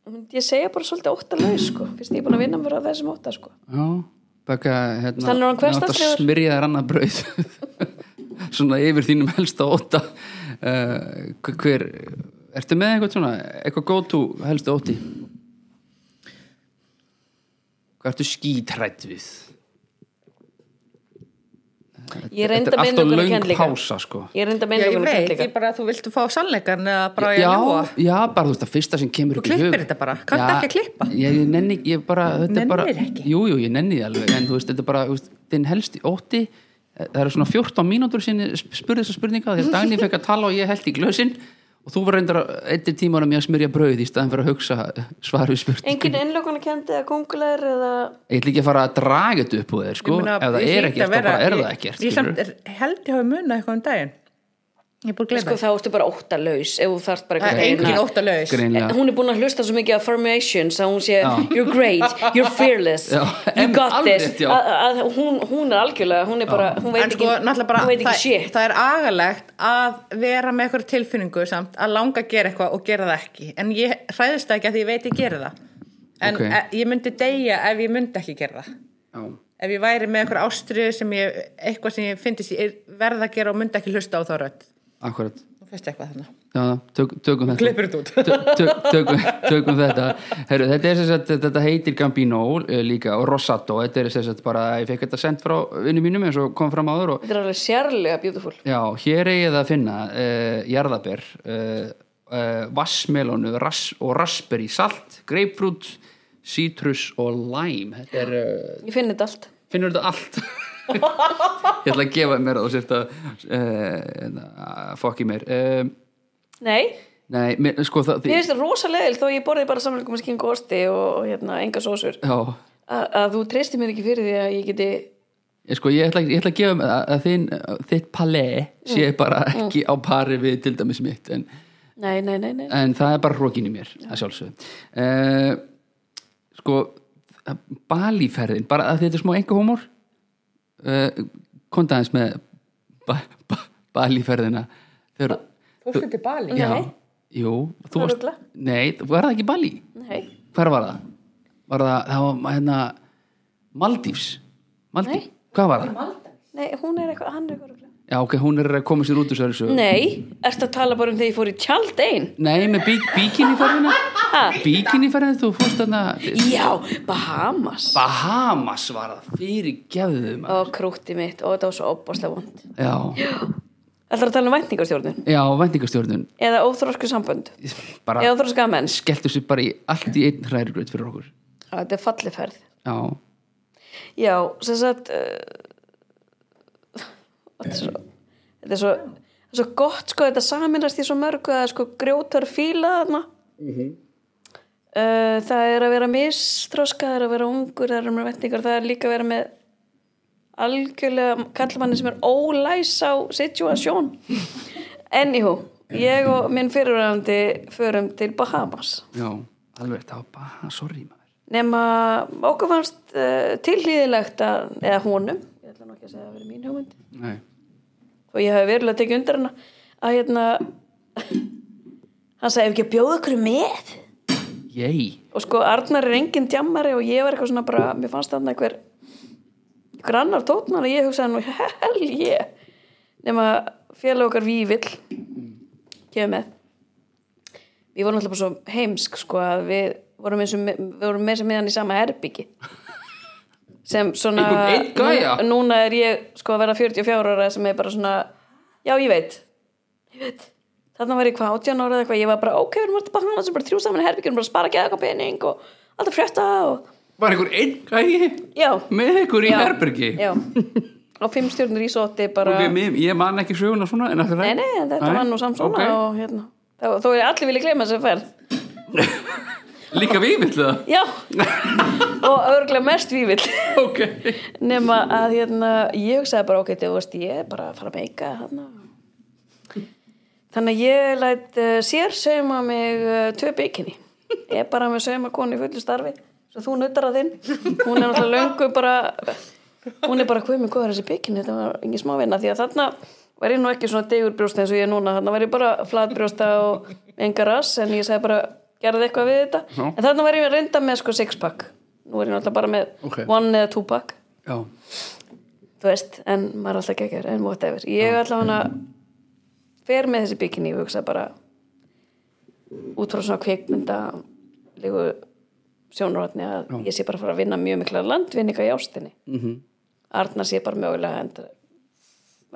myndi ég segja bara svolítið óttalaus sko, fyrst ég er búin að vinna mér á þessum ótta sko. Já, baka hérna Þannig er hann þú átt að hversdagslegur. smyrja þér annað brauð Svona yfir þínum helsta ótta uh, Hver Ertu með eitthvað svona, eitthvað go to helstu ótti? Hvað ertu skítrætt við? ég reynda Þetta er með allt og einhverjum kenn löng líka pása sko ég reynda Já, með ég einhverjum kenn veit, líka ég bara að þú viltu fá sannleikan eða bara ég já, ljúa. já, bara þú veist að fyrsta sem kemur Þú upp í hug klippir þetta bara. Kanntu Já, ekki að klippa? Ég, ég nenni, ég bara, þetta er bara Nennir ekki? Jú, jú, ég nenni því alveg En þú veist, þetta er bara, þú veist, þinn helsti ótti eh, Það eru svona 14 mínútur sinni spurði þessa spurninga Þegar Dagný fekk að tala og ég held í glösin Og þú var reyndar eittir tímanum ég að smyrja brauð Í staðan fyrir að hugsa eh, svar við spurning engin innlökunar kendi eða kongulegar eða Ég ætla ekki að fara að draga þetta upp úr þér sko, Ég meina, Ef það ég er hlýt ekkert, að þá vera- bara er það ég- ekkert Ég samt skilurðu. er- held ég hafi munað eitthvað um daginn. Ég er búin að gleyma sko það. þá ertu bara óttalaus ef þú þarft bara Það er einhvern engin veginn óttalaus. að- Greinilega hún er búin að hlusta svo mikið af formations að hún sé you're great, you're fearless Já, you em- got alveg this rétt, já. að, að, hún, hún er algjörlega, hún er bara hún veit En sko, ekki, náttúrulega bara, hún veit ekki það, shit það er agalegt að vera með eitthvað tilfinningu samt að langa að gera eitthvað og gera það ekki. En ég hræðist það ekki að því ég veit ég gera það. En Ok. okay. ég myndi deyja ef ég myndi ekki gera það. Já. Ef ég væri með eitthvað ástriðu sem ég, eitthvað sem ég fyndist ég verða að gera og myndi ekki hlusta á þá rödd. Akkurat Nú finnst eitthvað þannig. Já, tök, tökum þetta Klippir þetta út. Tö- tök, tökum, tökum þetta Heru, þetta, er sem sagt, þetta heitir Gambino eh, líka og Rosato þetta er sem sagt bara, ég fekk þetta sendt frá vinnu mínum eins og kom fram áður og þetta er alveg sérlega beautiful já, hér eigi það að finna uh, jarðaber uh, uh, vassmelonu ras, og raspberry salt, grapefruit citrus og lime þetta er, uh, ég finn þetta allt finnur þetta allt ég ætla að gefa mér að þú sért að uh, fokki mér uh, Nei, nei, mér, sko það mér finnst það rosalegil þó ég borðið bara samlingum með skingu og osti og hérna, enga sósur já, A að þú treystir mér ekki fyrir því að ég geti ég, sko, ég, ætla, ég ætla að gefa mér að, að þinn, þitt palé sé Mm. bara ekki á pari við til dæmis mitt en, Nei, nei, nei, nei en það er bara hrókin í mér að sjálfsögðu uh, sko balíferðin, bara að þetta er smá enga húmór uh, kontaðins með ba ba balíferðina þegar Fórstu til Bali? já, Nei. jú, þú Að varst rugla? nei, var það ekki balí? Nei, hver var það? var það, það var hérna Maldífs Maldíf, hvað var það? nei hún er eitthvað, hann er eitthvað ruglaður. já, ok, hún er að koma sér út úr þessu Nei, ertu að tala bara um þegar ég fór í tjald einn nei, með bí bíkinniferðina bíkinniferðina, þú fórst þarna Já, Bahamas Bahamas var það fyrir gefðum og krútti mitt og þetta var svo opbáslega vond já, Það er að tala um væntingarstjórnun já, vendingastjórnun eða óþrósku sambönd bara eða óþróska menns skelltu sér bara í allt í einn hrærigröð fyrir okkur Já, Þetta er falliferð já, Já, sem sagt uh, Þetta er svo Þetta er svo, þetta er svo gott sko, þetta saminast í svo mörgu að sko grjótar fíla þarna uh, Það er að vera mistróska, það er að vera ungur það er að vera vetningar, það er líka að vera með algjörlega kallmanni sem er ólæs á situasjón Anywho, ég og minn fyrirvæðandi förum til Bahamas já, alveg það var bara, sorry maður nema okkur fannst uh, tilhlýðilegt að, eða honum ég ætla nú ekki að segja að það verið mín hugmynd nei, og ég hef verulega tekið undir hana að hérna hann sagði ef ekki að bjóða okkur með yey og sko Arnar er enginn djammari og ég var eitthvað svona bara, mér fannst þarna einhver einhver annar tótnar og ég hugsaði nú hell yeah nema félag okkar Vívill kemur með við vorum alltaf bara svo heimsk sko að við vorum eins og við vorum með sem meðan í sama herbyggi sem svona Einhvern einn gæja? nú- núna er ég sko að vera 44 ára sem er bara svona, já ég veit ég veit þarna var ég hvað 18 ára eða eitthvað, ég var bara ok, við erum alltaf bara hana sem bara þrjú saman í herbyggjum, bara spara ekki eitthvað pening og alltaf frétta og var einhver einn gæi já, með einhver í Já. herbergi já og fimm stjórnur í soti bara Ok, mér, ég man ekki söguna svona en nei, nei, en þetta var nú samt svona og hérna, þá, þó er allir vilja gleyma þessu ferð Líka við villu það já, og örglega mest vívill Ok nema að hérna, ég hugsaði bara ok, þú veist, ég er bara að fara að meika þarna þannig að ég læt uh, sér sauma mig uh, tvö bygginni ég er bara með sauma konu í fullu starfi svo þú nautar að þinn hún er náttúrulega löngu bara hún er bara hvað með góður þessi bygginni þetta var engin smá vinna því að þarna var ég nú ekki svona degur brjósta eins og ég er núna þarna var ég bara flatbrjósta og enga rass en ég sagði bara gerði eitthvað við þetta Já. en þarna var ég reynda með sko six pack nú er ég náttúrulega bara með Ok. one eða two pack Já, þú veist, en maður er alltaf geggjör en whatever, ég er alltaf hana fer með þessi bikini og hugsa bara út frá svona kveikmynda líku sjónurvatni að ég sé bara að fara að vinna mjög mikla landvinninga í ástinni mm Mhm. -hmm. Arnar sé bara mögulega að enda,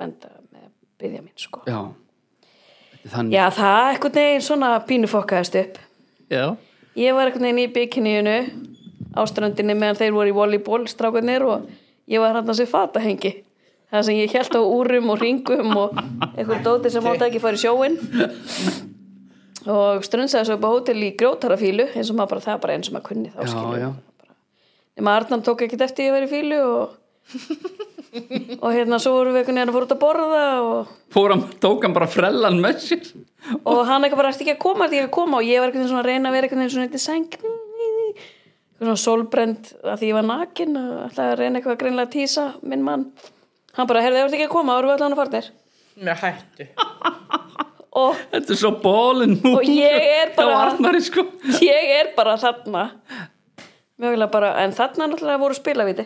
enda með byggja mín sko já Þetta er Þannig já það eitthvað neginn svona pínu fokkaðist upp Já, Ég var einhvern veginn í bikiníinu á ströndinni meðan þeir voru í volleyball strákarnir og ég var hann að sé fatahengi það sem ég held á úrum og ringum og einhver dóti sem átti ekki að fara í sjóin og ströndsaði svo upp á hótel í grjótarafílu eins og maður bara það er bara eins og maður kunni þá Já, skilur já. Bara. nema Arnan tók ekkit eftir ég verið í fílu og, og hérna svo vorum við einhvern veginn að fóra út að borða og fór hann, tók hann bara frellan með sér og hann eitthvað bara eftir ekki að koma eftir ekki að koma og ég var eitthvað svona að reyna að vera eitthvað svona eitthvað sæng eitthvað svona solbrend að því ég var nakin og ætlaði að reyna eitthvað greinlega að tísa minn mann hann bara, heyrðu, þú ert ekki að koma, þá erum við allan að farnir Með hættu. og Þetta er svo bólin nú Og ég er bara- Þá Arnari sko ég er bara þarna mögulega bara, en þarna náttúrulega voru spilavíti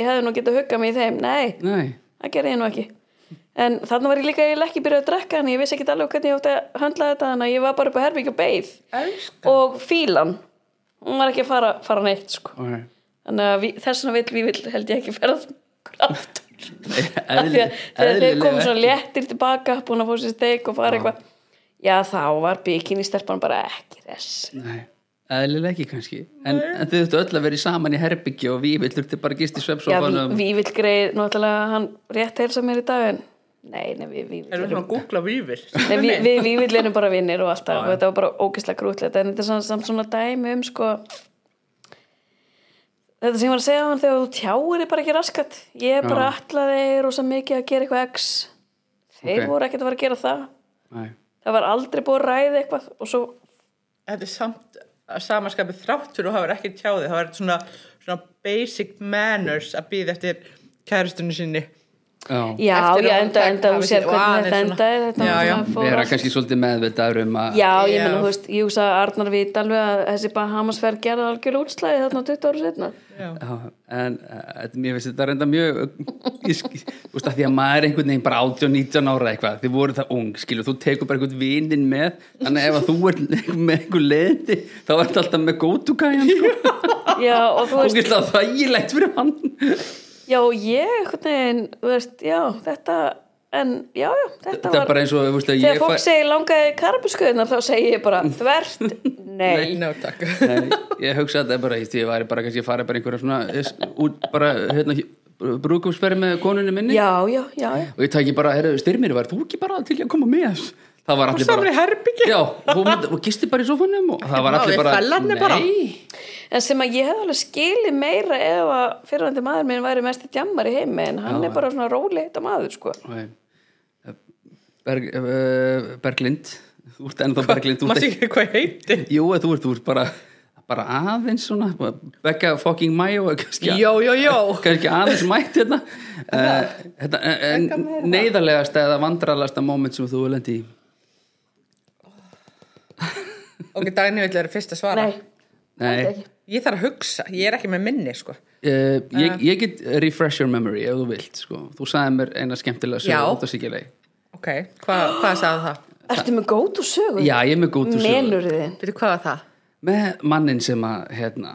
ég hefði nú getað huggað mig í þeim, nei Nei, það gerði ég nú ekki en þarna var ég líka eiginlega ekki byrjuð að drekka en ég vissi ekki alveg hvernig ég átti að höndla þetta þannig að ég var bara upp á herbyggju og beið Elsku. og fílan hún var ekki að fara, fara neitt sko. ok þannig að vi, þess vegna vill við vill held ég ekki ferða okkur aftur Af því Eðli- að þegar þeir eðlilega komu svona ekki. léttir tilbaka búin að fá sér steik og fara eitthvað já þá var bikini stelpan bara ekki þess Nei, eðlilega ekki kannski en, en þau þurftu öll að vera í saman í herbyggju og við þurftu bara að gist í Já, svefsofanum Vívill greið, náttúrulega hann rétt heilsa mér í dag en nei, nei, við Erum Vívill við erum, svona að googla vífil? nei, við, við Vívill erum bara vinnir og alltaf og þetta var bara ógeðslega grútlegt en þetta er samt, samt svona dæmi um sko þetta sem ég var að segja á hann þegar þú tjáir er bara ekki raskat ég er bara Já. allaði rosa mikið að gera eitthvað x þeir Ok. voru ekkert að vera að gera það Nei. það var aldrei búið að ræða eitthvað og svo Þetta er samt að samaskapið þráttur og hafa ekki tjáði. Það var svona, svona basic manners að býða eftir kærustunni sinni. Já. Eftir já, já, að hún enda, tek- enda, hafi þú sér sér- og hvernig aðeins þetta svona- endaði þetta Já, já. svona fór vera allt- kannski svolítið meðvitaður um að Já, ég Já. menna, þú veist, ég hugsa að Arnar veit alveg að þessi Bahamasferð gerði algjör útslæði þarna 20 ára setna. Já, en uh, mér finnst þetta reynda mjög ég sk- þú veist að því að maður er einhvern veginn bara 18, 19 ára eitthvað, þið voru það ung skilur, þú tekur bara einhvern vinin með þannig að ef að þú ert með einhvern leðindi þá ert alltaf með gótugæjan sko. Já, og þú veist, ógislega þægilegt fyrir hann já, og ég, einhvern veginn, þú veist, já, þetta, en, já, já, þetta, þetta er var, bara eins og þú veist, að þegar ég fólk fæ fæ... segir langaði karabuskuðnar, þá segi ég bara, þvert, nei, Ná, takk. Nei, ég hugsa að þetta er bara því ég væri bara kannski að fara bara einhverja svona es- út bara hérna brúkumsferð með konunni minni já, já, já, já. og ég tæki bara, heyrðu, styrmir, var þú ekki bara til í að koma með það var allir Svo var bara í herbyggja. Já, og, mynd, og gisti bara í sofanum og það var Ekkert allir mál, við bara, fellarnir bara. En sem að ég hef alveg skilið meira ef að fyrirvændi maður minn væri mest í djammar í heimi, en hann er bara svona róli þetta maður, sko. nei Berg, uh, Berglind þú ert ennþá Berglind þú ert Maður sé ekki, ekki hvað heiti. jú, þú ert, þú ert bara, bara aðeins svona begga fucking mayo kannski, Jó, jó, jó. kannski aðeins mætt hérna, uh, hérna en, en neyðarlegasta eða vandralegasta moment sem þú lendi í Ok, Dagni vill vera fyrst að svara. Nei, nei, Ég þarf að hugsa. Ég er ekki með minni, sko. uh, ég, ég get refresh your memory ef þú vilt sko. þú sagði mér eina skemmtilega sögur Já. út af Sikiley. Ok, hva, hvað sagði það? ertu með gótu sögur? já, ég er með gótu sögur Melur þið? Veitu, hvað var það? með mannin sem að hérna,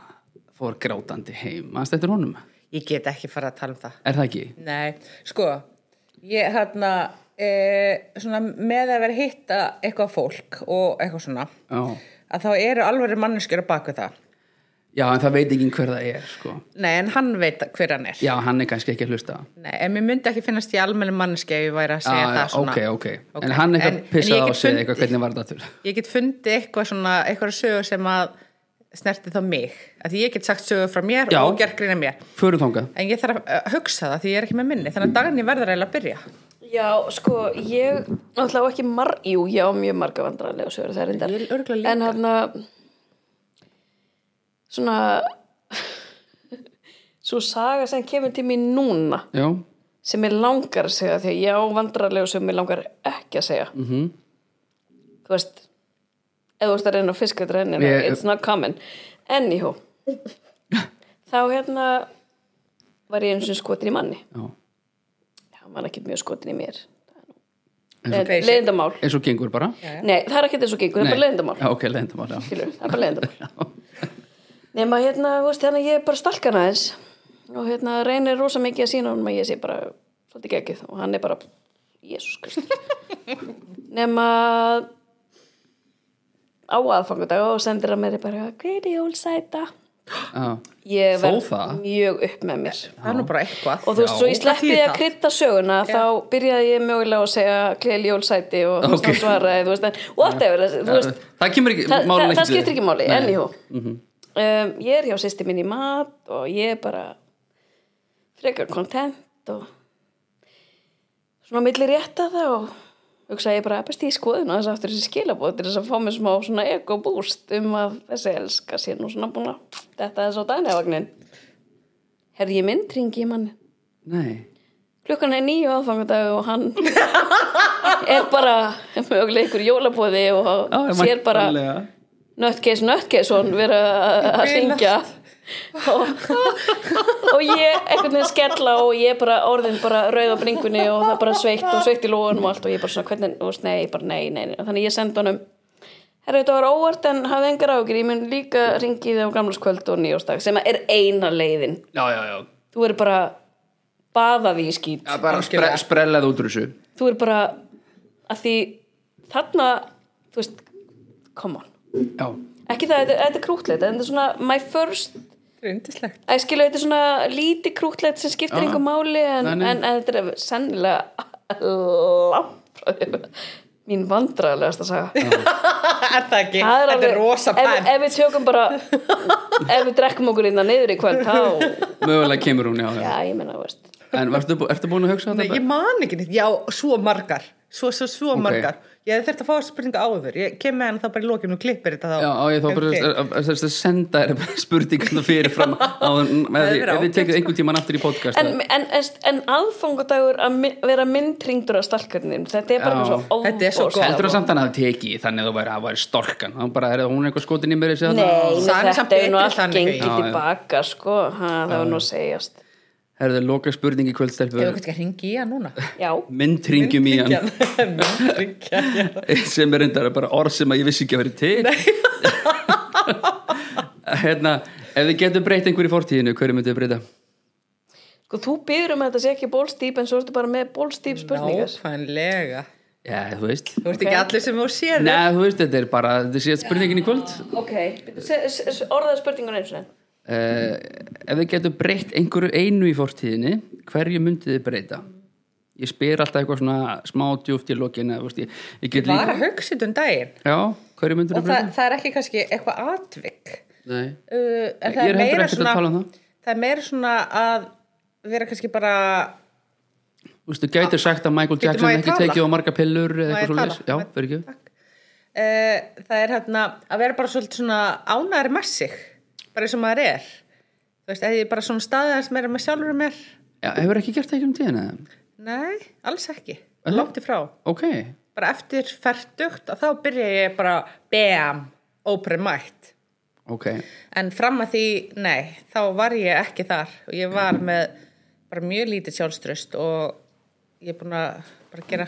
fór grátandi heim mannst eftir honum, Ég get ekki fara að tala um það. er það ekki? Nei, sko, ég hérna, e, svona með að vera að hitta eitthvað fólk og eitthvað svona, Já. að þá eru alveg manneskjur að baka það. já, en það veit ekki hver það er sko. Nei, en hann veit hver hann er. já, hann er kannski ekki að hlusta Nei, en mér myndi ekki finnast ég almenni manneski ef ég væri að segja Já, já, það svona. Ah, ok, ok, Ok, en hann eitthvað en- en ég pissaði á get sig fundið- eitthvað hvernig var það til Ég get fundið eitthvað svona, eitthvað sögu sem að snerti þá mig. Að því ég get sagt sögu frá mér Já. og gert grína mér. förum þangað En ég þarf að uh, hugsa það því ég er ekki með minni. Þannig að dagarni verður eiginlega að byrja. Já, sko, ég náttúrulega á ekki marg, jú, já, mjög marga vandræðlega sögur það er reyndar. Ég er örugglega líka. En hann svona, svo saga sem kemur til mér núna, já, sem ég langar að segja, því að ég á vandræðlega sem ég langar ekki að segja. -hmm. Mhm. Þú veist, ef þú veist að reyna að fiska þetta reynina, Ég- it's not common. Anywho, þá hérna var ég eins og skotin í manni. já, Hann var ekki mjög skotin í mér. og crazy. Leðindamál. eins og gengur bara já, Nei, það er ekkert eins og gengur, það er bara leðindamál já, ok, leyndamál, já, Skilur, það er bara leðindamál Nefna hérna, þú veist, hérna ég er bara stalkan aðeins og hérna reynir rosa mikið að sína honum að ég sé bara svolítið geggið og hann er bara, jésus krist Nefna á aðfangadag og sendir að mér bara, hvernig jól sæta já. Ég Þó verð það? mjög upp með mér Það er nú bara eitthvað. og þú veist, svo ég Hvað sleppi þýðir því að það? krydda söguna þá byrjaði ég mögulega að segja gleðil jólsæti og þú veist, Ok. hann svaraði þú veist, en whatever, þú veist það kemur ekki, það, málinu það, það til. skiptir ekki máli, Nei. Mhm. enníhú um, ég er hjá sýsti minni í mat og ég er bara frekar kontent og svona milli rétta það og hugsa ég bara best í skoðuna þess aftur þessi skilabóð til þess að fá mér smá svona ego boost um að þessi elska sé nú svona búin að þetta er svo dænevagnin herði ég myndringi í manni nei, klukkan er nýju aðfangadag og hann er bara mögulega ykkur jólabóði og já, sér bara væntanlega. nöttgeis, nöttgeis og hann vera að syngja og, og ég einhvern veginn skella og ég bara orðin bara rauð á bringunni og það bara sveitt og sveitt í lóðunum og allt og ég bara svona hvernig, þú veist, nei, bara nei, nei, nei þannig ég sendi honum Herra, þetta var óvart en hafði engar ágjur, ég mun líka ringi þið á gamlaskvöld og nýjóstag sem er eina leiðin. já, já, já Þú verður bara baðað í skýt Já, bara spre, sprellað út úr þessu þú er bara að því þarna, þú veist come on, já, ekki það, þetta- þetta er krútlegt en þetta er svona my first Rundislegt. að skilja þetta er svona lítið krútlegt sem skiptir Já. einhver máli en, Nei, nei. en, en þetta er sennilega langt frá því mín vandræðilegast að saga er það ekki? Þetta Það er alveg- rosa ef, pænt. ef við tökum bara ef við drekkum okkur innan niður í kvöld þá, mögulega kemur hún, já, já. já ég menna veist en varstu, bú- ertu búin að hugsa Nei, þetta? ég man ekki neitt. Já, svo margar. Svo, svo, svo margar. Ég hef þurft að fá þessa spurninga áður. Ég kem með henni þá bara í lokinu og klippir þetta þá. Já, á ég þá bara Ok. okay. að, að, að senda þér spurningarna fyrir fram á, með, Það því, er ef við ágætt, sko. tekum einhvern tíman aftur í podcast en, en, en, en aðfangadagur að mi- vera myndringdur af stalkarnir þetta er bara Já. eitthvað svo Þetta er svo ofboðslega- góð. heldur það samt hann að það tekið þannig að þú væri, að væri storkan þá bara er hún er eitthvað skotin í mér þessi þarna? Nei, Það nei er samt þetta er nú betri allt þannig. gengið Já, já. tilbaka sko, ha, það var nú að segjast herðu loka spurningi kvöldstelpu Hefur kannski að ringi í hann núna? Já, myndringjum í hann Myndringja, já. sem er reyndar bara orð sem að ég vissi ekki að veri til hérna ef þið getur breytt einhverju í fortíðinu hverju myndið þið breyta? sko þú byrður um að þetta sé ekki bólstýp en svo ertu bara með bólstýp spurningar Nákvæmlega. já, þú veist Þú veist ekki allir sem þú sér. Nei, þú veist, þetta er bara, þetta sé spurningin í kvöld Ok, se- se- se- orðaðu spurningun eins og enn uh, ef þið getur breytt einhverju einu í fortíðinni hverju myndið þið breyta ég spyr alltaf eitthvað svona smá djúft í lokin eða, þú veist, ég, ég get Var líka að hugsa þetta um daginn. já, hverju myndið Og þið það, breyta það er ekki kannski eitthvað atvik. Nei. Uh, en það Ég er er heldur meira ekkert að svona, tala um það. það er meira svona að vera kannski bara, þú veist, þú Ah, gætir sagt að Michael Getur Jackson má ég ekki tala? tekið á marga pillur eða Má ég eitthvað svo leys tala? já, verður ekki uh, það er hérna að vera bara svolítið svona ánæður með sig, bara eins og maður er. Þú veist, eða ég bara svona staðið aðeins meira með sjálfur mér. já, hefur ekki gert það ekki um tíðina eða? Nei, alls ekki. Aha. Langt í frá. ok, Bara eftir færtugt að þá byrja ég bara, bam, open might. ok En fram að því, nei, þá var ég ekki þar og ég Mm. var með bara mjög lítið sjálfströst og ég er búin að bara gera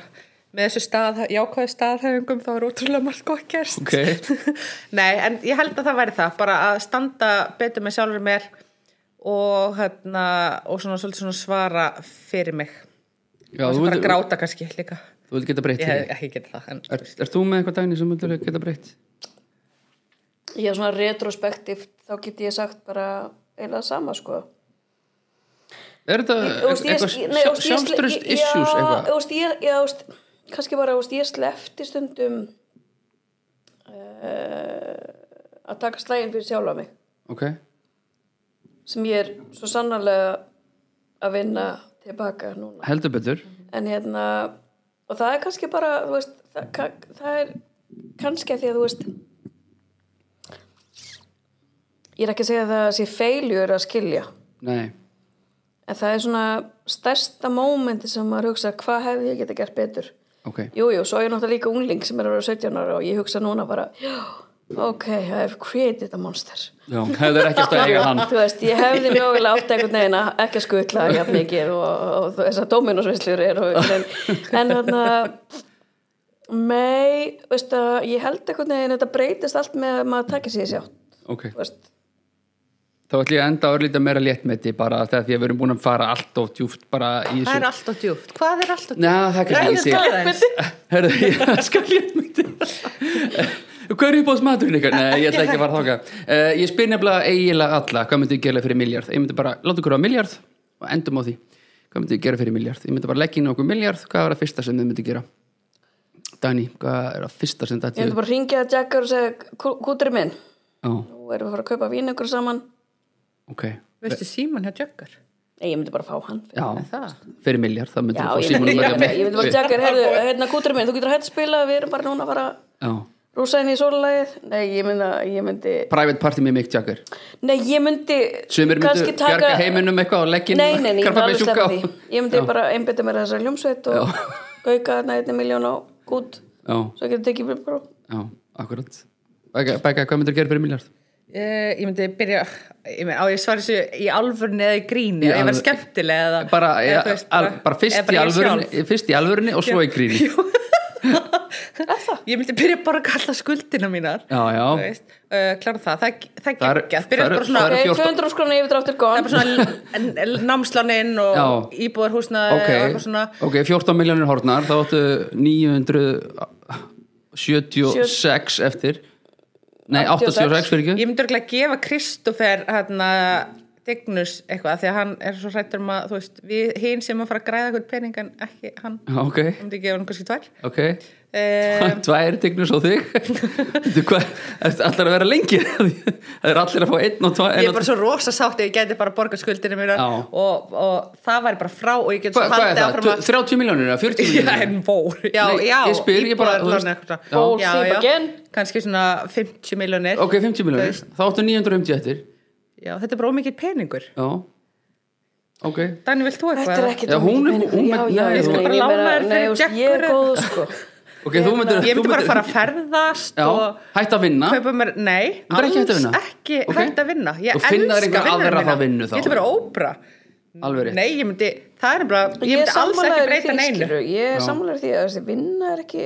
með þessu stað, jákvæðu staðhæfingum þá er ótrúlega margt gott gerst. Ókei. nei, en ég held að það væri það, bara að standa betur með sjálfur mér og, hérna, og svona, svolítið svona svara fyrir mig. já, og þú svo bara vilt, gráta kannski líka. þú vilt geta breytt Ég því hef ekki getið það, en Er, er þú með eitthvað dæni sem myndur geta breytt? Já, svona retrospektivt, þá get ég sagt bara eiginlega sama, sko. Er þetta Þú veist, ég- eitthvað ég- nei, þú veist, ég- sjálfströst ég- issues Já, þú eitthvað? veist, ég, já, þú veist, kannski bara, þú veist, ég slefti stundum uh, að taka slægin fyrir sjálfa mig, Ok, sem ég er svo sannarlega að vinna tilbaka núna. heldur betur En hérna, og það er kannski bara, þú veist, það, ka- það er kannski að því að, þú veist, ég er ekki að segja að það sé feiljur að skilja. Nei, En það er svona stærsta mómenti sem maður hugsa hvað hefði ég geta gert betur. ok Jú, jú, svo er ég náttúrulega líka ungling sem er að vera 17 ára og ég hugsa núna bara, já, ok, I have created a monster. Já, hefur ekki átt að eiga hann Þú veist, ég hefði mögulega átt einhvern veginn að ekki að skutla jafn mikið og, og, og þess að dóminusvislur er og, en, en hérna mei, veist að ég held einhvern veginn að þetta breytist allt með að maður takja sér sjátt, Ok, þú veist. þá ætlum ég að enda örlítið meira léttmeti bara þegar því að við erum búin að fara allt og djúft bara í Það er þessu alltaf djúpt. Hvað er alltaf djúpt? Næ, það er Ræðum kannski það ekki aðeins. sé Herðu, ég skal léttmeti Hvað er uppáðs maturinn ykkar? Nei, ég ætla ekki að fara þáka uh, Ég spyr nefnilega eiginlega alla hvað myndið gera fyrir miljard Ég myndi bara, láta ykkur á miljard og endum á því Hvað myndið gera fyrir miljard? Ég myndi bara leggja inn okkur miljard Hvað var það fyrsta sem þið myndið gera? Dani, hvað er það fyrsta Ég sem hefði þetta bara að ringja að Jackar og segja, "Kú- kúturinn minn, Já, nú erum við að fara að kaupa vín ykkur saman. ok Veistu síman hjá Jökkar? Nei, ég myndi bara fá hann. Já, það? fyrir miljard, það myndið Já, fá ég myndi, símanum ég, að myndi, ég myndi bara tjekka, heyrðu, hérna kúturinn minn, þú getur hægt að spila, við erum bara núna að fara Já, rúsa inn í sólulægið. Nei, ég myndi, ég myndi, private party með Mick Jagger nei, ég myndi Sumir myndu kannski taka- bjarga heiminum eitthvað og leggja inn Nei, nei, nei, ég myndi krabbamein alveg stefna sjúka á. því. Ég myndi bara einbytta mér að þessari hljómsveit og gauka þarna hérna einni miljón á gút, Já, svo getur tekið mér bara. já, akkurat Begga, Begga, hvað myndir gera fyrir miljard? Uh, ég myndi byrja, ég meina, á ég svara þessu í alvörni eða í gríni, Í eða ég verð alvöru. skemmtileg eða, Bara, ja, eða, þú veist, al, bara fyrst, eða bara í ég sjálf. alvörunni, fyrst í alvörunni og svo í gríni Ég myndi byrja bara að kalla skuldina mínar, Já, já, þú veist, uh, klára það, það, það Það er- geggjað, það byrja er- bara svona, það Ok, er- það 14. 200 skrona yfirdráttur gón. er bara svona l- l- námsláninn og Já. íbúðarhúsnaði ok, og eitthvað svona, ok, 14 miljónir hornar, þá áttu 976 eftir Nei, 86 fyrir ekki Ég myndi örgulega að gefa Kristoffer hérna, Dignus eitthvað af því að hann er svo hrættur um að þú veist, við hinn sem að fara að græða eitthvað pening en ekki hann, Ok, ég myndi að gefa hann kannski tvær ok um, Tvær tegnus á þig Þú hvað, ertu allar að vera lengi Það er allir að fá einn og tvær Ég er bara svo rosa sátt ef ég geti bara borgað skuldinu mér Já. og, og það væri bara frá og ég get svo Hvað er haldið það? áfram að 30 miljónir eða Já, 40 miljónir? en vór Já, Nei, já, ég spyr, ég bara, þú íbúðarlán veist, eða eitthvað. já. Ból, Já, sleep já. again. Kannski svona 50 miljonir Ok, 50 miljónir Þá áttu 950 eftir Já, þetta er bara ómikið peningur Já Ok Dani, vilt þú Þetta eitthvað? er ekki Já, hún er- hún er- já, já, nei, hún- nei, Bara ég meina- lánaður nei, fyrir þú veist, Ég er Jackur. góð, sko Ok, þú myndir Ég þú myndi bara myndir- fara að ferðast Já, og hætt að vinna kaupa mér, nei, Þú myndir ekki hætta að vinna? ekki Ok. hægt að vinna Ég Þú finna þér elska einhver vinnuna aðra þá mína. vinnu þá. Ég ætla bara að óbra Alveg rétt Nei, ég myndi, það er bara, ég myndi alls ekki sammálaður í breyta því, neinu skilurðu. Ég er sammálaður í því að þessi vinna er ekki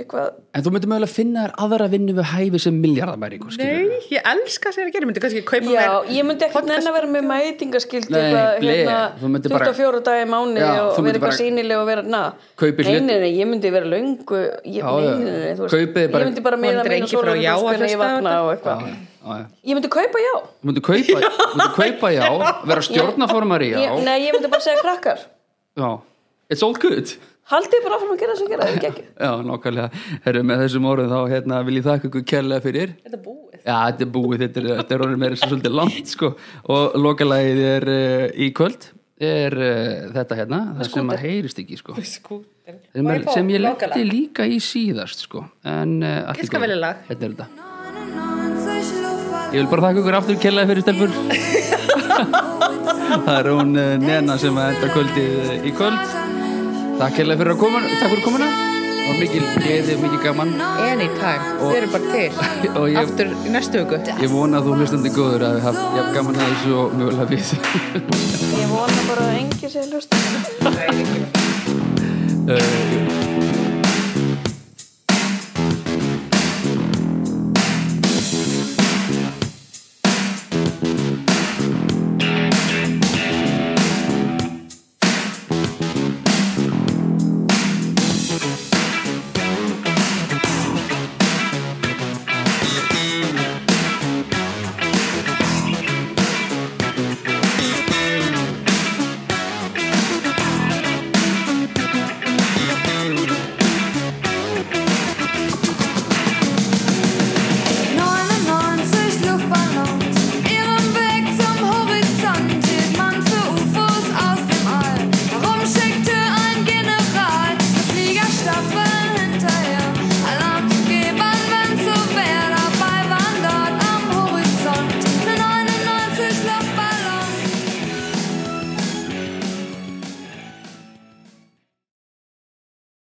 eitthvað En þú myndir mögulega finna þér aðra vinnu við hæfi sem miljardabæring Nei, ég elska sér að gera, ég myndi kannski kaupa Já, mér ég myndi ekkert nenn að vera með mætingaskildu Nei, eitthvað, ble, þú hérna, myndi bara- 24 dagi mánu Já, og þú vera myndi eitthvað bara- sýnileg og vera, na, Kaupir hlut- nei, nei, ég myndi vera löngu, ég, Já, nei, já. nei, nei, þú veist, Kaupið bara- ég myndi bara meða Vonandi er mínu enginn frá Já að sólarúspina í hlusta á vakna þetta. og eitthvað. Já, já Ég myndi kaupa já. Þú myndir kaupa, þú myndir kaupa já, vera stjórnaformari já, Ég, nei, ég myndi bara segja krakkar, já. It's all good. haldið bara áfram að gera þess að gera, það er ekki ekki. Já, nokkulega. Herru, með þessum orðum þá hérna, vil ég þakka ykkur kærlega fyrir. Þetta er búið Já, þetta er búið, þetta er, þetta er orðin meira svo svolítið langt, sko. Og lokalagið er uh, í kvöld, er uh, þetta hérna, það sem að heyrist ekki, sko. skúter Sem, Má er, ég fá sem ég lokalag? lendi líka í síðast, sko. En, uh, allt í Ég skal góðu. velja lag. Hérna er þetta. On and on, such love, but Ég vil bara þakka ykkur aftur kærlega fyrir stelpur. það er hún uh, Nena sem að enda kvöldið eh, í kvöld. Takk hérlega fyrir að koma, takk fyrir komuna Það var mikil gleði, mikil gaman Anytime, þið eru bara til og ég, Aftur í næstu viku ég vona að þú hlustandi góður að við hafði jafn gaman að þessu og mjögulega við Ég vona bara að enginn sé að hlusta. uh,